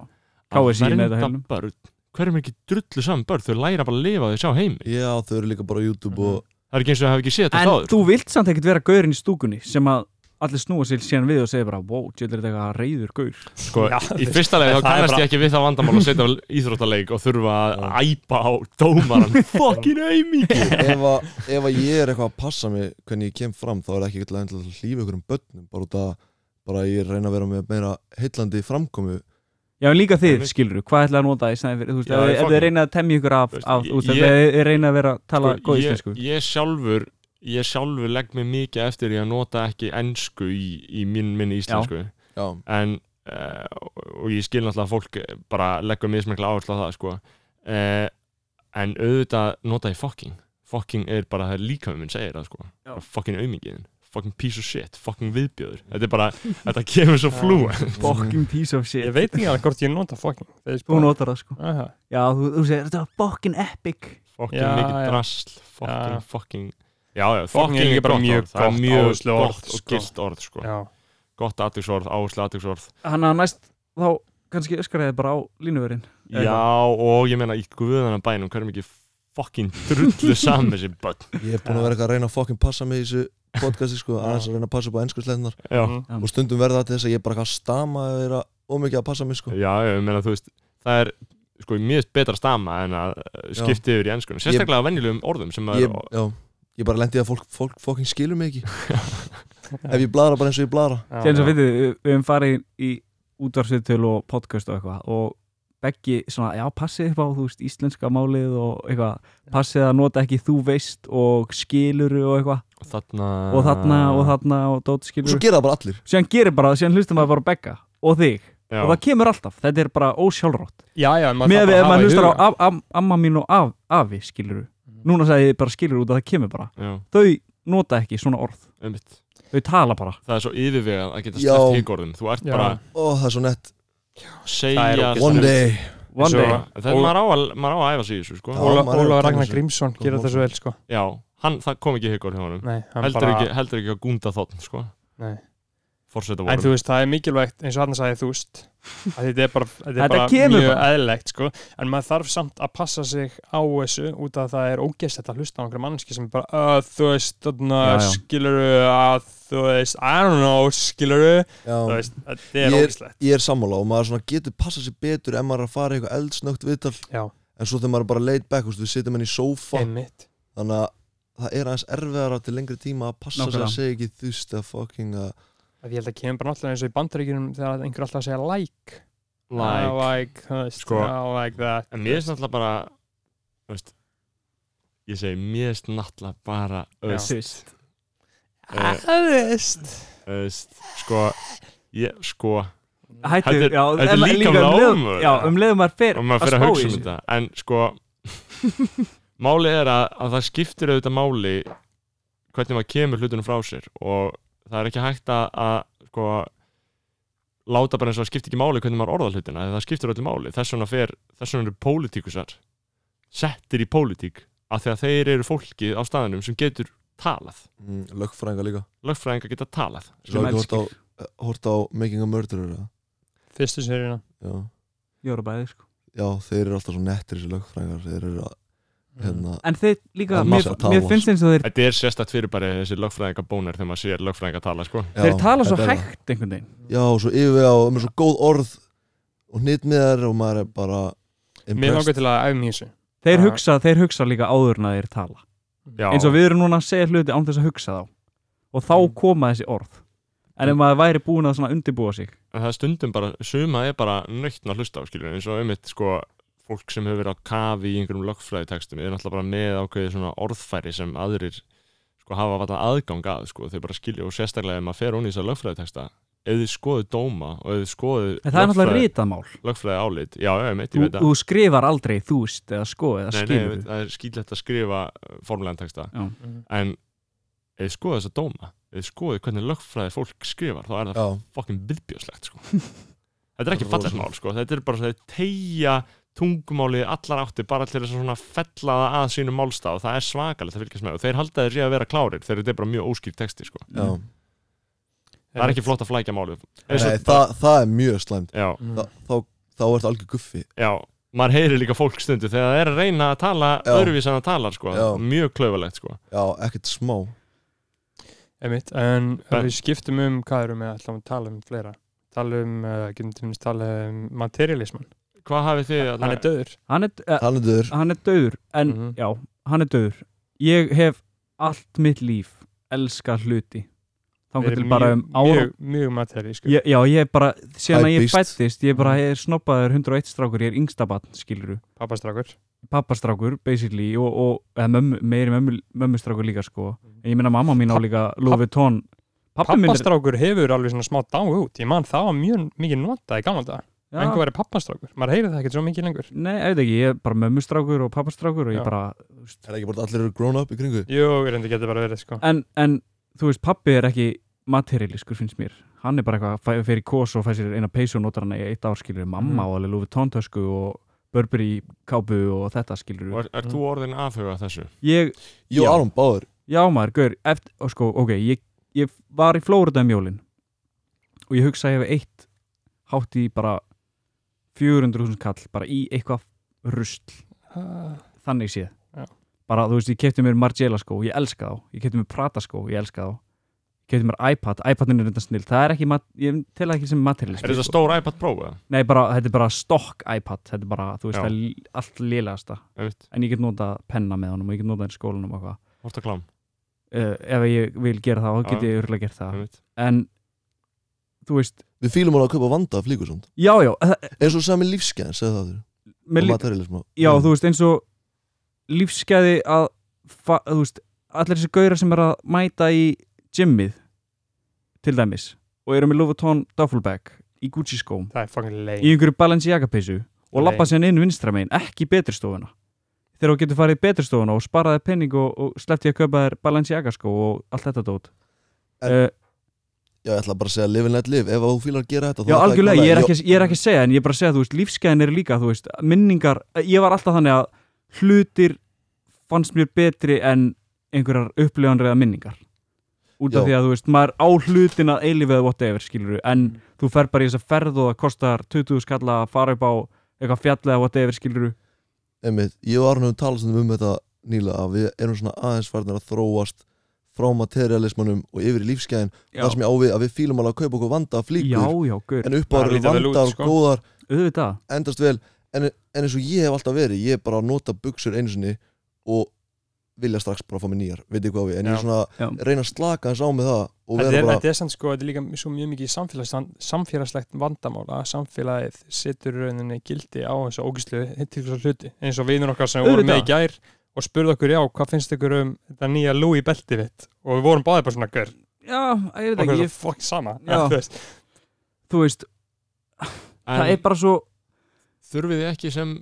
[SPEAKER 5] KSÍ
[SPEAKER 1] að
[SPEAKER 5] með þetta á
[SPEAKER 1] vernda
[SPEAKER 5] heilanum.
[SPEAKER 1] börn hverjum er ekki drullu saman börn þau læra bara að lifa þau sjá heimi
[SPEAKER 4] Já, þau eru líka bara á YouTube
[SPEAKER 2] Mhm.
[SPEAKER 4] og
[SPEAKER 1] það er ekki eins og þau hafi ekki séð þetta
[SPEAKER 5] en
[SPEAKER 1] þáður
[SPEAKER 5] þú vilt samt ekkert vera gaurinn í stúkunni sem að allir snúa sér síðan við og segja bara wow, djöld er þetta eitthvað reyður gaur
[SPEAKER 1] sko,
[SPEAKER 2] Já,
[SPEAKER 1] í
[SPEAKER 2] veist,
[SPEAKER 1] fyrsta leið
[SPEAKER 2] en
[SPEAKER 1] þá
[SPEAKER 2] það er
[SPEAKER 1] kannast
[SPEAKER 2] bara-
[SPEAKER 1] ég ekki við það vandamál að setja á íþróttaleik og þurfa að æpa á Sko, dómaran fucking aumingi
[SPEAKER 4] ef, að, ef að ég er eitthvað að passa mig hvernig ég kem fram þá er ekki eitthvað endilega til að hlýfa ykkur um börnum bara út að bara ég reyna að vera með meira heillandi framkomu
[SPEAKER 5] já, en líka
[SPEAKER 1] Nei,
[SPEAKER 5] þið,
[SPEAKER 1] við-
[SPEAKER 5] skilur hvað ætlaði að nota í stæðin fyrir, þú veist,
[SPEAKER 1] Já,
[SPEAKER 5] ef-
[SPEAKER 1] ég
[SPEAKER 5] ef
[SPEAKER 1] fagna.
[SPEAKER 5] þið reyna að temja ykkur af,
[SPEAKER 1] Þú veist,
[SPEAKER 5] af þú veist,
[SPEAKER 1] ég-
[SPEAKER 5] ef þið reyna að vera að tala
[SPEAKER 1] Sko,
[SPEAKER 5] góð
[SPEAKER 1] ég-
[SPEAKER 5] íslensku
[SPEAKER 1] ég sjálfur ég sjálfur legg mig mikið eftir í að nota ekki ennsku í, í minn minni íslensku
[SPEAKER 4] Já,
[SPEAKER 1] en uh, og ég skil náttúrulega að fólk bara leggur mismikla áherslu á það sko. uh, en auðvitað nota ég fucking fucking er bara það er líka minn segir það sko.
[SPEAKER 5] Já.
[SPEAKER 1] Bara fucking aumingiðin, fucking piece of shit fucking viðbjöður, þetta er bara þetta kemur svo
[SPEAKER 2] Já.
[SPEAKER 1] flúa
[SPEAKER 5] fucking piece of shit
[SPEAKER 2] ég veit ekki alveg hvort ég nota fucking það er
[SPEAKER 5] þú notar það sko
[SPEAKER 2] Aha,
[SPEAKER 5] já, þú, þú segir, þetta var fucking epic
[SPEAKER 1] fucking
[SPEAKER 2] Já,
[SPEAKER 1] mikið
[SPEAKER 2] já.
[SPEAKER 1] drasl fucking,
[SPEAKER 2] Já.
[SPEAKER 1] fucking já, já,
[SPEAKER 2] Fucking er líka bara
[SPEAKER 1] gott
[SPEAKER 2] mjög
[SPEAKER 1] orð, það er
[SPEAKER 2] gott
[SPEAKER 1] mjög
[SPEAKER 2] áherslu orð,
[SPEAKER 1] gott og
[SPEAKER 2] sko.
[SPEAKER 1] gilt orð sko.
[SPEAKER 2] já,
[SPEAKER 1] gott aðtöksorð, áherslu aðtöksorð
[SPEAKER 5] hann að næst þá kannski öskaraði bara á línuverinn Eða
[SPEAKER 1] já, og ég meina í guðana bænum hverju mikið fucking drullu saman þessi börn
[SPEAKER 4] ég er búin að vera eitthvað að reyna að fokkin passa mig í þessu podcasti sko, aðeins að reyna að passa upp á ennsku slendunar
[SPEAKER 1] já,
[SPEAKER 2] Mhm.
[SPEAKER 5] Mm.
[SPEAKER 4] og stundum verða það til þess að ég er bara eitthvað að stama að vera ómikið að passa mig sko
[SPEAKER 1] Já, já, ég meina þú veist það er sko mjög betra að stama en að eh,
[SPEAKER 4] Já.
[SPEAKER 1] skipta yfir í ennskunum sérstaklega á venjulegum orðum sem að
[SPEAKER 4] ég, já, ég bara lendi í að fólk, fólk fokkin skilur mig ekki ef ég blara bara eins og ég blara
[SPEAKER 5] Sér eins og
[SPEAKER 1] já.
[SPEAKER 5] við við höfum farið í útvarsviðtölu og podcast og eitthvað og beggi svona, já passið upp á þú veist íslenska málið og eitthvað passið að nota ekki þú veist og skiluru og eitthvað
[SPEAKER 1] og þarna
[SPEAKER 5] og þarna
[SPEAKER 1] Ah.
[SPEAKER 5] og þarna og dót
[SPEAKER 4] og svo
[SPEAKER 5] skiluru
[SPEAKER 4] gera það bara allir
[SPEAKER 5] síðan gerir bara, síðan hlustum maður bara á begga og þig
[SPEAKER 1] já,
[SPEAKER 5] og það kemur alltaf, þetta er bara ósjálfrátt
[SPEAKER 2] já, já, en
[SPEAKER 5] með
[SPEAKER 2] þarf bara
[SPEAKER 5] að
[SPEAKER 2] hafa
[SPEAKER 5] ef
[SPEAKER 2] í
[SPEAKER 5] maður hlustar á
[SPEAKER 2] huga.
[SPEAKER 5] af, af, amma mín og af, afi skiluru núna sagði ég bara skiluru út að það kemur bara
[SPEAKER 1] já,
[SPEAKER 5] þau nota ekki svona orð,
[SPEAKER 1] einmitt.
[SPEAKER 5] þau tala bara
[SPEAKER 1] það er svo yfirvegað að geta
[SPEAKER 4] Já.
[SPEAKER 1] sleppt híkorðum þú ert
[SPEAKER 2] Já.
[SPEAKER 1] bara
[SPEAKER 4] og það er svo nett,
[SPEAKER 1] að segja
[SPEAKER 2] ógeðslega-
[SPEAKER 4] one day
[SPEAKER 5] one
[SPEAKER 2] Svo-
[SPEAKER 5] day,
[SPEAKER 1] það er maður á að, maður á að æfa sig í þessu sko.
[SPEAKER 4] Já.
[SPEAKER 1] já,
[SPEAKER 2] Óla-
[SPEAKER 4] maður er að
[SPEAKER 2] Ólafur
[SPEAKER 4] taka
[SPEAKER 2] Ragnar
[SPEAKER 4] þessu.
[SPEAKER 2] Grímsson gerir
[SPEAKER 4] Tók
[SPEAKER 2] þetta svo vel sko
[SPEAKER 1] hann, það kom ekki híkorð hjá honum
[SPEAKER 2] Nei, hann
[SPEAKER 1] heldur,
[SPEAKER 2] bara,
[SPEAKER 1] ekki, heldur ekki að gunda þotn sko.
[SPEAKER 2] Nei.
[SPEAKER 1] forseta
[SPEAKER 2] en
[SPEAKER 1] vorum
[SPEAKER 2] þú veist, það er mikilvægt eins og hann sagði þú veist að þetta er bara, þetta
[SPEAKER 5] Þetta
[SPEAKER 2] er bara
[SPEAKER 5] kemur
[SPEAKER 2] mjög
[SPEAKER 5] bara.
[SPEAKER 2] eðlilegt sko. en maður þarf samt að passa sig á þessu út af að það er ógeðslegt að hlusta á einhverja mannski sem er bara, uh, þú veist þarna,
[SPEAKER 5] Já, já.
[SPEAKER 2] skiluru að þú veist, I don't know, skiluru þú
[SPEAKER 4] Já,
[SPEAKER 2] veist, þetta er
[SPEAKER 4] Ég-
[SPEAKER 2] ógeðslegt
[SPEAKER 4] ég er sammála og maður svona getur passað sér betur ef maður er að fara í eitthvað eldsnögt viðtal
[SPEAKER 2] já,
[SPEAKER 4] en svo þegar maður er bara laid back, þú veist, við sitjum henni í
[SPEAKER 2] sko.
[SPEAKER 4] sófa
[SPEAKER 2] einmitt
[SPEAKER 4] þannig að það er aðeins erfiðara til lengri tíma að passa sér
[SPEAKER 5] Nákvæmlega.
[SPEAKER 4] að segja ekki þú veist að fucking að
[SPEAKER 2] að ég held að kemur bara náttúrulega eins og í bandaríkjunum þegar einhver alltaf að segja like I
[SPEAKER 1] like,
[SPEAKER 2] like, þú veist,
[SPEAKER 1] Sko.
[SPEAKER 2] I like that
[SPEAKER 1] en mér er náttúrulega bara þú veist, ég segi mér er náttúrulega bara öst,
[SPEAKER 5] Sist.
[SPEAKER 1] eh,
[SPEAKER 2] Ah, Þú veist
[SPEAKER 1] öst, sko ég, sko og
[SPEAKER 5] Hættu,
[SPEAKER 1] Þetta er-
[SPEAKER 5] já,
[SPEAKER 1] þetta er
[SPEAKER 5] en
[SPEAKER 1] líka
[SPEAKER 5] um leið-
[SPEAKER 1] námur.
[SPEAKER 5] Já, um leiðum maður fer
[SPEAKER 1] maður fyrir að
[SPEAKER 5] spá í
[SPEAKER 1] hugsa um
[SPEAKER 5] þessu.
[SPEAKER 1] þetta en sko máli er að, að það skiptir auðvitað máli hvernig maður kemur hlutunum frá sér og það er ekki hægt að, að sko láta bara eins og það skiptir ekki máli hvernig maður orðar hlutina því það skiptir öllu máli, þess vegna fer þess vegna eru pólitíkusar settir í pólitík af því að þeir eru fólkið á staðinum sem getur talað
[SPEAKER 4] mm, lögfræðinga líka
[SPEAKER 1] lögfræðinga geta talað
[SPEAKER 5] Sem
[SPEAKER 4] Svo ekki hort á,
[SPEAKER 5] elskir.
[SPEAKER 4] hort á Making a Murderer eða?
[SPEAKER 2] fyrstu sérina
[SPEAKER 4] já.
[SPEAKER 5] Ég voru bæði, sko
[SPEAKER 4] já, þeir eru alltaf svo nettir þessi lögfræðingar þeir eru að,
[SPEAKER 5] Mm.
[SPEAKER 4] hérna
[SPEAKER 5] En þeir líka,
[SPEAKER 4] Það má
[SPEAKER 5] mér,
[SPEAKER 4] samt tala,
[SPEAKER 5] mér finnst eins og þeir
[SPEAKER 1] Þetta er sérstætt fyrir bara þessi lögfræðinga bónir þegar maður sér lögfræðinga tala sko.
[SPEAKER 4] já,
[SPEAKER 5] Þeir tala svo
[SPEAKER 4] þetta er það.
[SPEAKER 5] hægt einhvern veginn
[SPEAKER 4] já, svo yfir á, um svo góð orð og hnýtt með þær og maður er bara
[SPEAKER 2] mér langar
[SPEAKER 4] impressed
[SPEAKER 2] til að æfa mig í þessu
[SPEAKER 5] Þeir
[SPEAKER 2] Já.
[SPEAKER 5] hugsa, þeir hugsa líka áður en að þeir tala
[SPEAKER 1] Já,
[SPEAKER 5] eins og við erum núna að segja hluti án þess að hugsa þá og þá
[SPEAKER 2] Mm.
[SPEAKER 5] koma þessi orð en
[SPEAKER 4] Mm.
[SPEAKER 5] ef maður væri búin að svona undirbúa sig
[SPEAKER 1] en það er stundum bara, suma er bara nöytn að hlusta á skilur, eins og einmitt sko fólk sem hefur verið á kafi í einhverjum lögfræðitekstum er náttúrulega bara með ákveðið svona orðfæri sem aðrir sko hafa vata aðgang að sko, þau bara skilja og sérstaklega ef maður fer hún í þessar lögfræðiteksta ef þið skoðu dóma og ef þið skoðu
[SPEAKER 5] en það er náttúrulega ritað mál
[SPEAKER 1] lögfræði álit, já, já, ég veit,
[SPEAKER 5] þú,
[SPEAKER 1] ég veit að
[SPEAKER 5] þú skrifar aldrei þú veist eða sko eða
[SPEAKER 1] Nei, nei, ég
[SPEAKER 5] skilur
[SPEAKER 1] veit, það er skýtlegt að skrifa formulegan texta
[SPEAKER 5] Já.
[SPEAKER 2] Mhm.
[SPEAKER 1] en ef þið skoðu þessa dóma ef þið skoðu hvernig lögfræði fólk skrifar þá er það
[SPEAKER 4] já,
[SPEAKER 1] fokkin viðbjöðslegt sko. þetta er ekki
[SPEAKER 4] Rosalegt.
[SPEAKER 1] fallegt mál sko. þetta er bara svona þeir tegja tungumálið í allar átti bara til þess að svona fella það að sínum málstað og það er svakalegt að fylgjast með og þeir halda þeir sé að vera klárir þegar þetta er bara mjög óskýrt texti sko.
[SPEAKER 4] já
[SPEAKER 5] Mm.
[SPEAKER 1] það er ekki flott að flækja málið Eins og-
[SPEAKER 4] Nei, það, það er mjög slæmt
[SPEAKER 1] já,
[SPEAKER 2] Mm.
[SPEAKER 4] Þa, þá, þá er það algjör guffi
[SPEAKER 1] já, maður heyrir líka fólk stundu þegar það er að reyna að tala
[SPEAKER 4] Já.
[SPEAKER 1] öðruvís en það talar sko.
[SPEAKER 4] Já.
[SPEAKER 1] mjög klauvalegt sko.
[SPEAKER 4] já, ekkert smá
[SPEAKER 2] Einmitt, en ef
[SPEAKER 1] Ben.
[SPEAKER 2] við skiptum um hvað erum við ætlum að tala um fleira tala um, uh, getum til dæmis tala um materialisman,
[SPEAKER 1] hvað hafið þið
[SPEAKER 2] hann er döður
[SPEAKER 5] hann, er, eh,
[SPEAKER 4] talendur,
[SPEAKER 5] hann er döður en
[SPEAKER 2] Mhm.
[SPEAKER 5] já, hann er döður ég hef allt mitt líf elska hluti þá
[SPEAKER 2] Við
[SPEAKER 5] getur
[SPEAKER 2] erum
[SPEAKER 5] bara
[SPEAKER 2] mjög-
[SPEAKER 5] um ára
[SPEAKER 2] mjög, mjög sko, materialísku
[SPEAKER 5] ég, já, ég er bara, síðan að ég
[SPEAKER 4] Typist.
[SPEAKER 5] fættist ég
[SPEAKER 2] Mhm.
[SPEAKER 5] bara, ég er snoppaður 101 strákur ég er yngstabann, skilur
[SPEAKER 2] pappastrákur
[SPEAKER 5] pappastrákur basically og, og eða mömmu, meiri mömmu, mömmustrákur líka sko en ég minna mamma mín á
[SPEAKER 2] Mhm. Papp-
[SPEAKER 5] líka Louis Vuitton pappi minn er
[SPEAKER 2] pappastrákur hefur alveg svona smá dáu út ég man það var mjög mikið notað í gamla dag
[SPEAKER 5] Já,
[SPEAKER 2] einhver væri pappastrákur, maður heyri það ekkert svo mikið lengur
[SPEAKER 5] nei, ég veit ekki, ég er bara mömmustrákur og pappastrákur og ég
[SPEAKER 2] Já.
[SPEAKER 5] bara
[SPEAKER 4] er ekki bara allir eru grown up í kringu
[SPEAKER 2] jú, reyndi getur bara verið sko
[SPEAKER 5] en, en þú veist, pappi er ekki materialiskur finnst mér hann er bara eitthvað, fæ- fer í kos og fæ sér eina peysu og notar hann í eitt ár skilur mamma
[SPEAKER 2] Mhm.
[SPEAKER 5] og alveg Louis Vuitton tösku og Burberry kápu og þetta skilur
[SPEAKER 1] er, er þú orðin aðhuga þessu
[SPEAKER 5] ég,
[SPEAKER 4] Jó,
[SPEAKER 5] Já.
[SPEAKER 4] Aron Báður
[SPEAKER 5] Já maður, gaur, eftir, og sko, ok, ég, ég var í Flórida um jólin og ég hugsa að ég hef eitt hátt í bara 400.000 kall, bara í eitthvað rusl, Ah. þannig séð
[SPEAKER 2] Já.
[SPEAKER 5] bara, þú veist, ég kefti mér Margiela skó, ég elska þá, ég kefti mér Prata skó, ég elska þá ég kefti mér iPad, iPadin er reynda snill það er ekki, mat- ég tel það ekki sem materialist
[SPEAKER 1] er þetta stór iPad Pro eða?
[SPEAKER 5] Nei, bara, þetta er bara stokk iPad, þetta er bara, þú veist,
[SPEAKER 1] Já.
[SPEAKER 5] það er l- allt liðlegasta
[SPEAKER 1] Einmitt.
[SPEAKER 5] en ég get notað penna með honum og ég get notað hann í skólanum og eitthvað
[SPEAKER 1] Horta klám
[SPEAKER 5] uh, ef ég vil gera það, þá
[SPEAKER 1] Já,
[SPEAKER 5] get ég örgulega gert það
[SPEAKER 1] einmitt.
[SPEAKER 5] en þú veist,
[SPEAKER 4] Við fýlum hann að kaupa vanda af flíkusund
[SPEAKER 5] já, já það-
[SPEAKER 4] eins og sami lífskeðin, segðu það þér
[SPEAKER 5] með,
[SPEAKER 4] og
[SPEAKER 5] lí-
[SPEAKER 4] materialism
[SPEAKER 5] já, þú veist, eins og lífsgæði að fa, þú veist, allir þessi gaurar sem er að mæta í gymmið til dæmis og eru með Lovatón Duffelbag í Gucci skóm,
[SPEAKER 2] það er fangin
[SPEAKER 5] í
[SPEAKER 2] leið
[SPEAKER 5] einhverju Balenciaga peysu
[SPEAKER 2] Nei.
[SPEAKER 5] og lappa sér inn vinstra megin, ekki í betri stofuna þegar þú getur farið í betri stofuna og sparaði penning og, og sleppti að kaupa þér Balenciaga skó og allt þetta dót
[SPEAKER 4] En-
[SPEAKER 5] uh,
[SPEAKER 4] Já, ég ætla bara að segja live and let live ef þú fýlar að gera þetta
[SPEAKER 5] Já,
[SPEAKER 4] þá er það
[SPEAKER 5] algjörlega,
[SPEAKER 4] ekki
[SPEAKER 5] ég er,
[SPEAKER 4] málega.
[SPEAKER 5] ekki, ég er ekki að segja en ég er bara að segja, þú veist, lífsgæðin eru líka þú veist, minningar, ég var alltaf þannig að hlutir fannst mér betri en einhverjar upplifanir eða minningar út af
[SPEAKER 4] Já.
[SPEAKER 5] því að þú veist, maður á hlutin að eilífið eða whatever, skilur en
[SPEAKER 2] Mm.
[SPEAKER 5] þú fer bara í þess að ferð og það kostar 20 skalla að fara upp á eitthvað fjall eða whatever, skilur
[SPEAKER 4] einmitt, ég og Arnum tala stundum um þetta nýlega að við erum svona aðeins farnir að þróast frá materialismanum og yfir í lífskeiðin
[SPEAKER 5] Já.
[SPEAKER 4] það sem ég á við að við fílum alveg að kaupa okkur vanda af flíkur
[SPEAKER 5] Já, já, gaur,
[SPEAKER 4] en
[SPEAKER 2] Það
[SPEAKER 4] uppáður eru
[SPEAKER 2] lítur vel út,
[SPEAKER 4] vandar og
[SPEAKER 2] sko.
[SPEAKER 4] góðar
[SPEAKER 5] auðvitað
[SPEAKER 4] endast vel en, en eins og ég hef alltaf verið, ég er bara að nota buksur einu sinni og vilja strax bara fá mér nýjar, veit ég hvað við en ég
[SPEAKER 2] Já.
[SPEAKER 4] er svona
[SPEAKER 5] Já.
[SPEAKER 4] að reyna að slaka hans á með það og
[SPEAKER 2] Þetta
[SPEAKER 4] vera
[SPEAKER 2] er,
[SPEAKER 4] bara,
[SPEAKER 2] þetta er samt sko, þetta er líka svo mjög mikið samfélags, samfélagslegt vandamál að samfélagið setur rauninni gildi á þessu ógíslu til þessu hluti eins og vinur okkar sem voru
[SPEAKER 5] Auðvitað.
[SPEAKER 2] með í gær og spurði okkur já, hvað finnst ykkur um þetta nýja Louis belti þitt og við vorum báðið bara svona gör
[SPEAKER 5] Já, ég veit
[SPEAKER 2] okkur
[SPEAKER 5] ekki,
[SPEAKER 2] er
[SPEAKER 5] ég,
[SPEAKER 2] svo fokk sama
[SPEAKER 5] Já.
[SPEAKER 2] Þú veist,
[SPEAKER 5] þú veist, það er bara svo
[SPEAKER 1] þurfið þið ekki sem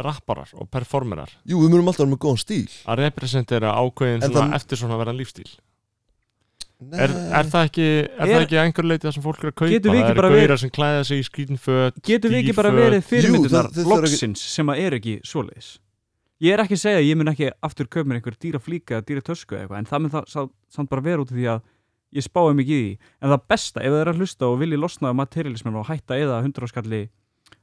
[SPEAKER 1] rapparar og performerar
[SPEAKER 4] jú, við munum alltaf vera með góðan stíl
[SPEAKER 1] að representera ákveðin
[SPEAKER 4] En
[SPEAKER 1] svona
[SPEAKER 4] það-
[SPEAKER 1] eftir svona verðan lífstíl
[SPEAKER 4] Nei,
[SPEAKER 1] er, er það ekki, er
[SPEAKER 5] Er-
[SPEAKER 1] það ekki einhver leiti það sem fólk er að kaupa
[SPEAKER 5] Getum við
[SPEAKER 1] það
[SPEAKER 5] ekki
[SPEAKER 1] eru
[SPEAKER 5] bara
[SPEAKER 1] gauðar sem klæða sig í skýtinföt
[SPEAKER 5] getum við ekki bara
[SPEAKER 1] Dýrföt.
[SPEAKER 5] verið fyrirmyndunar
[SPEAKER 4] Jú, það- það þarf ekki-
[SPEAKER 5] loksins sem að er ekki svoleiðis ég er ekki að segja að ég mun ekki aftur köpa mér einhver dýra flíka eða dýra tösku eða eitthvað en það mun það sá- samt bara vera út af því að ég spáði mikið í því en það besta ef það er að hlusta og vilji losna á materialismin og hætta eða hundraskalli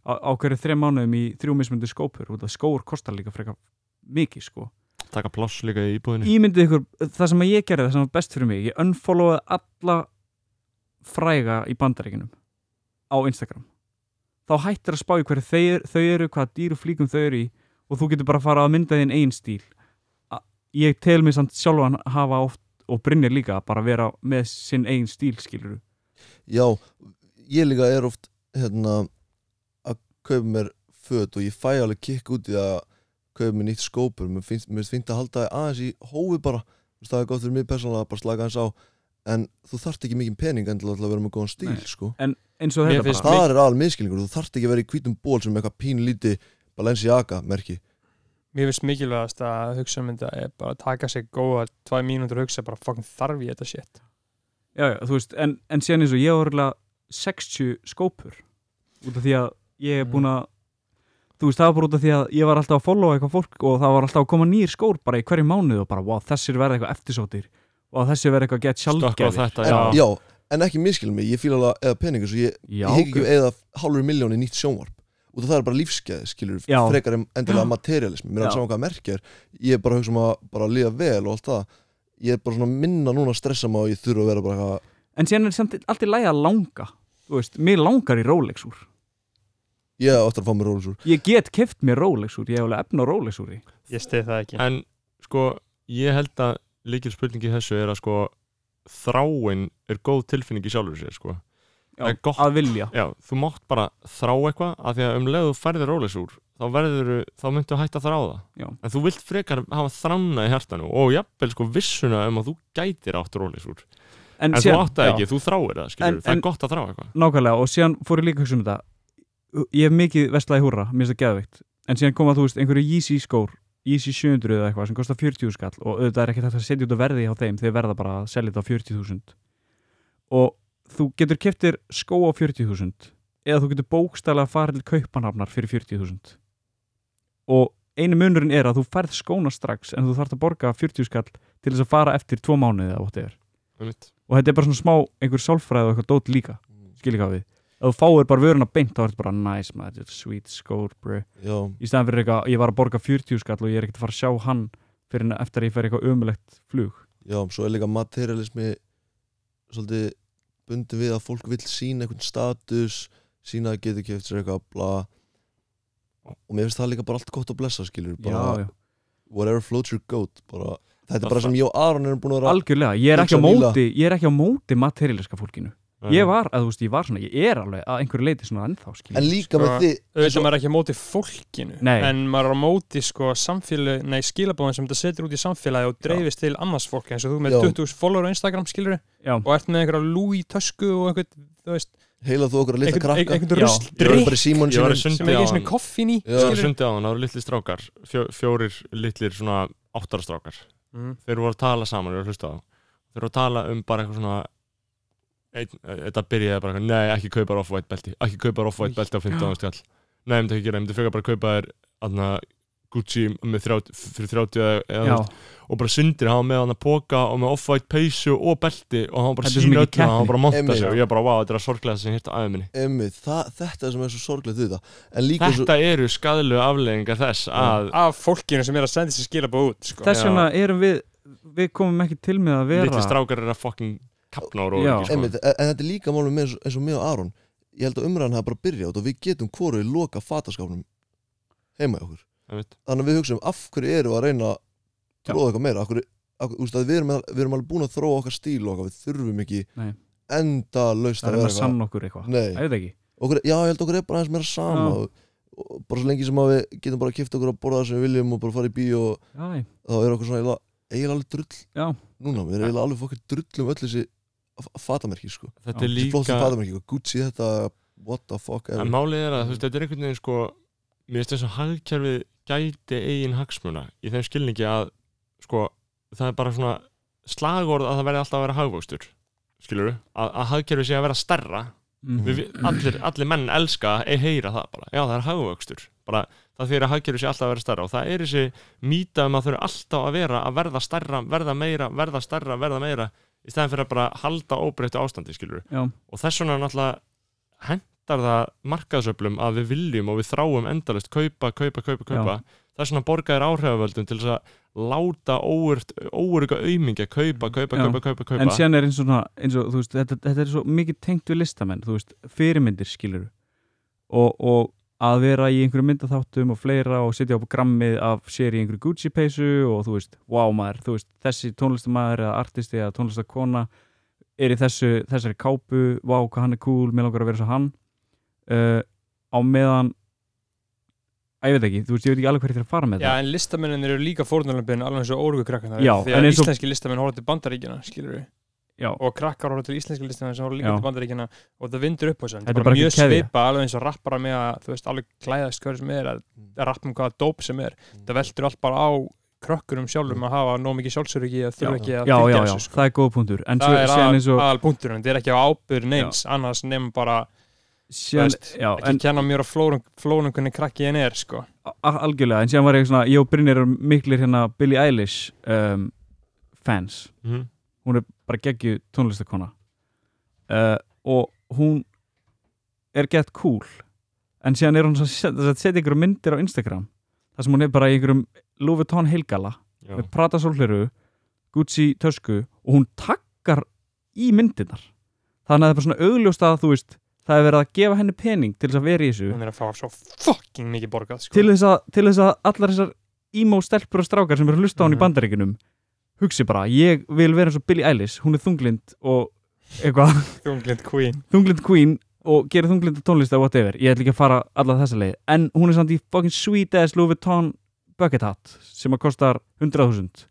[SPEAKER 5] á, á hverju þrejum mánuðum í þrjú mismundu skópur út af skóur kostar líka frekar mikið sko
[SPEAKER 1] taka pláss líka í íbúðinu
[SPEAKER 5] ímyndið ykkur, það sem að ég gerði það sem var best fyrir mig, ég unfollowaði alla fræga í bandaríkinum á Instagram þá hættir að spá í hverju þau, þau eru hvaða dýru flíkum þau eru í og þú getur bara að fara að mynda þinn einn stíl A- ég tel mig samt sjálfan hafa oft og Brynjar líka bara að vera með sinn einn stíl skilur
[SPEAKER 4] Já, ég líka er oft hérna, að kaupa mér föt og ég fæ alveg kikk út í að kaupa mér nýtt skópur mér finnst, mér finnst að halda aðeins í hófi bara Þú veist, það er gott fyrir mig persónulega að bara slaka aðeins á en þú þarft ekki mikið pening endilega til að vera með góðan stíl
[SPEAKER 5] Nei.
[SPEAKER 4] sko.
[SPEAKER 5] eins og
[SPEAKER 2] Mér
[SPEAKER 5] þetta
[SPEAKER 2] finnst
[SPEAKER 5] bara
[SPEAKER 4] það er alveg miskilningur, þú þarft ekki að vera í hvítum ból sem er eitthvað pínlíti Balenciaga merki
[SPEAKER 2] mér finnst mikilvægast að hugsa um þetta er bara að taka sér góða tvæ mínútur og hugsa bara fokkin þarf ég þetta shit
[SPEAKER 5] já, já, þú veist, en, en síðan eins og ég var örugglega 60 skópur út af því að ég er
[SPEAKER 2] Mm.
[SPEAKER 5] búin að þú veist, það var bara út af því að ég var alltaf að followa eitthvað fólk og það var alltaf að koma nýr skór bara í hverju mánuð og bara, wow, þessir verða eitthvað eftirsótir og þessir verða eitthvað gett
[SPEAKER 1] stökka á
[SPEAKER 5] sjálfgefir
[SPEAKER 1] þetta,
[SPEAKER 4] en,
[SPEAKER 1] já,
[SPEAKER 4] já, en ekki miskilin mig, ég fíl alveg eða peningur svo ég,
[SPEAKER 5] já,
[SPEAKER 4] ég hef ekki
[SPEAKER 5] gaur.
[SPEAKER 4] eða hálfur miljón í nýtt sjónvarp og það er bara lífskeið, skilur
[SPEAKER 5] Já.
[SPEAKER 4] frekar en endilega materialismi,
[SPEAKER 5] Já.
[SPEAKER 4] mér er alveg saman hvað merki er ég er bara að hugsa um að bara líða vel og allt það ég er bara svona að minna núna að stressa mig og ég þurfa að vera bara eitthvað
[SPEAKER 5] en síðan er samt alltaf lægi að langa þú veist, mér langar í Rolex úr
[SPEAKER 4] ég átti að fá mér rólis úr
[SPEAKER 5] ég get keft mér Rolex úr, ég hef alveg efna Rolex úr í
[SPEAKER 2] ég stið það ekki
[SPEAKER 1] en sko ég held að líkil spurningi í þessu er að sko þráin er góð tilfinning í sjálfur sér sko
[SPEAKER 5] já,
[SPEAKER 1] Það er gott.
[SPEAKER 5] að vilja
[SPEAKER 1] já, þú mátt bara þrá eitthvað af því að um leið þú færðir rólegs úr þá verður, þá myndu að hætta að þrá það
[SPEAKER 5] Já.
[SPEAKER 1] en þú vilt frekar hafa þrána í hjartanu og jafnvel sko vissuna um að þú gætir átt rólegs úr en, þú átt það
[SPEAKER 5] já.
[SPEAKER 1] ekki, þú þráir það skilur
[SPEAKER 5] En-
[SPEAKER 1] það
[SPEAKER 5] en-
[SPEAKER 1] er gott að þrá eitthvað
[SPEAKER 5] nákvæmlega og síðan fór ég líka að hugsa um þetta ég hef mikið vestlaði húra, mér finnst það geðveikt en síðan koma þú veist einhverju Yeezy skór Yeezy 700 eða eitthvað sem kostar 40 skall og auðvitað er ekki þetta að setja út að verði hjá þeim þeir verða bara að selja þetta á 40.000 og þú getur keftir skó á 40.000 eða þú getur bókstælega að fara til kaupanhafnar fyrir 40.000 og einu munurinn er að þú færð skóna strax en þú þarft að borga 40 skall til þess að fara eftir tvo mánuði eða whatever
[SPEAKER 1] Einmitt.
[SPEAKER 5] og þetta er bara svona smá einhver sálfræði og eitthvað dót líka skilji hvað við ef þú fáir bara vöruna beint þá er þetta bara nice maður, þetta er sweet skór bro.
[SPEAKER 4] já,
[SPEAKER 5] í staðan fyrir eitthvað, ég var að borga 40 skall og ég er ekkert að fara að sjá hann fyrir en eftir að ég fer í eitthvað ömulegt flug
[SPEAKER 4] já, svo er líka materialismi svolítið bundið við að fólk vill sína einhvern status sína að geta keft sér eitthvað bla og mér finnst það líka bara allt gott að blessa skilur bara
[SPEAKER 5] já, já.
[SPEAKER 4] whatever floats your goat bara, þetta
[SPEAKER 1] Það-
[SPEAKER 4] er bara sem ég og Aron erum búin að vera
[SPEAKER 5] algjörlega, ég er ekki á
[SPEAKER 4] Hugsa nýlega.
[SPEAKER 5] móti ég er ekki á móti materialiska fólkinu ég var, að þú veist, ég var svona, ég er alveg að einhverju leiti svona ennþá, skilji
[SPEAKER 4] en líka með
[SPEAKER 2] Sko,
[SPEAKER 4] þið
[SPEAKER 2] auðvitað maður er ekki á móti fólkinu
[SPEAKER 5] Nei.
[SPEAKER 2] en maður er á móti sko samfélagi, nei skilabóðin sem þetta setur út í samfélagi og dreifist til annars fólk eins og þú með
[SPEAKER 4] Já.
[SPEAKER 2] 20.000 follower á Instagram skilur
[SPEAKER 5] já,
[SPEAKER 2] og ert með einhverja lúi tösku og einhvern, þú veist,
[SPEAKER 4] heila þú okkur að litla
[SPEAKER 2] einhvern,
[SPEAKER 4] krakka
[SPEAKER 2] einhvern
[SPEAKER 5] Já.
[SPEAKER 2] rusl
[SPEAKER 1] Ég var
[SPEAKER 4] Drykk
[SPEAKER 2] drikk
[SPEAKER 4] bara í símanum
[SPEAKER 1] ég var í
[SPEAKER 2] sem
[SPEAKER 4] sínum
[SPEAKER 1] sundi á
[SPEAKER 2] ekki
[SPEAKER 1] hann
[SPEAKER 2] svona koffin í
[SPEAKER 4] Já.
[SPEAKER 1] ég var í
[SPEAKER 2] skilur
[SPEAKER 1] sundi á hann, það voru litli strákar fjó, fjórir litlir svona áttara strákar
[SPEAKER 2] mm.
[SPEAKER 1] þeir voru að tala saman, ég var að hlusta á þá. þeir voru að tala um bara eitthvað svona einn- þetta byrjaði bara eitthvað, nei, ekki kaupar off-white belti, ekki kaupar off-white belti á 15. skall nei, ég myndi ekki gera, ég myndi fjöka bara að kaupa þér aðna, Gucci með 30, fyrir 30 eða, eða,
[SPEAKER 5] já,
[SPEAKER 1] þú veist, og bara sundir, hann var með hann að póka og með off-white peysu og belti og hann var bara
[SPEAKER 5] Þetta er svo
[SPEAKER 1] sín
[SPEAKER 5] mikil
[SPEAKER 1] öll og hann
[SPEAKER 5] keppni.
[SPEAKER 1] var bara að monta
[SPEAKER 4] Einmitt.
[SPEAKER 1] sig og ég bara, wow, þetta er að sorglega sem hérta aðeins minni
[SPEAKER 4] Einmitt, það, þetta er sem er svo sorglegt við það En líka svo,
[SPEAKER 1] Þetta eru skadlu afleggingar þess að
[SPEAKER 2] af fólkinu sem er að senda þessi skilabóð út sko.
[SPEAKER 5] þess vegna erum við við komum ekki til með að vera
[SPEAKER 1] litli strákar eru að fucking kapna á róki,
[SPEAKER 5] Já.
[SPEAKER 1] sko
[SPEAKER 4] einmitt, en, en þetta er líka málum eins, eins og mig og Aron Ég held að umræðan hafa bara byrjað út og við getum hvoru í loka fataskápnum heima í okkur
[SPEAKER 1] Einmitt.
[SPEAKER 4] Þannig að við hugsaum af hverju eru að reyna að
[SPEAKER 5] Já.
[SPEAKER 4] tróða eitthvað meira af hverju, af, úst, við, erum, við erum alveg búin að þróa okkar stíl og okkar við þurfum ekki
[SPEAKER 5] Nei.
[SPEAKER 4] enda laust
[SPEAKER 5] það er að sanna okkur eitthvað
[SPEAKER 4] Nei.
[SPEAKER 5] ég veit ekki
[SPEAKER 4] okkur, já, ég held okkur er bara aðeins meira sama
[SPEAKER 5] Já.
[SPEAKER 4] og, og bara svo lengi sem að við getum bara að kipta okkur að borða það sem við viljum og bara fara í bíó og
[SPEAKER 5] já,
[SPEAKER 4] þá er okkur svona eiginlega, eiginlega alveg drull
[SPEAKER 5] Já.
[SPEAKER 4] núna, við erum eiginlega alveg fokkar drull um öll þessi f- fatamerki, sko
[SPEAKER 1] Þetta er
[SPEAKER 4] þessi flóttu
[SPEAKER 1] líka,
[SPEAKER 4] fatamerki, sko. Gucci þetta what the fuck ever.
[SPEAKER 1] en málið er að þú veist, þetta er einhvern veginn sko mér finnst þess að hagkerfið gæti eigin hagsmuna í þeim skilningi að sko, það er bara svona slagorð að það verði alltaf að vera hagvöxtur skilur að, að hagkerfið sé að vera stærra
[SPEAKER 5] mm.
[SPEAKER 1] við, við- allir, allir menn elska að heyra það bara, já það er hagvöxtur bara, það fyrir að hagkerfið sé alltaf að vera stærra og það er þessi mýta um að þau eru alltaf að vera að verða stærra, verða meira, verða stærra verða meira, í stæðan fyrir að bara halda óbreyttu ástandi skilur
[SPEAKER 5] Já.
[SPEAKER 1] og þess vegna náttúrulega hendar það markaðsöflum að við viljum og við þráum endalist kaupa, kaupa, kaupa, kaupa þess vegna borgaðir áhrifavöldum til þess að láta óurga aumingi að kaupa, kaupa,
[SPEAKER 5] Já.
[SPEAKER 1] kaupa, kaupa, kaupa
[SPEAKER 5] en síðan er eins og, svona, eins og þú veist, þetta, þetta er svo mikið tengt við listamenn þú veist, fyrirmyndir skilur og, og að vera í einhverju myndaþáttum og fleira og sitja á grammið af sér í einhverju Gucci peysu og þú veist, wow maður þú veist, þessi tónlistamæður eða artisti eða tónlistakona er í þessu, þessari kápu, wow hvað hann er cool mér langar að vera svo hann uh, á meðan að ég veit ekki, þú veist, ég veit ekki alveg hverju þér að fara með
[SPEAKER 2] já, en listamennin eru líka fórnarlömpin alveg eins og órugu krakkarnar
[SPEAKER 5] Já,
[SPEAKER 2] því
[SPEAKER 5] en
[SPEAKER 2] að
[SPEAKER 5] eins og-
[SPEAKER 2] íslenski listamenn horfa til bandaríkina skilur við,
[SPEAKER 5] það já,
[SPEAKER 2] og krakkar horfa til íslenski listamenn sem horfa líka
[SPEAKER 5] Já.
[SPEAKER 2] til bandaríkina og það vindur upp á þessu, en
[SPEAKER 5] Þetta
[SPEAKER 2] það er bara
[SPEAKER 5] er bara
[SPEAKER 2] mjög
[SPEAKER 5] einhver keðja.
[SPEAKER 2] svipa alveg eins og rappara með að þú veist, alveg klæðast hverju sem er að, að rappa um hvaða dóp sem er það veldur allt bara á krökkurum sjálfum að hafa nóg mikið sjálfsöryggi að þurfa ekki að
[SPEAKER 5] já, já,
[SPEAKER 2] fylgja
[SPEAKER 5] já,
[SPEAKER 2] þessu sko.
[SPEAKER 5] það er góð punktur en
[SPEAKER 2] það
[SPEAKER 5] svo,
[SPEAKER 2] er
[SPEAKER 5] síðan eins
[SPEAKER 2] aðal,
[SPEAKER 5] og
[SPEAKER 2] aðal punkturinn, þetta er ekki á ábyrð neins annars nefn bara
[SPEAKER 5] síðan,
[SPEAKER 2] veist,
[SPEAKER 5] já,
[SPEAKER 2] ekki
[SPEAKER 5] en
[SPEAKER 2] kenna mér að flórum, flórum hvernig krakki henni er sko.
[SPEAKER 5] a- algjörlega, en síðan var ég svona ég og Brynir erum miklir hérna Billie Eilish um, fans
[SPEAKER 1] Mhm.
[SPEAKER 5] hún er bara geggju tónlistakona uh, og hún er gett cool en síðan er hún svo set- að setja einhverjum myndir á Instagram þar sem hún er bara í einhverjum Louis Vuitton heilgala
[SPEAKER 1] Já.
[SPEAKER 5] með Prada sólhleru Gucci tösku og hún takkar í myndirnar þannig að það er bara svona augljóst að þú veist það er verið að gefa henni pening til þess að vera í þessu
[SPEAKER 2] hún er að fá svo fucking mikið borgað sko.
[SPEAKER 5] til þess, að, til þess að allar þessar emo stelpur og strákar sem eru að hlusta á hann í
[SPEAKER 2] Mhm.
[SPEAKER 5] bandaríkunum hugsi bara, ég vil vera eins og Billie Eilish hún er þunglind og eitthvað,
[SPEAKER 2] þunglind queen
[SPEAKER 5] þunglind queen og gerir þunglinda tónlist eða whatever ég ætla ekki að fara alla þessa leið en hún er samt í fucking sweet ass Louis Vuitton bucket hat sem að kostar 100.000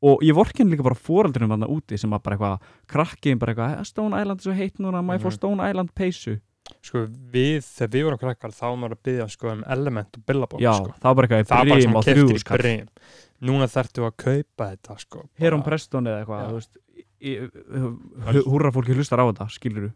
[SPEAKER 5] og ég vorkin líka bara fóreldrinum hann úti sem að bara eitthvað krakkiðin bara eitthvað, "Eh, Stone Island er svo heitt núna maður
[SPEAKER 2] Mhm.
[SPEAKER 5] fór Stone Island peysu
[SPEAKER 2] sko, við, þegar við vorum krakkar þá var maður að byggja sko, um element og billabong
[SPEAKER 5] já,
[SPEAKER 2] sko.
[SPEAKER 5] það var bara eitthvað
[SPEAKER 2] það var bara sem
[SPEAKER 5] brím á sko.
[SPEAKER 2] að keftir í
[SPEAKER 5] 3000 kall.
[SPEAKER 2] brím núna þarftu að kaupa þetta sko,
[SPEAKER 5] Heron
[SPEAKER 2] bara-
[SPEAKER 5] Preston eða eitthvað
[SPEAKER 2] Já.
[SPEAKER 5] þú veist, í- í- húrra fólki hlustar á þetta skilur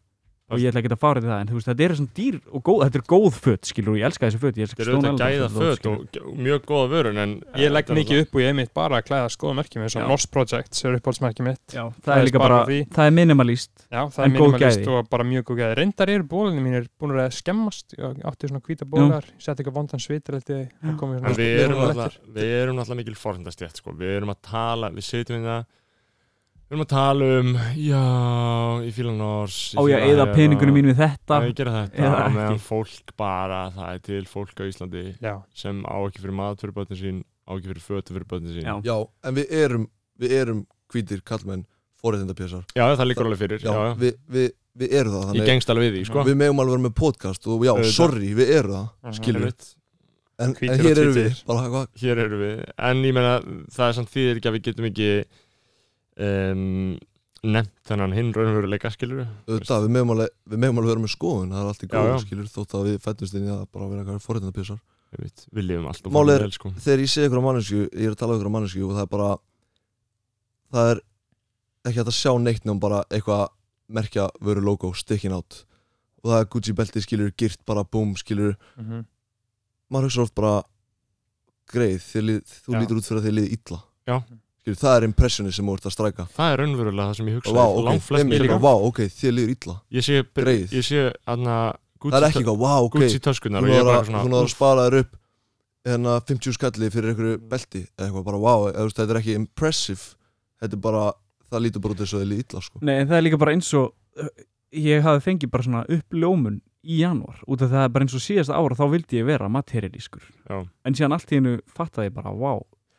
[SPEAKER 5] og ég ætla ekki að fara til það en þú veist, þetta er svona dýr og góð, þetta er góð föt skilur ég elska þessi föt, ég elska
[SPEAKER 1] Þetta er auðvitað gæða
[SPEAKER 5] Stone Island föt,
[SPEAKER 1] föt
[SPEAKER 5] skilurðu.
[SPEAKER 1] og og mjög góða vörun en
[SPEAKER 2] ég legg mikið upp og ég er mitt bara að klæða sko skoða merkjum eins og
[SPEAKER 5] Já.
[SPEAKER 2] Norse Project sem er uppáhaldsmerkjum mitt
[SPEAKER 5] Já, það,
[SPEAKER 2] Það er
[SPEAKER 5] er líka
[SPEAKER 2] spara
[SPEAKER 5] bara,
[SPEAKER 2] á því.
[SPEAKER 5] það er minimalist
[SPEAKER 2] Já, það er
[SPEAKER 5] En góð
[SPEAKER 2] minimalist
[SPEAKER 5] gæði.
[SPEAKER 2] og bara mjög góð gæði. Reyndar eru bólinni mínir búin að skemmast, ég átti svona hvíta bólar, setti eitthvað vondan svitreldi og komið
[SPEAKER 1] En
[SPEAKER 2] svona
[SPEAKER 1] við erum,
[SPEAKER 2] svona
[SPEAKER 1] alltaf, við erum alltaf mikil forhundastjætt sko. Við erum að tala, við sitjum við það Við erum að tala um Já, ég fíla Nors
[SPEAKER 5] á ég að eyða peningunum mín við þetta
[SPEAKER 1] Ég gera þetta
[SPEAKER 5] Eða
[SPEAKER 1] á meðan
[SPEAKER 5] ekki.
[SPEAKER 1] fólk bara Það er til fólk á Íslandi
[SPEAKER 2] Já,
[SPEAKER 1] sem á ekki fyrir mat fyrir bötin sín á ekki fyrir fötu fyrir bötin sín
[SPEAKER 5] Já.
[SPEAKER 4] já, en við erum við erum hvítir kallmenn forréttindapjessar
[SPEAKER 1] Já, það liggur alveg fyrir já, já.
[SPEAKER 4] Við, við, við erum það,
[SPEAKER 1] Ég
[SPEAKER 4] þannig
[SPEAKER 1] gengst alveg við því sko.
[SPEAKER 4] við megum alveg vera með podcast og já,
[SPEAKER 1] Auðvitað. Mm,
[SPEAKER 4] sorry, við erum
[SPEAKER 2] Mhm.
[SPEAKER 4] það skilur við,
[SPEAKER 1] Einmitt.
[SPEAKER 4] en,
[SPEAKER 2] Hvítir
[SPEAKER 4] en
[SPEAKER 2] og
[SPEAKER 4] hér erum
[SPEAKER 2] hvítir.
[SPEAKER 4] við bara hvað,
[SPEAKER 1] hér eru við en ég meina það er samt þýðir ekki að við getum ekki um, nefnt þennan hinn raunveruleika skilur
[SPEAKER 4] auðvitað, við megum alveg við megum alveg vera með skoðun, það er allt í
[SPEAKER 1] Já,
[SPEAKER 4] góðu
[SPEAKER 1] já.
[SPEAKER 4] skilur, þótt að við fættumst inn í það bara að vera eitthvað forréttindapjessar
[SPEAKER 1] við, við lifum alltaf
[SPEAKER 4] Málið er-
[SPEAKER 1] vel, sko.
[SPEAKER 4] þegar ég segi ykkur á mannesku, ég er að tala um ykkur á mannesku og það er bara það er ekki hægt að sjá neitt nefnum bara eitthvað merkja vöru logo sticking out og það er Gucci belti skilur, girt bara, boom skilur,
[SPEAKER 2] mhm.
[SPEAKER 4] maður hugsa oft bara
[SPEAKER 2] Já.
[SPEAKER 4] lítur út fyrir að þið liði illa
[SPEAKER 1] Já.
[SPEAKER 4] Skilur, það er impressioni sem þú ert að stræka
[SPEAKER 1] það er raunverulega það sem ég hugsa
[SPEAKER 4] Vá, ok,
[SPEAKER 1] langflest
[SPEAKER 4] einmitt,
[SPEAKER 1] mér líka
[SPEAKER 4] vá, ok, þið liður illa
[SPEAKER 1] ég sé,
[SPEAKER 4] Greið.
[SPEAKER 1] ég sé aðna,
[SPEAKER 4] Það er ekki eitthvað, vá, ok,
[SPEAKER 1] Gucci töskunar
[SPEAKER 4] þú
[SPEAKER 1] og ég er
[SPEAKER 4] náður
[SPEAKER 1] bara
[SPEAKER 4] að, þú náður
[SPEAKER 1] svona
[SPEAKER 4] að spara þér upp hérna 50 skalli fyrir einhverju belti eða eitthvað bara, vá, eða, þú veist, þetta er ekki impressive þetta er bara, það lítur bara út þess að þið liði illa sko.
[SPEAKER 5] Nei, en það er líka bara eins og uh, ég hafi fengið bara svona uppljómun í janúar, út af það er bara eins og síðasta ára þá vildi ég vera materialískur
[SPEAKER 1] Já.
[SPEAKER 5] en síðan allt í hennu fattaði ég bara, vá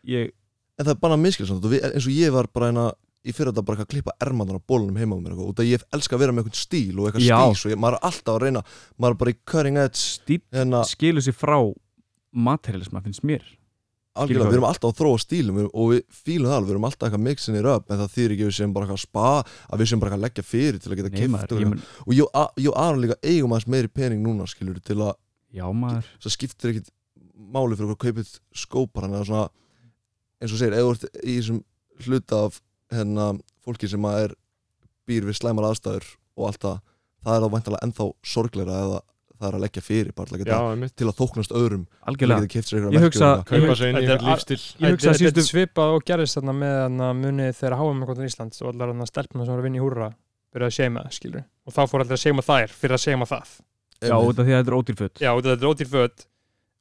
[SPEAKER 5] ég,
[SPEAKER 4] en það er bara miskilsamt eins og ég var bara hérna í fyrir þetta bara eitthvað að klippa ermannar á bólunum heima á mér eitthvað, út að ég elska að vera með eitthvað stíl og eitthvað
[SPEAKER 5] Já.
[SPEAKER 4] stís og ég, maður er alltaf að reyna maður er bara í cutting edge
[SPEAKER 5] stíl
[SPEAKER 4] hérna,
[SPEAKER 5] skilur sér frá materialisma finnst mér
[SPEAKER 4] algjörlega,
[SPEAKER 5] hvað
[SPEAKER 4] við
[SPEAKER 5] við-
[SPEAKER 4] erum alltaf að þróa stílum við- og við fílum það, alveg, við erum alltaf eitthvað mixin í röp en það þýr ekki að við séum bara eitthvað að spa að við séum bara eitthvað að leggja fyrir til að geta
[SPEAKER 5] Nei,
[SPEAKER 4] kift
[SPEAKER 5] maður, ég
[SPEAKER 4] og,
[SPEAKER 5] mun,
[SPEAKER 4] og ég og- ég og Aron líka eigum aðeins meiri pening núna skilur til að
[SPEAKER 5] já maður
[SPEAKER 4] það skiptir ekkit máli fyrir okkur að kaupið skópar hann eða svona eins og þú segir, eða þú ert í þessum hluta af hérna, fólki sem að er býr við slæmar aðstæður og allt það, það er þá væntalega ennþá sorgleira eða það er að leggja fyrir bara til að
[SPEAKER 1] já,
[SPEAKER 4] geta,
[SPEAKER 1] einmitt
[SPEAKER 4] til að þóknast öðrum til að
[SPEAKER 5] algjörlega,
[SPEAKER 4] geta keipt sér einhverja
[SPEAKER 5] Ég
[SPEAKER 4] merki og
[SPEAKER 5] hugsa-
[SPEAKER 4] eitthvað.
[SPEAKER 1] kaupa sig inn í
[SPEAKER 2] Þetta er
[SPEAKER 1] einhvern
[SPEAKER 2] að-
[SPEAKER 1] lífstil
[SPEAKER 5] Ég hugsa að
[SPEAKER 2] Þetta er
[SPEAKER 5] síðustu-
[SPEAKER 2] svipað og gerðist þarna með hana, munið þegar háum kontin Íslands og allar hana stelpna sem voru að vinna í húra byrjaði að seima, skilur og þá fór allir að seima þær fyrir að seima það
[SPEAKER 5] já,
[SPEAKER 4] Einmitt.
[SPEAKER 5] út af því að þetta er ódýrföt
[SPEAKER 2] Já, út af þetta er ódýr föt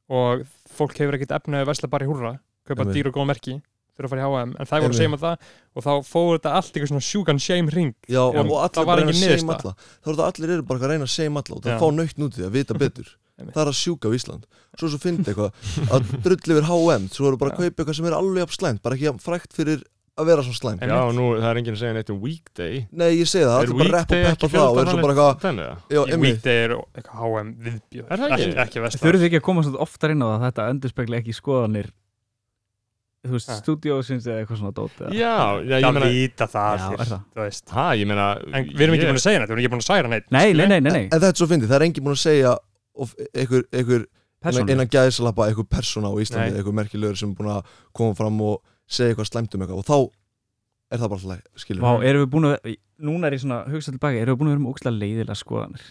[SPEAKER 2] og fólk hefur ekkert efnaði að versla bara í húra kaupa
[SPEAKER 4] Einmitt.
[SPEAKER 2] dýr og góð merki fyrir að fara í H&M en það voru að
[SPEAKER 4] Einmitt.
[SPEAKER 2] seima það og þá fór þetta allt eitthvað svona sjúkan shame ring
[SPEAKER 4] Já, og,
[SPEAKER 2] Já,
[SPEAKER 4] og
[SPEAKER 2] það
[SPEAKER 4] allir
[SPEAKER 2] var
[SPEAKER 4] bara að
[SPEAKER 2] engin
[SPEAKER 4] reyna að segjum
[SPEAKER 2] niðurstaða.
[SPEAKER 4] alla þá er þetta allir eru bara að reyna að segjum alla og það
[SPEAKER 2] Já.
[SPEAKER 4] fá nöytn út í því að vita betur
[SPEAKER 2] Einmitt.
[SPEAKER 4] það er að sjúka á Ísland svo svo fyndi eitthvað að drulli yfir H&M svo eru bara að
[SPEAKER 2] Já.
[SPEAKER 4] kaupa eitthvað sem er alveg jafn slæmt bara ekki jafn frækt fyrir að vera svo slæmt
[SPEAKER 2] Einmitt.
[SPEAKER 1] já, og nú, það er enginn að segja neitt um weekday
[SPEAKER 4] nei ég segi það,
[SPEAKER 1] Er
[SPEAKER 4] allir bara rep og
[SPEAKER 1] weekday
[SPEAKER 4] peppa
[SPEAKER 1] ekki
[SPEAKER 4] það og er svo bara eitthvað
[SPEAKER 1] þannig að
[SPEAKER 4] já,
[SPEAKER 2] í
[SPEAKER 4] emmi,
[SPEAKER 2] weekday er eitthvað H&M viðbjóð
[SPEAKER 1] Er það ekki?
[SPEAKER 2] ekki
[SPEAKER 5] þau
[SPEAKER 2] versla
[SPEAKER 5] eru ekki að komast oftar inn á það að þetta endurspegla ekki skoðanir þú veist,
[SPEAKER 2] Ha.
[SPEAKER 5] stúdíósins eða eitthvað svona dót eða-
[SPEAKER 1] já, já, ég
[SPEAKER 2] Það
[SPEAKER 1] meina
[SPEAKER 2] vita það
[SPEAKER 5] Já,
[SPEAKER 2] allir,
[SPEAKER 5] er það?
[SPEAKER 2] þú veist.
[SPEAKER 1] hæ, ég meina
[SPEAKER 2] En við erum ekki
[SPEAKER 1] ég-
[SPEAKER 2] búin að segja neitt, við erum ekki búin að særa neitt
[SPEAKER 5] nei, nei, nei, nei, nei,
[SPEAKER 4] en þetta er svo fyndi, það er enginn búin að segja of- einhver, einhver innan,
[SPEAKER 5] persónulega
[SPEAKER 4] innan gæðisalappa einhver persóna á Íslandi,
[SPEAKER 2] Nei.
[SPEAKER 4] einhver merkilegur sem er búin að koma fram og segja eitthvað slæmt um eitthvað og þá er það bara alltaf læg, skilur
[SPEAKER 5] Vá, erum við búin að, núna er ég svona hugsa tilbaka, erum við búin að vera með ógslag leiðilega skoðanir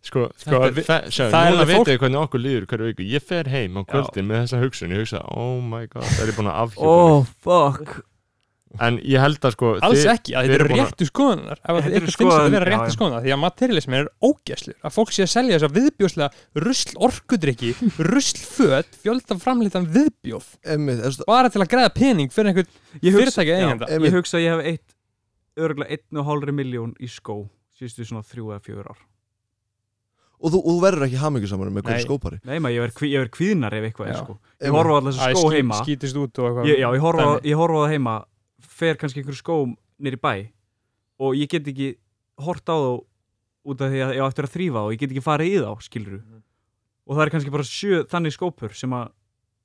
[SPEAKER 1] Sko, sko
[SPEAKER 2] Þetta er-
[SPEAKER 1] vi, það, sjá,
[SPEAKER 2] það er
[SPEAKER 1] núna
[SPEAKER 2] alveg
[SPEAKER 1] veit
[SPEAKER 2] fólk-
[SPEAKER 1] ég hvernig okkur líður hverju viku Ég fer heim á kvöldin með þessa hugsun Ég hugsa, oh my god, það er ég búin að afhjúpa mig.
[SPEAKER 5] Oh, fuck
[SPEAKER 1] En ég held að sko
[SPEAKER 2] Alls
[SPEAKER 1] þið-
[SPEAKER 2] ekki,
[SPEAKER 1] þið
[SPEAKER 2] að þetta
[SPEAKER 1] eru
[SPEAKER 2] eru
[SPEAKER 1] búin að-
[SPEAKER 2] réttu skoðunar ef
[SPEAKER 5] Þetta
[SPEAKER 2] þetta
[SPEAKER 5] eru
[SPEAKER 2] ykkur finnst þetta
[SPEAKER 5] skoðanir,
[SPEAKER 2] vera
[SPEAKER 5] já,
[SPEAKER 2] réttu
[SPEAKER 5] já.
[SPEAKER 2] skoðunar því að materialismin er ógæslur að fólk sé að selja þess að viðbjóðslega rusl orkudrykki, rusl föt fjölda framlítan viðbjóð
[SPEAKER 4] Einmitt, er svo-
[SPEAKER 2] bara til að greiða pening fyrir einhvern
[SPEAKER 5] Ég hugsa-
[SPEAKER 2] Fyrirtækið
[SPEAKER 5] já,
[SPEAKER 2] eigenda.
[SPEAKER 5] Ég hugsa að ég hef eitt, örgulega 1,5 miljón í skó síðustu svona 3 eða 4 ár
[SPEAKER 4] og þú, og þú verður ekki hamingjusamur með hverju
[SPEAKER 2] Nei.
[SPEAKER 4] skópari
[SPEAKER 5] Nei maður, ég verð kví- ég verð kvíðnar ef eitthvað er
[SPEAKER 2] Já.
[SPEAKER 5] sko Ég horfa á allar þessu skó heima
[SPEAKER 2] skítist út og eitthvað
[SPEAKER 5] ég, Já, ég horfa,
[SPEAKER 2] Dæmi.
[SPEAKER 5] á- ég horfa á það heima fer kannski einhver skóm nýri bæ og ég get ekki hort á þá út af því að ég á eftir að þrýfa þá, ég get ekki farið í þá, skilur og það er kannski bara sjö þannig skópur sem að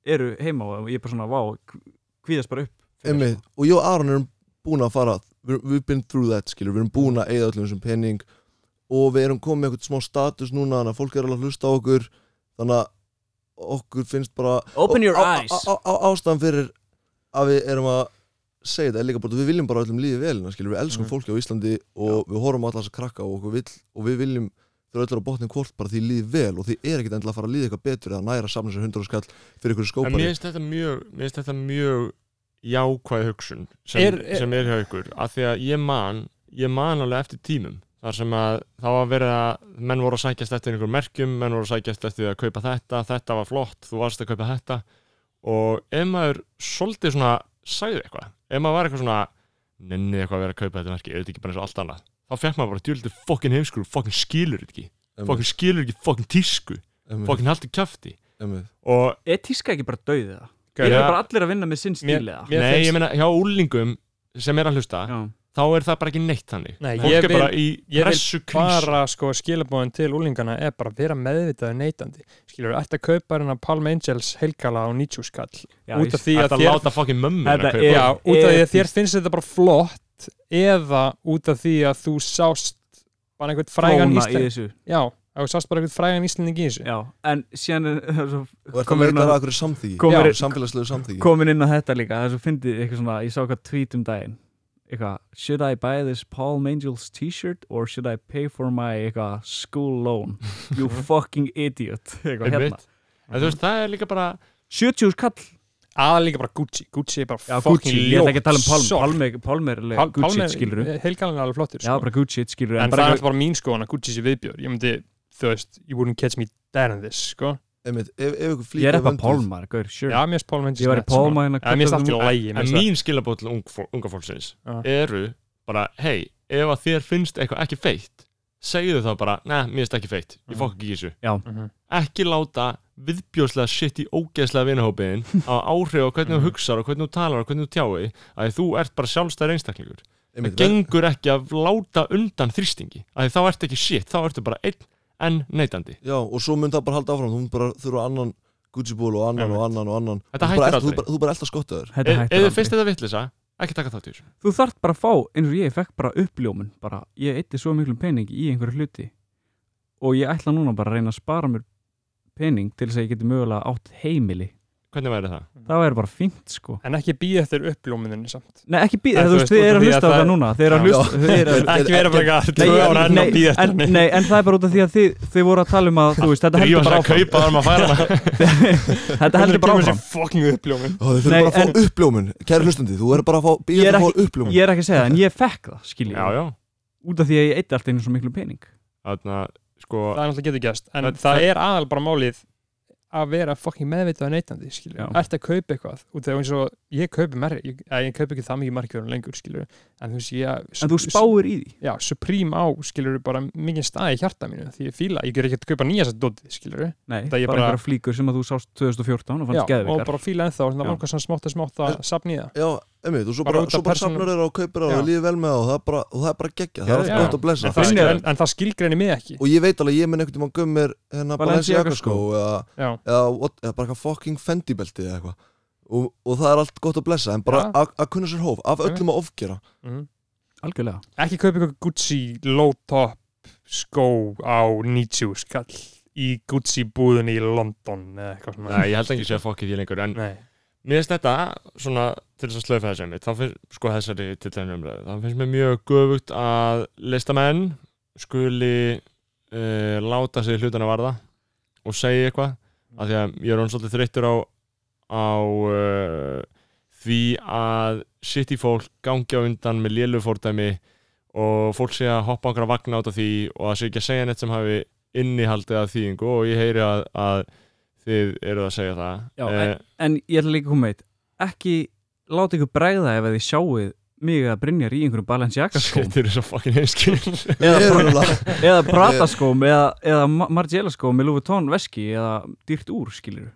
[SPEAKER 5] eru heima og ég er bara svona, vá, kvíðast bara upp fyrir
[SPEAKER 4] Einmitt,
[SPEAKER 5] þessu.
[SPEAKER 4] og ég og Aron erum búin að fara við, We've been through that, skilur Við erum búin að eigða öllum þessum pening Og við erum komið með eitthvað smá status núna Þannig að fólk er alveg að hlusta á okkur Þannig að okkur finnst bara
[SPEAKER 5] Open your
[SPEAKER 4] á- á-
[SPEAKER 5] eyes.
[SPEAKER 4] á- á- Ástæðan fyrir að við erum að segja þetta er líka bara Við viljum bara öllum lífi velina, skilur Við elskum
[SPEAKER 2] Mhm.
[SPEAKER 5] Mm.
[SPEAKER 4] fólki á Íslandi og við horfum á alla þess að krakka Og, okkur vill, og við viljum fyrir öllar á botnin hvort bara því líði vel og því er ekkit endilega að fara að líða eitthvað betur eða næra samnins og hundra skall fyrir ykkur
[SPEAKER 1] En mér
[SPEAKER 4] skópari
[SPEAKER 1] finnst þetta mjög Mér finnst þetta mjög jákvæð hugsun sem er,
[SPEAKER 2] Er- er-
[SPEAKER 1] sem er hjá ykkur Af því að ég man Ég man alveg eftir tímum Þar sem að það var verið að Menn voru að sækjast eftir einhver merkjum Menn voru að sækjast eftir að kaupa þetta Þetta var flott, þú varst að kaupa þetta Og ef maður svolítið svona Sæði eitthvað Ef maður var eitthvað svona Nennið eitthvað að vera að kaupa þetta merki Eða ekki bara eins og allt annað Þá fekk maður bara djúlítið fokkin heimskur Fokkin skilur þetta ekki Fokkin skilur ekki fokkin tísku Fokkin haldi kjafti Og
[SPEAKER 5] Er tíska ekki bara dauðið það?
[SPEAKER 1] Já.
[SPEAKER 5] Ég er bara allir að vinna með sinn
[SPEAKER 2] Mér-
[SPEAKER 5] stíl eða
[SPEAKER 2] mér
[SPEAKER 1] Nei,
[SPEAKER 2] finnst-
[SPEAKER 1] ég meina, hjá úlingum sem er að hlusta,
[SPEAKER 5] Já.
[SPEAKER 1] þá er það bara ekki neitt þannig.
[SPEAKER 2] Nei,
[SPEAKER 1] Fólk
[SPEAKER 2] ég
[SPEAKER 1] er bara í
[SPEAKER 2] ég vil
[SPEAKER 1] pressu krísu.
[SPEAKER 2] bara sko skilabóðin til úlingana er bara að vera meðvitaður neytandi skilur, ætti að kaupa hérna Palm Angels heilkala á 90 skall
[SPEAKER 5] Já,
[SPEAKER 2] út af
[SPEAKER 5] ég-
[SPEAKER 2] því að
[SPEAKER 1] Þetta
[SPEAKER 2] þér-
[SPEAKER 1] láta fokkin mömmu
[SPEAKER 5] Þetta
[SPEAKER 1] að kaupa.
[SPEAKER 5] er-
[SPEAKER 2] Já,
[SPEAKER 1] það.
[SPEAKER 2] út af því
[SPEAKER 5] epic.
[SPEAKER 2] að þér finnst þetta bara flott eða út af því að þú sást bara einhvern frægan
[SPEAKER 5] flóna í
[SPEAKER 2] íslending
[SPEAKER 5] þessu
[SPEAKER 2] Já, að þú sást bara einhvern frægan íslending í þessu
[SPEAKER 5] Já, en síðan er- það er svo
[SPEAKER 4] og ert að
[SPEAKER 1] hérna-
[SPEAKER 5] Komir
[SPEAKER 4] leita
[SPEAKER 5] inn á-
[SPEAKER 4] að akkur samþyggi
[SPEAKER 5] Komir-
[SPEAKER 4] Já, samfélagslegu samþyggi
[SPEAKER 5] komin inn á þetta líka það er svo fyndið eitthvað svona, ég sá eitthvað tweet um daginn eitthvað, should I buy this Palm Angels t-shirt or should I pay for my eitthvað school loan you fucking idiot eitthvað
[SPEAKER 1] Einmitt.
[SPEAKER 5] hérna
[SPEAKER 1] En þú veist, það er líka bara,
[SPEAKER 5] 70 skall
[SPEAKER 2] aðal líka bara Gucci Gucci er bara
[SPEAKER 5] Já,
[SPEAKER 2] fucking
[SPEAKER 5] Gucci, ég ætla ekki að tala um Palm
[SPEAKER 2] ljótsokk.
[SPEAKER 5] Palm er- Palm er alveg Gucci, skilur
[SPEAKER 2] Palmer heilgalinn er alveg flottur sko.
[SPEAKER 5] Já, bara Gucci, skilur
[SPEAKER 2] en það er alltaf bara mín skoðan að Gucci sé viðbjör ég myndi, þú veist, you wouldn't catch me daring this, sko
[SPEAKER 4] Einmitt, ef, ef ykkur
[SPEAKER 5] Ég
[SPEAKER 4] flýta
[SPEAKER 5] er eitthvað pálmar, gaur, sure
[SPEAKER 2] já, mér finnst Palmer
[SPEAKER 5] Ég var í pálma hérna
[SPEAKER 2] sko. Já, mér finnst allt í
[SPEAKER 5] hvernig-
[SPEAKER 2] lægi
[SPEAKER 1] en mín skilabóð til ung, fó- unga fólksins
[SPEAKER 2] Já.
[SPEAKER 1] eru bara, hei, ef að þér finnst eitthvað ekki feitt segðu þá bara, neða, mér finnst ekki feitt ég fokk ekki í þessu ekki láta viðbjóðslega shit í ógeðslega vinahópiðin að áhrif á hvernig þú hugsar og hvernig þú talar og hvernig þú tjái að þú ert bara sjálfstæð einstaklingur það gengur ekki að láta undan þrýstingi að þá ert ekki shit, þá ertu bara einn en neitandi
[SPEAKER 4] Já, og svo mun það bara halda áfram Þú mun bara þurfa annan Gucci ból og annan og annan og annan
[SPEAKER 1] Þetta
[SPEAKER 4] Þú bara
[SPEAKER 1] hættir aldrei.
[SPEAKER 4] elt- Þú bara, þú bara elda skottaður
[SPEAKER 5] Þetta
[SPEAKER 1] eða
[SPEAKER 5] hættir
[SPEAKER 1] þið finnst
[SPEAKER 5] aldrei
[SPEAKER 1] þetta vitlisa, ekki taka þátt í þessu
[SPEAKER 5] Þú þarft bara að fá, eins og ég, ég fekk bara uppljómun bara, ég eitti svo miklum pening í einhverju hluti og ég ætla núna bara að reyna að spara mér pening til þess að ég geti mögulega átt heimili
[SPEAKER 1] hvernig væri það?
[SPEAKER 2] Mm.
[SPEAKER 5] Það væri bara fínt, sko
[SPEAKER 2] en ekki býð eftir uppljómiðinni samt
[SPEAKER 5] Nei, ekki
[SPEAKER 2] Nei,
[SPEAKER 5] býða,
[SPEAKER 2] þú
[SPEAKER 5] þú
[SPEAKER 2] veist,
[SPEAKER 5] veist, þið
[SPEAKER 2] út af
[SPEAKER 5] eru að
[SPEAKER 2] því að
[SPEAKER 5] hlusta á
[SPEAKER 2] það
[SPEAKER 5] það
[SPEAKER 2] er-
[SPEAKER 5] núna Þið eru að
[SPEAKER 4] Já.
[SPEAKER 5] hlusta, þið eru að
[SPEAKER 2] ekki vera bara eitthvað
[SPEAKER 5] Nei,
[SPEAKER 2] tvö ára enn að
[SPEAKER 5] nei,
[SPEAKER 2] býða
[SPEAKER 5] en,
[SPEAKER 2] eftir henni
[SPEAKER 5] nei, en það er bara út af því að þið, þið voru að tala um að þú veist, þetta heldur bara áfram
[SPEAKER 1] kaupa
[SPEAKER 2] um
[SPEAKER 1] þar maður færa það
[SPEAKER 5] Þetta heldur bara áfram
[SPEAKER 2] fucking uppljómin
[SPEAKER 4] Ó, Þau
[SPEAKER 5] Nei,
[SPEAKER 4] þurfa bara að fá uppljómun Kæri hlustandi, þú er bara að fá
[SPEAKER 5] Ég
[SPEAKER 4] Býður
[SPEAKER 5] er
[SPEAKER 4] að fá uppljómun
[SPEAKER 5] Ég er ekki að segja það, en ég fekk það,
[SPEAKER 1] já,
[SPEAKER 5] skiljið
[SPEAKER 1] já,
[SPEAKER 5] Út af því að ég eitti alltaf einu svo miklu pening
[SPEAKER 1] þannig að sko
[SPEAKER 2] það er náttúrulega getur gæst en
[SPEAKER 1] Það-
[SPEAKER 2] það, er aðal bara málið að vera fucking meðvitað að neytandi skilur,
[SPEAKER 5] Já.
[SPEAKER 2] ert að kaupa eitthvað út þegar eins og ég kaupi merk ég, eh, ég kaupi ekki það mikið markjörun lengur skilur en þú veist ég
[SPEAKER 5] En þú spáir í því
[SPEAKER 2] já, supreme á skilur bara mikið stað í hjarta mínu því ég fíla ég ger ekki að kaupa nýja þess að dóti skilur Það
[SPEAKER 5] Nei, bara,
[SPEAKER 2] ég
[SPEAKER 5] bara
[SPEAKER 2] bara-
[SPEAKER 5] einhverja flíkur sem að þú sást 2014 og
[SPEAKER 2] já,
[SPEAKER 5] fannst
[SPEAKER 2] og
[SPEAKER 5] geðveikar
[SPEAKER 2] bara fíla ennþá og það
[SPEAKER 5] Já.
[SPEAKER 2] var hvað smátt að smátt að sapna í það
[SPEAKER 4] Já, einmitt, og svo
[SPEAKER 2] Bara út
[SPEAKER 4] bara,
[SPEAKER 2] af
[SPEAKER 4] svo bara
[SPEAKER 2] persónu-
[SPEAKER 4] safnar þeirra og kaupir það
[SPEAKER 2] Já.
[SPEAKER 4] og líður vel með það og það er bara, og það er bara geggja, það er
[SPEAKER 1] Já,
[SPEAKER 4] allt
[SPEAKER 1] já.
[SPEAKER 4] gott að blessa
[SPEAKER 2] en það,
[SPEAKER 1] finnir-
[SPEAKER 2] en, en það skilgreinir mig ekki
[SPEAKER 4] og ég veit alveg, ég minn einhvern tímann göm mér hérna
[SPEAKER 5] Balenciaga
[SPEAKER 4] Balenciaga skó eða,
[SPEAKER 2] já,
[SPEAKER 4] eða, what, eða bara eitthvað fucking Fendi belti eða eitthvað og, og það er allt gott að blessa en bara
[SPEAKER 2] Já.
[SPEAKER 4] að að kunna sér hóf af öllum að ofgera
[SPEAKER 2] mhm.
[SPEAKER 5] Algjörlega
[SPEAKER 2] ekki kaupa ykkur Gucci low top skó á 90 skall í Gucci búðunni í London eða eitthvað svona
[SPEAKER 1] Nei, ég held ekki að segja fokkið því lengur en
[SPEAKER 2] Nei.
[SPEAKER 1] mér finnst þetta, svona, til þess að slöfa þessu einmitt, þá finnst, sko þessari til þenni umræðu, þá finnst mér mjög göfugt að listamenn skuli uh, láta sig hlutana varða og segja eitthvað, af því að ég er hann svolítið þreyttur á, á uh, því að sitt í fólk gangi á undan með lélufórdæmi og fólk sé að hoppa okkar að vagna át af því og að sé ekki að segja neitt sem hafi innihaldið að þýðingu og ég heyri að, að þið eruð að segja það
[SPEAKER 5] Já,
[SPEAKER 1] Eh,
[SPEAKER 5] En ég ætla líka að koma með eitt Ekki láta ykkur bregða ef að þið sjáuð mig að brinjar í einhverjum Balenciaga skóm
[SPEAKER 1] Shit, þeir eru svo fucking einskil
[SPEAKER 4] Ég er
[SPEAKER 5] eða,
[SPEAKER 4] alveg-
[SPEAKER 5] eða Prata skóm eða, eða Ma- Margiela skóm með Louis Vuitton veski eða dýrt úr skilur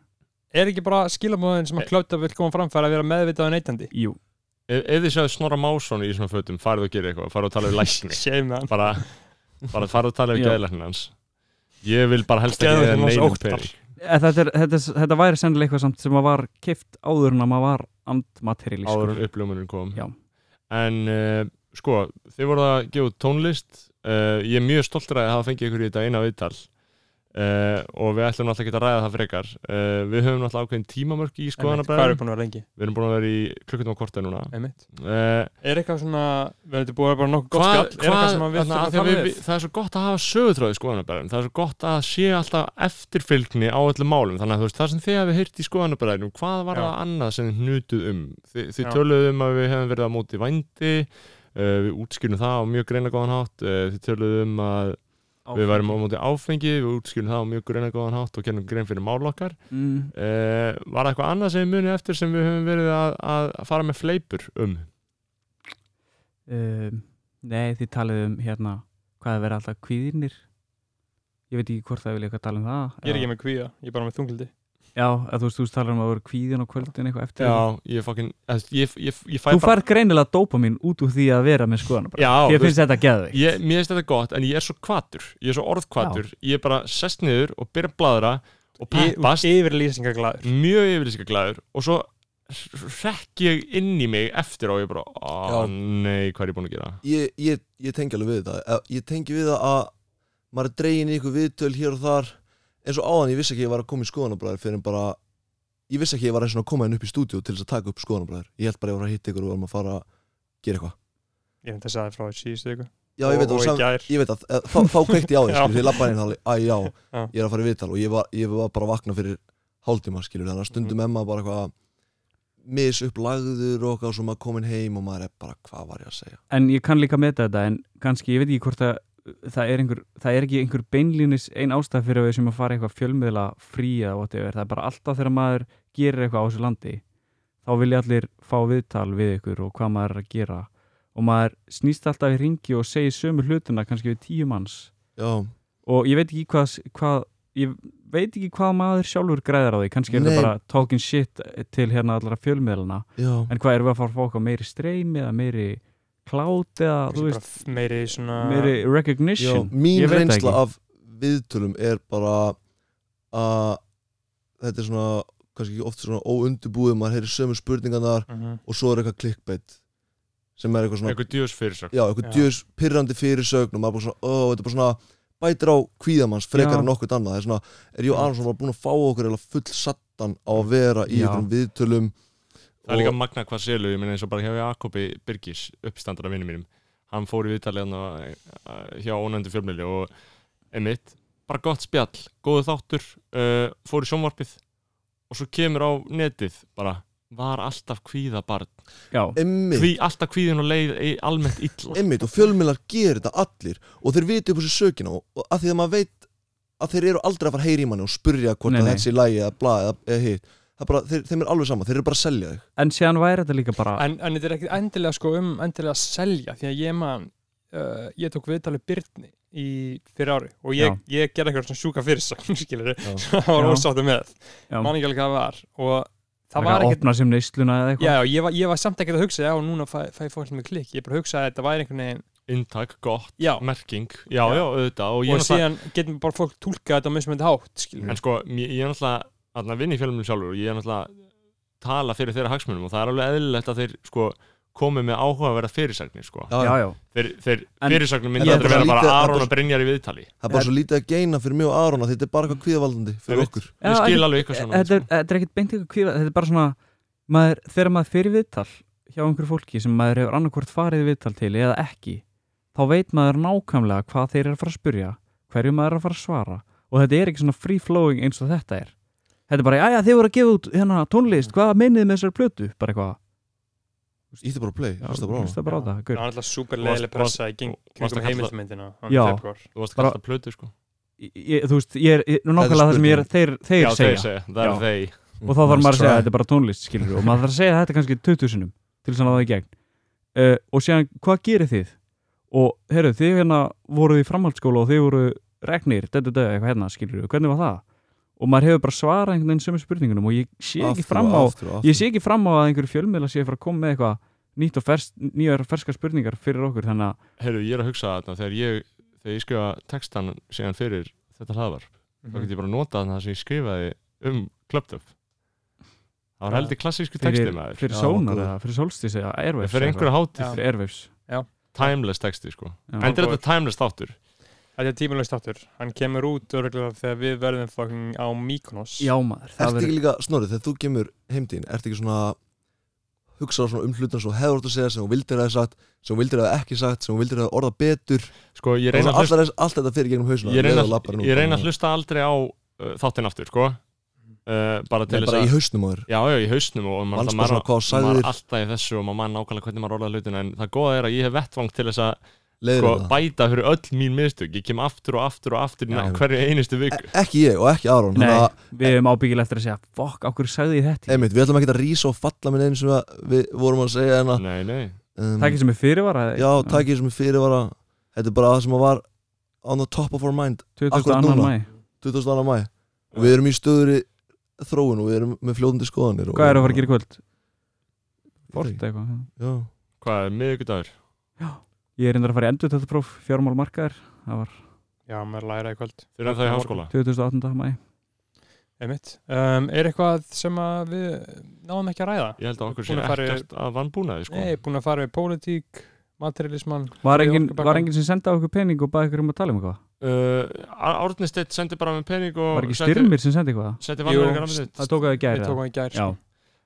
[SPEAKER 2] er ekki bara skilabóðin sem að kláta vil koma framfæra að vera meðvitað og neytandi
[SPEAKER 5] Jú,
[SPEAKER 1] Ef ef þið sjáðu Snorra Másson í svona fötum farið og gera eitthvað, farið og tala við lækni
[SPEAKER 2] séum með hann
[SPEAKER 1] bara, bara farið og tala við
[SPEAKER 5] Já.
[SPEAKER 1] gæðlæknin hans Ég vil bara helst ekki
[SPEAKER 2] Geðlæknir
[SPEAKER 1] eða
[SPEAKER 2] hans
[SPEAKER 1] neinum
[SPEAKER 2] Óttar.
[SPEAKER 1] pening
[SPEAKER 5] Eh, þetta, er, þetta, er- þetta væri sennilega eitthvað samt sem að var kift áður en að maður var andmaterialist sko.
[SPEAKER 1] áður en uppljómunum kom
[SPEAKER 5] Já.
[SPEAKER 1] En uh, sko, þið voruð að gefa út tónlist uh, Ég er mjög stoltur að hafa fengið ykkur í þetta eina viðtal uh, og við ætlum náttúrulega ekki að ræða það frekar uh, Við höfum náttúrulega ákveðin tímamörk í
[SPEAKER 2] Einmitt, hvað er
[SPEAKER 1] skoðanabræðum
[SPEAKER 2] búin að vera lengi
[SPEAKER 1] Við erum búin að vera í klukkutum á kortið núna
[SPEAKER 2] Einmitt.
[SPEAKER 1] uh,
[SPEAKER 2] er eitthvað svona, við höfum búin að vera bara nokkuð gott
[SPEAKER 1] Hvað-
[SPEAKER 2] spjall er eitthvað
[SPEAKER 1] hvað-
[SPEAKER 2] sem að við
[SPEAKER 1] þarna, af því að
[SPEAKER 2] þurfum
[SPEAKER 1] við-
[SPEAKER 2] að tala
[SPEAKER 1] við- það er svo gott að hafa sögutráði skoðanabæðum það er svo gott að sé alltaf eftirfylgni á öllum málum þannig að þú veist það sem þið hafi heyrt í skoðanabæðum hvað var
[SPEAKER 2] Já.
[SPEAKER 1] það annað sem þið hnutuð um þið, þið
[SPEAKER 2] Já.
[SPEAKER 1] töluðu um að við hefum verið á móti vændi Uh, við útskýrum það á mjög greina góðan hátt uh, þið töluðu um að við værum á móti áfengi við útskýrum það á mjög greina góðan hátt og gerum grein fyrir mál okkar
[SPEAKER 5] mm,
[SPEAKER 1] uh, var það eitthvað annað sem við munið eftir sem við höfum verið að, að fara með fleipur um
[SPEAKER 5] um, Nei, þið talið um hérna hvað að vera alltaf kvíðinir Ég veit ekki hvort það vilja eitthvað tala um það
[SPEAKER 2] við ég er ekki með kvíða, ég er bara með þunglindi
[SPEAKER 5] Já, að þú veist, þú talar um að vera kvíðin á kvöldin eitthvað eftir
[SPEAKER 1] já, ég, fucking, ég, ég, ég fæ
[SPEAKER 5] Þú
[SPEAKER 1] bara-
[SPEAKER 5] færð greinilega dópamin út úr því að vera með skoðan bara.
[SPEAKER 1] Já,
[SPEAKER 5] Því
[SPEAKER 1] þú
[SPEAKER 5] að finnst þetta geðveik
[SPEAKER 1] ég, mér finnst þetta gott en ég er svo kvatur, ég er svo orðkvatur ég er bara sest niður og byrja að bladra og peppast,
[SPEAKER 2] yfirlýsingaglæður
[SPEAKER 1] mjög yfirlýsingaglæður og svo rekk ég inn í mig eftir og ég bara, ó
[SPEAKER 4] Já.
[SPEAKER 1] nei hvað er ég búin að gera
[SPEAKER 4] ég, ég, ég tengi alveg við þetta Eh, ég tengi við það að maður er dregin í ykkur viðtöl hér og þar eins og áðan ég vissi ekki að ég var að koma í skoðanabræður fyrir en bara ég vissi ekki að ég var að svona að koma henn upp í stúdíu til þess að taka upp skoðanabræður ég held bara að ég var að hitta ykkur og varum að fara að gera eitthvað
[SPEAKER 2] ég finnst að segja það frá því síðustu ykkur
[SPEAKER 4] já ég veit
[SPEAKER 2] og, og
[SPEAKER 4] að
[SPEAKER 2] í gær
[SPEAKER 4] ég veit að eh, þá, þá kveikti ég á því
[SPEAKER 2] Já.
[SPEAKER 4] skilur, ég lappa inn í þáli, æ já,
[SPEAKER 2] Já. Mhm.
[SPEAKER 4] ég er að fara í viðtal og ég var, ég var bara að vakna fyrir hálftíma skilur, þannig að stundum emma bara eitthvað mis upp lagður og okkar svo maður komin heim og maður er bara hvað var ég að segja
[SPEAKER 5] en ég kann líka meta þetta en kannski, ég veit ekki hvort að uh, það er, einhver, það er ekki einhver beinlínis ein ástæð fyrir að við sem að fara í eitthvað fjölmiðla frí eða whatever, það er bara alltaf þegar maður gerir eitthvað á þessu landi þá vilja allir fá viðtal við ykkur og hvað maður er að gera og maður snýst alltaf í ringi og segir sömu hlutina kannski við tíu manns
[SPEAKER 4] Já,
[SPEAKER 5] og ég veit ekki hvað, hvað ég veit ekki hvað maður sjálfur græðar á því kannski er
[SPEAKER 4] Nei.
[SPEAKER 5] þetta bara talking shit til hérna allra fjölmiðlana
[SPEAKER 4] já,
[SPEAKER 5] en hvað erum við að fara að fá eitthvað meiri streymi eða meiri klát eða þú
[SPEAKER 2] Kannski
[SPEAKER 5] veist,
[SPEAKER 2] bara meiri svona
[SPEAKER 5] meiri
[SPEAKER 4] já
[SPEAKER 5] recognition
[SPEAKER 4] Mín
[SPEAKER 5] Ég veit það
[SPEAKER 4] reynsla
[SPEAKER 5] ekki.
[SPEAKER 4] af viðtölum er bara að þetta er svona kannski ekki oft svona óundubúið maður heyrir sömu spurningarnar
[SPEAKER 2] Mhm.
[SPEAKER 4] og svo er eitthvað clickbait sem er eitthvað svona
[SPEAKER 1] eitthvað djús fyrir svo
[SPEAKER 4] já, eitthvað
[SPEAKER 2] Já.
[SPEAKER 4] djöðs pyrrandi fyrirsögn og maður bara svona, ó, þetta er bara svona bætir á kvíðamanns frekar
[SPEAKER 5] Já.
[SPEAKER 4] en okkur annað, það er svona, er Jó Aronsson bara búin að fá okkur eða full sattan á að vera í
[SPEAKER 5] Já.
[SPEAKER 4] einhverjum viðtölum
[SPEAKER 1] það er líka magna hvað selu, ég meina eins og bara hjá Jakobi Birgis, uppstandara vinnu mínum hann fór í viðtalið hann á- hjá ónændi fjölmjöli og emitt, bara gott spjall, góðu þáttur uh, fór í sjónvarpið og svo kemur á netið bara, var alltaf kvíðabarn
[SPEAKER 5] já,
[SPEAKER 4] emmitt,
[SPEAKER 1] Kví, alltaf kvíðin og leið í, almennt illa
[SPEAKER 4] emmitt og fjölmjölar gerir þetta allir og þeir viti upp þessu sökin á og að því að maður veit að þeir eru aldrei að fara heyri í manni og spurja hvort
[SPEAKER 5] Nei,
[SPEAKER 4] að
[SPEAKER 5] nei.
[SPEAKER 4] þetta sé lægi eða bla eða, eða hitt það er bara, þeir, þeim er alveg sama, þeir eru bara að selja þig
[SPEAKER 5] en síðan væri þetta líka bara
[SPEAKER 2] en, en þetta er ekkert endilega sko um endilega að selja því að ég man uh, ég tók viðtalið Byrni í fyrir ári og ég, ég gerði eitthvað svona sjúka fyrir sig skilur
[SPEAKER 4] Já.
[SPEAKER 2] það var
[SPEAKER 5] Já.
[SPEAKER 2] ósáttu með
[SPEAKER 5] Já.
[SPEAKER 2] man ekki alveg hvað það var og það
[SPEAKER 5] það var
[SPEAKER 2] var ekkert
[SPEAKER 5] opna sem neysluna eða eitthvað
[SPEAKER 2] já, já, ég, var, ég var samt ekkert að hugsa já, núna fæ, fæ fólk með klikk ég bara hugsaði að þetta væri einhvern veginn
[SPEAKER 1] inntak, gott,
[SPEAKER 2] já,
[SPEAKER 1] merking já, já, auðvitað og ég
[SPEAKER 2] og
[SPEAKER 1] náttúrulega-
[SPEAKER 2] síðan getum bara fólk tólkað þetta á mismöndi hátt
[SPEAKER 5] Mhm.
[SPEAKER 2] skilur
[SPEAKER 1] en sko, mér- ég er náttúrulega að vinna í fjölmjölum sjálfur og ég er náttúrulega tala fyrir þeirra hagsmunum og það er alveg eðlilegt að þeir sko komið með áhugaverða fyrirsagnir sko.
[SPEAKER 4] Já,
[SPEAKER 5] já, já,
[SPEAKER 1] þeir, þeir
[SPEAKER 5] En-
[SPEAKER 1] fyrirsagnir
[SPEAKER 4] en
[SPEAKER 1] myndi
[SPEAKER 4] þetta
[SPEAKER 1] aldrei
[SPEAKER 4] er
[SPEAKER 1] vera
[SPEAKER 4] bara
[SPEAKER 1] bara
[SPEAKER 4] lítið-
[SPEAKER 1] Aron
[SPEAKER 4] þetta
[SPEAKER 1] og Brynjar í viðtali
[SPEAKER 4] það er bara svo lítið að geina fyrir mig og Arona þetta er bara eitthvað kvíðavaldandi fyrir
[SPEAKER 1] Einmitt.
[SPEAKER 4] okkur
[SPEAKER 1] ég
[SPEAKER 5] Já,
[SPEAKER 1] skil
[SPEAKER 5] en-
[SPEAKER 1] alveg ykkur svona
[SPEAKER 5] Eh,
[SPEAKER 1] sko.
[SPEAKER 5] þetta er, þetta er ekkert beint eitthvað kvíða þetta er bara svona, maður, þegar maður fyrir viðtal hjá einhverju fólki sem maður hefur annarkvort farið í viðtal til eða ekki þá veit maður nákvæmlega hvað þeir eru að fara að spurja hverju maður er að fara að svara og þetta er ekki svona free flowing eins og þetta er þetta er bara, já, þeir voru að gefa út hérna, tónlist, hvað meinið þið með þessari plötu bara eitthvað,
[SPEAKER 4] Ítti bara á play,
[SPEAKER 5] já,
[SPEAKER 4] hlusta bara á hana
[SPEAKER 5] hlusta bara á
[SPEAKER 2] Já.
[SPEAKER 5] það gaur.
[SPEAKER 2] Það var alltaf super
[SPEAKER 1] Varst-
[SPEAKER 2] leiðileg
[SPEAKER 1] varst-
[SPEAKER 2] pressa í geng-
[SPEAKER 1] varst að
[SPEAKER 2] kringum
[SPEAKER 1] kalla-
[SPEAKER 2] heimilsmyndina
[SPEAKER 5] Já.
[SPEAKER 2] já. februar.
[SPEAKER 1] þú varst
[SPEAKER 5] bara-
[SPEAKER 1] að kalla plötu sko
[SPEAKER 5] ég, þú veist, ég er ég- nákvæmlega það sem ég er þeir, þeir
[SPEAKER 1] já,
[SPEAKER 5] segja
[SPEAKER 1] þeir segja, það er
[SPEAKER 5] Já.
[SPEAKER 1] þeir
[SPEAKER 5] og þá þarf maður að segja
[SPEAKER 4] Try.
[SPEAKER 5] að þetta er bara tónlist skilur, við, og maður þarf að segja þetta kannski 20 sinum til þess að ná það í gegn uh, og séðan, hvað gerir þið? og heyrðu, þið hérna voruð í framhaldsskóla og þið voru regnir, dættu dættu, eitthvað hérna skilur, við, hvernig var það? og maður hefur bara svarað einhvern veginn sömu spurningunum og ég sé ekki
[SPEAKER 4] Aftur og
[SPEAKER 5] fram á
[SPEAKER 4] aftur og aftur.
[SPEAKER 5] ég sé ekki fram á að einhverju fjölmiðla sé að fara að koma með eitthvað nýtt og fersk, nýjar og ferskar spurningar fyrir okkur þannig að,
[SPEAKER 1] heyrðu, ég er að hugsa þarna þegar ég þegar ég skrifa textan síðan fyrir þetta hlaðvarp
[SPEAKER 5] Mhm.
[SPEAKER 1] þá get ég bara notað þarna það sem ég skrifaði um klöptöf það var
[SPEAKER 2] Já.
[SPEAKER 1] heldur klassísku texti
[SPEAKER 5] fyrir,
[SPEAKER 1] maður
[SPEAKER 5] fyrir
[SPEAKER 4] Já,
[SPEAKER 5] sónar
[SPEAKER 4] góð.
[SPEAKER 5] eða fyrir solstis eða
[SPEAKER 1] Ég
[SPEAKER 5] airwaves
[SPEAKER 1] fyrir
[SPEAKER 5] eða
[SPEAKER 1] einhverja hátíð,
[SPEAKER 2] Já.
[SPEAKER 5] eitthvað. fyrir airwaves
[SPEAKER 1] timeless texti sko
[SPEAKER 5] Já.
[SPEAKER 1] endur þetta timeless þáttur
[SPEAKER 2] Þetta er tímulegst áttur Hann kemur út örgulega þegar við verðum fucking á Mykonos
[SPEAKER 5] já maður, það
[SPEAKER 4] Ertu
[SPEAKER 5] verður-
[SPEAKER 4] ekki líka, Snorri, þegar þú kemur heimdín Ertu ekki svona hugsaður svona um hlutin sem þú hefur átt að segja sem þú vildir að það sagt sem þú vildir að það ekki sagt sem þú vildir að það orða betur
[SPEAKER 1] sko, ég reyna að
[SPEAKER 4] Þannig að
[SPEAKER 1] hlusta
[SPEAKER 4] allt, allt þetta fyrir gegnum hausuna
[SPEAKER 1] ég reyna, að- ég reyna að hlusta aldrei á uh, þáttinn aftur sko uh, bara til
[SPEAKER 4] Nei,
[SPEAKER 1] þess
[SPEAKER 4] bara í
[SPEAKER 1] að
[SPEAKER 4] hausnum á þér
[SPEAKER 1] já, já, í hausnum og maður
[SPEAKER 4] Manst
[SPEAKER 1] alltaf-
[SPEAKER 4] bara svona hvað
[SPEAKER 1] maður- maður
[SPEAKER 4] þú sagðir.
[SPEAKER 1] er alltaf í þessu og maður mann nákvæmlega hvernig maður orðaði hlutina en það góða er að ég hef vettvang til þess að
[SPEAKER 4] Leiðir
[SPEAKER 1] sko,
[SPEAKER 4] það
[SPEAKER 1] bæta fyrir öll mín miðstök ég kem aftur og aftur og aftur já,
[SPEAKER 4] Já.
[SPEAKER 1] hverju einustu viku
[SPEAKER 4] E- Ekki ég og ekki Aron
[SPEAKER 5] Nei,
[SPEAKER 4] Þannig að,
[SPEAKER 5] við hefum ábyggilega eftir að segja Fokk, okkur sagði ég þetta í?"
[SPEAKER 4] einmitt, við ætlum ekki að rísa og falla með einu sem að við vorum að segja hérna
[SPEAKER 1] nei, nei,
[SPEAKER 4] um,
[SPEAKER 5] Það er ekki sem er fyrirvara
[SPEAKER 4] Já, takk ég sem fyrir var að Þetta er bara það sem að var on the top of our mind
[SPEAKER 5] 22.
[SPEAKER 4] Akkurat núna.
[SPEAKER 5] mæ
[SPEAKER 4] 22. mæ og við erum í stöðuri þróun og við erum með fljóðandi skoðanir og-
[SPEAKER 5] Hvað er að fara að gera í kvöld? Fort
[SPEAKER 4] Ég veit
[SPEAKER 5] eitthvað
[SPEAKER 4] Já,
[SPEAKER 1] hvað er miðvikudagur
[SPEAKER 5] Ég er reyndar að fara í endur þetta próf Fjármál markaðir Það var
[SPEAKER 2] Já, maður læra í kvöld
[SPEAKER 1] þeir eru það í háskóla
[SPEAKER 5] 2018. mæ
[SPEAKER 2] Einmitt. um, Er eitthvað sem að við náðum ekki að ræða?
[SPEAKER 1] ég held að okkur sé
[SPEAKER 2] Búin að fara í-
[SPEAKER 1] ekkert að vannbúnaði sko.
[SPEAKER 2] Nei, búin að fara við pólitík Materialismann
[SPEAKER 5] Var
[SPEAKER 2] Þriðja
[SPEAKER 5] enginn
[SPEAKER 2] orkupakkan.
[SPEAKER 5] var enginn sem senda okkur pening og baði ykkur um að tala um eitthvað?
[SPEAKER 1] uh, Árni Steitt sendi bara með pening og
[SPEAKER 5] Var ekki styrmir sem sendi eitthvað?
[SPEAKER 1] sendi
[SPEAKER 2] Jú,
[SPEAKER 1] vannbúnaði
[SPEAKER 5] Það tók að það
[SPEAKER 2] Við
[SPEAKER 5] gæri
[SPEAKER 2] tókum í gær
[SPEAKER 5] Já,
[SPEAKER 2] sko.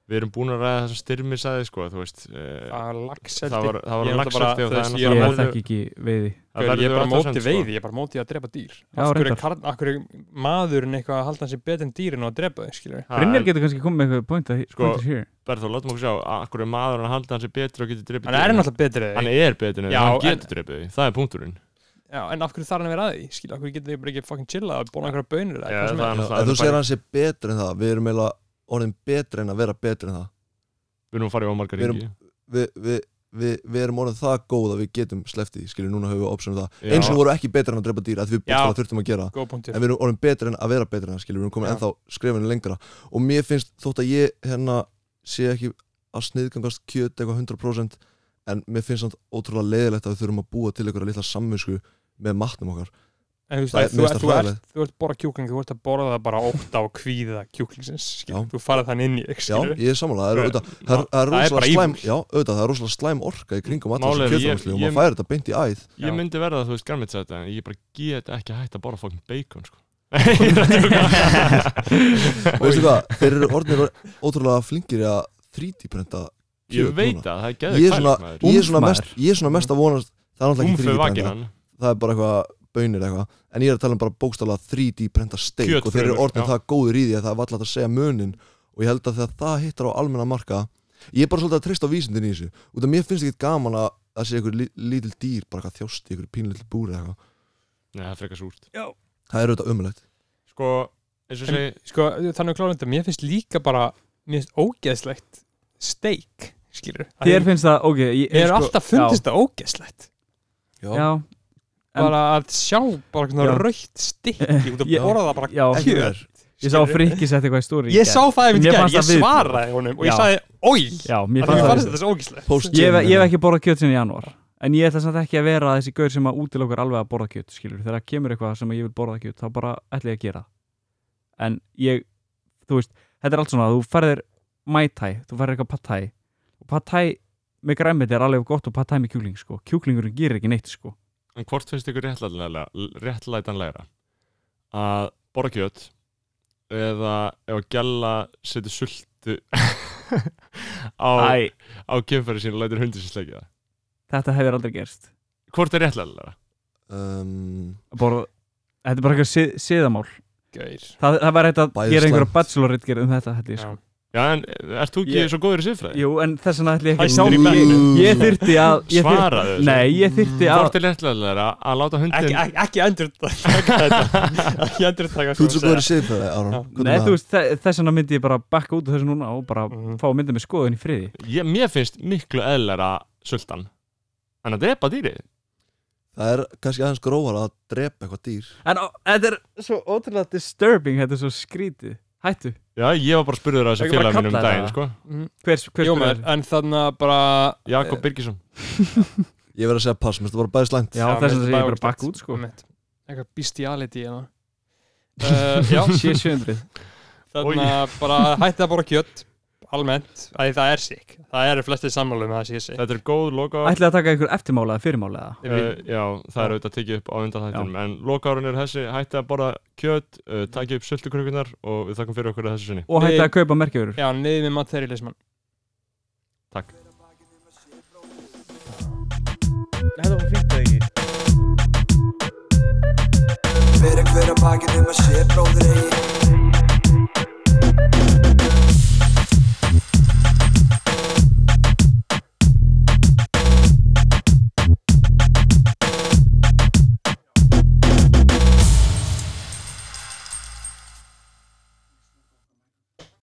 [SPEAKER 1] við erum búin að ræða það sem styrmir sagði sko, þú veist uh,
[SPEAKER 2] að lagseldi
[SPEAKER 1] það var, það
[SPEAKER 2] Ah, Ég
[SPEAKER 1] var
[SPEAKER 2] er náttúrulega
[SPEAKER 1] lagseldi og
[SPEAKER 2] bara-
[SPEAKER 1] það er
[SPEAKER 2] þú veist,
[SPEAKER 5] ég
[SPEAKER 2] Ég er
[SPEAKER 1] náttúrulega-
[SPEAKER 2] að
[SPEAKER 5] þekki ekki veiði
[SPEAKER 1] það
[SPEAKER 2] Gaur,
[SPEAKER 1] verður
[SPEAKER 2] ég er bara
[SPEAKER 1] að
[SPEAKER 2] á móti
[SPEAKER 1] athugasemd, sko.
[SPEAKER 2] veiði, ég er bara á móti að drepa dýr
[SPEAKER 5] Já,
[SPEAKER 2] af hverju,
[SPEAKER 5] reyndar.
[SPEAKER 2] karl, af hverju er maðurinn eitthvað að halda hans í betin dýrin og að drepa þau, skilur
[SPEAKER 1] Það
[SPEAKER 5] Brynjar
[SPEAKER 1] er-
[SPEAKER 5] getur kannski komið með eitthvað point að
[SPEAKER 1] Sko,
[SPEAKER 5] sko, hér
[SPEAKER 1] Berður, látum okkur sjá, akkur er maður að halda hans er betur og getur drefið
[SPEAKER 2] hann er náttúrulega betrið
[SPEAKER 1] hann er betur en
[SPEAKER 2] Já,
[SPEAKER 1] hann
[SPEAKER 2] en-
[SPEAKER 1] getur drefið þig, það er punkturinn
[SPEAKER 2] Já, en af hverju þarf hann að vera að því, skilur, af hverju getur þau bara ekki fucking chillað og bóna einhverja bönir
[SPEAKER 1] Já, það
[SPEAKER 2] eða
[SPEAKER 1] er
[SPEAKER 4] En
[SPEAKER 1] náttúrulega-
[SPEAKER 4] þú
[SPEAKER 1] bara-
[SPEAKER 4] segir að hann sé betri en það Við erum eiginlega orðin betri en að vera betri en það
[SPEAKER 1] við erum að fara í ómargar
[SPEAKER 4] Við erum-
[SPEAKER 1] ringi
[SPEAKER 4] Við, við, við, við erum orðin það góð að við getum sleppt í Skilju, núna höfum við opsum það
[SPEAKER 1] Já.
[SPEAKER 4] Eins og voru ekki betri en að drepa dýr að Við
[SPEAKER 2] Já.
[SPEAKER 4] bóttfæla þurftum að gera það.
[SPEAKER 2] góð punktur
[SPEAKER 4] En við erum orðin betri en að vera betri en það Skilju, við erum komin
[SPEAKER 2] Já.
[SPEAKER 4] ennþá skrefinu lengra Og mér finnst þótt að ég hérna sé ekki að sniðgangast kjöt eitthvað 100% En mér finnst samt ótrúlega leiðilegt að við þurfum að búa til einhverja litla samvinsku með matnum okkar
[SPEAKER 2] En þú veist
[SPEAKER 4] Það
[SPEAKER 2] að
[SPEAKER 4] er-
[SPEAKER 2] þú,
[SPEAKER 4] mér finnst það
[SPEAKER 2] þú, ert,
[SPEAKER 4] hræðilegt.
[SPEAKER 2] þú ert borða kjúkling, þú ert að borða það bara ótt á kvíða kjúklingsins, skilur,
[SPEAKER 4] Já.
[SPEAKER 2] þú farað þann inn í, þig,
[SPEAKER 4] Já,
[SPEAKER 2] skilur
[SPEAKER 4] ég er samanlega, það er auðvitað Það er, það er
[SPEAKER 2] Það er bara
[SPEAKER 4] rosalega slæm
[SPEAKER 2] evil.
[SPEAKER 4] Já, auðvitað, það er rosalega slæm orka í kringum allan
[SPEAKER 1] Málið
[SPEAKER 4] sem
[SPEAKER 1] er, ég-
[SPEAKER 4] kjöðframslu og
[SPEAKER 1] ég-
[SPEAKER 4] maður færi þetta beint í æð
[SPEAKER 1] ég
[SPEAKER 2] Já.
[SPEAKER 1] myndi verða þú veist garmits þetta en ég bara get ekki hægt að borða fokkin bacon sko. Ég er að djóka.
[SPEAKER 4] Veistu hvað, þeir eru orðinir ótrúlega flingir í að 3D-prenta
[SPEAKER 1] ég
[SPEAKER 4] kjöt
[SPEAKER 1] veit
[SPEAKER 4] núna.
[SPEAKER 1] það, það er
[SPEAKER 4] Ég er
[SPEAKER 1] geðið
[SPEAKER 4] svona-
[SPEAKER 1] maður
[SPEAKER 4] Ég er svona
[SPEAKER 5] Úmf,
[SPEAKER 4] mest, ég er svona mest að vonast Það er náttúrulega ekki
[SPEAKER 1] umfið
[SPEAKER 4] 3D-prenta,
[SPEAKER 1] vakinan
[SPEAKER 4] það er bara eitthvað bönir eitthvað En ég er að tala um bara bókstala 3D-prenta steik Og þeir eru
[SPEAKER 1] Kjötfrumur,
[SPEAKER 4] orðinir
[SPEAKER 1] já.
[SPEAKER 4] það góður í því að það er valla hægt að segja munin Og ég held að þegar það hittar á almenna marka Ég er bara svolítið að treysta á vísindin í þessu Út af mér finnst ekki gaman að að sé einhver lí- lítil dýr bara eitthvað þjósti, einhver pínlítil búri eitthvað
[SPEAKER 1] Nei, það er frekar súrt
[SPEAKER 4] Það er auðvitað umulegt
[SPEAKER 1] sko, eins og
[SPEAKER 2] En-
[SPEAKER 1] segi
[SPEAKER 2] sko, þannig að klára þetta, mér finnst líka bara mér finnst ógeðslegt steik, skilur
[SPEAKER 5] Þér finnst það, ok Ég
[SPEAKER 2] Mér er
[SPEAKER 5] sko-
[SPEAKER 2] alltaf fundist það ógeðslegt
[SPEAKER 5] Já, já, En-
[SPEAKER 2] bara að sjá bara svona
[SPEAKER 5] Já.
[SPEAKER 2] rautt stikki út að
[SPEAKER 5] Ég-
[SPEAKER 2] borða það bara
[SPEAKER 5] já
[SPEAKER 4] Ekki
[SPEAKER 2] Kjöt,
[SPEAKER 4] verð.
[SPEAKER 5] Ég sá frikki sett eitthvað í stóri
[SPEAKER 2] ég sá það
[SPEAKER 5] Mér
[SPEAKER 2] einmitt gerð,
[SPEAKER 5] fannst
[SPEAKER 2] ég
[SPEAKER 5] það við-
[SPEAKER 2] svaraði honum og
[SPEAKER 5] Já.
[SPEAKER 2] ég sagði, oi
[SPEAKER 5] Já, mér
[SPEAKER 2] þannig að mér
[SPEAKER 5] fannst það
[SPEAKER 2] fannst þetta svo ógíslegt
[SPEAKER 4] Post-
[SPEAKER 5] Ég hef, ég hef
[SPEAKER 4] Jam,
[SPEAKER 5] ekki borðað kjöt sinni í janúar En ég ætla samt ekki að vera þessi gaur sem að útilokar alveg að borða kjöt skilur Þegar kemur eitthvað sem ég vil borða kjöt þá bara ætla ég að gera það. En ég, þú veist, þetta er allt svona Þú færðir mætæ, þú færðir eitthvað patæ Og patæ með græmið er alveg gott og patæ með kjúling sko Kjúklingurinn gerir ekki neitt sko
[SPEAKER 1] En hvort finnst ykkur réttlætanlega, réttlætanlegra að borra kjöt eða ef að gælla setja sultu á,
[SPEAKER 5] Æ,
[SPEAKER 1] á kemfæri sín og lætir hundi sér sleikja það
[SPEAKER 5] þetta hefur aldrei gerst
[SPEAKER 1] Hvort er réttlætanlegra?
[SPEAKER 4] um,
[SPEAKER 5] Að borða, þetta er bara eitthvað sið, siðamál
[SPEAKER 2] Gauir.
[SPEAKER 5] Það, það var eitthvað
[SPEAKER 4] Bæði
[SPEAKER 5] að gera einhverja
[SPEAKER 4] slæmt.
[SPEAKER 5] bachelorette gerð um þetta held ég,
[SPEAKER 2] Já.
[SPEAKER 5] sko.
[SPEAKER 1] Já, en ert þú ekki
[SPEAKER 5] Ég-
[SPEAKER 1] svo góður í siffræði?
[SPEAKER 5] Jú, en þess vegna ætla ég ekki
[SPEAKER 1] Hæstur í bænum.
[SPEAKER 5] Ég þyrti að ég þyrfti-
[SPEAKER 1] Svaraðu þessu.
[SPEAKER 5] Nei, ég þyrti að
[SPEAKER 1] Hvort er réttlætanlegra að láta
[SPEAKER 2] ekki,
[SPEAKER 1] hundin
[SPEAKER 2] ekki, ekki endur þetta ekki endur þetta
[SPEAKER 4] Þú ert svo góður í siðfræði, Aron
[SPEAKER 2] Já.
[SPEAKER 4] Hvernig
[SPEAKER 5] Nei,
[SPEAKER 4] er
[SPEAKER 5] þú
[SPEAKER 4] það?
[SPEAKER 5] veist, þe- þess vegna myndi ég bara bakka út af þessu núna og bara
[SPEAKER 2] Mhm.
[SPEAKER 5] fá að mynda með skoðun í friði
[SPEAKER 1] ég, Mér finnst miklu eðlæra sultan en að drepa dýrið
[SPEAKER 4] Það er kannski aðeins grófar að drepa eitthvað dýr
[SPEAKER 5] En á- þetta er svo ótrúlega disturbing þetta er svo skrítið Hættu,
[SPEAKER 1] Já, ég var bara að spurður að þessu
[SPEAKER 5] Ekki bara
[SPEAKER 1] félag mínum
[SPEAKER 5] kalla
[SPEAKER 1] daginn
[SPEAKER 5] þetta?
[SPEAKER 1] sko.
[SPEAKER 5] hvers, hvers
[SPEAKER 2] Jó, maður, Mm, en þannig að bara
[SPEAKER 5] Eh,
[SPEAKER 1] Jakob Birgisson
[SPEAKER 4] Ég verð að segja pass, mér finnst það bara bæði slæmt
[SPEAKER 5] Já, þess
[SPEAKER 2] mér
[SPEAKER 5] vegna ég
[SPEAKER 2] finnst
[SPEAKER 5] bara bakka út, sko
[SPEAKER 2] Einmitt. eitthvað bestiality hérna. uh, já,
[SPEAKER 5] 700
[SPEAKER 2] þannig að bara hætti að borða kjött almennt, að það er sík það eru flestir sammálu með það sé sík
[SPEAKER 1] Þetta er góð loka
[SPEAKER 5] Ætlaði að taka einhver eftirmála eða fyrirmála eða
[SPEAKER 1] Uh, já, það er auðvitað tekið upp á undan þættinum en lokárun er þessi, hætti að borða kjöt uh, takið upp sultukrukunar og við þakkum fyrir okkur að þessu sinni
[SPEAKER 5] Og hætti
[SPEAKER 2] Nei.
[SPEAKER 5] að kaupa merkjörur
[SPEAKER 2] já, niður með materialisman
[SPEAKER 5] Þetta var fínt að ekki
[SPEAKER 3] Fyrir hver að bakið um að sé bróðir eigi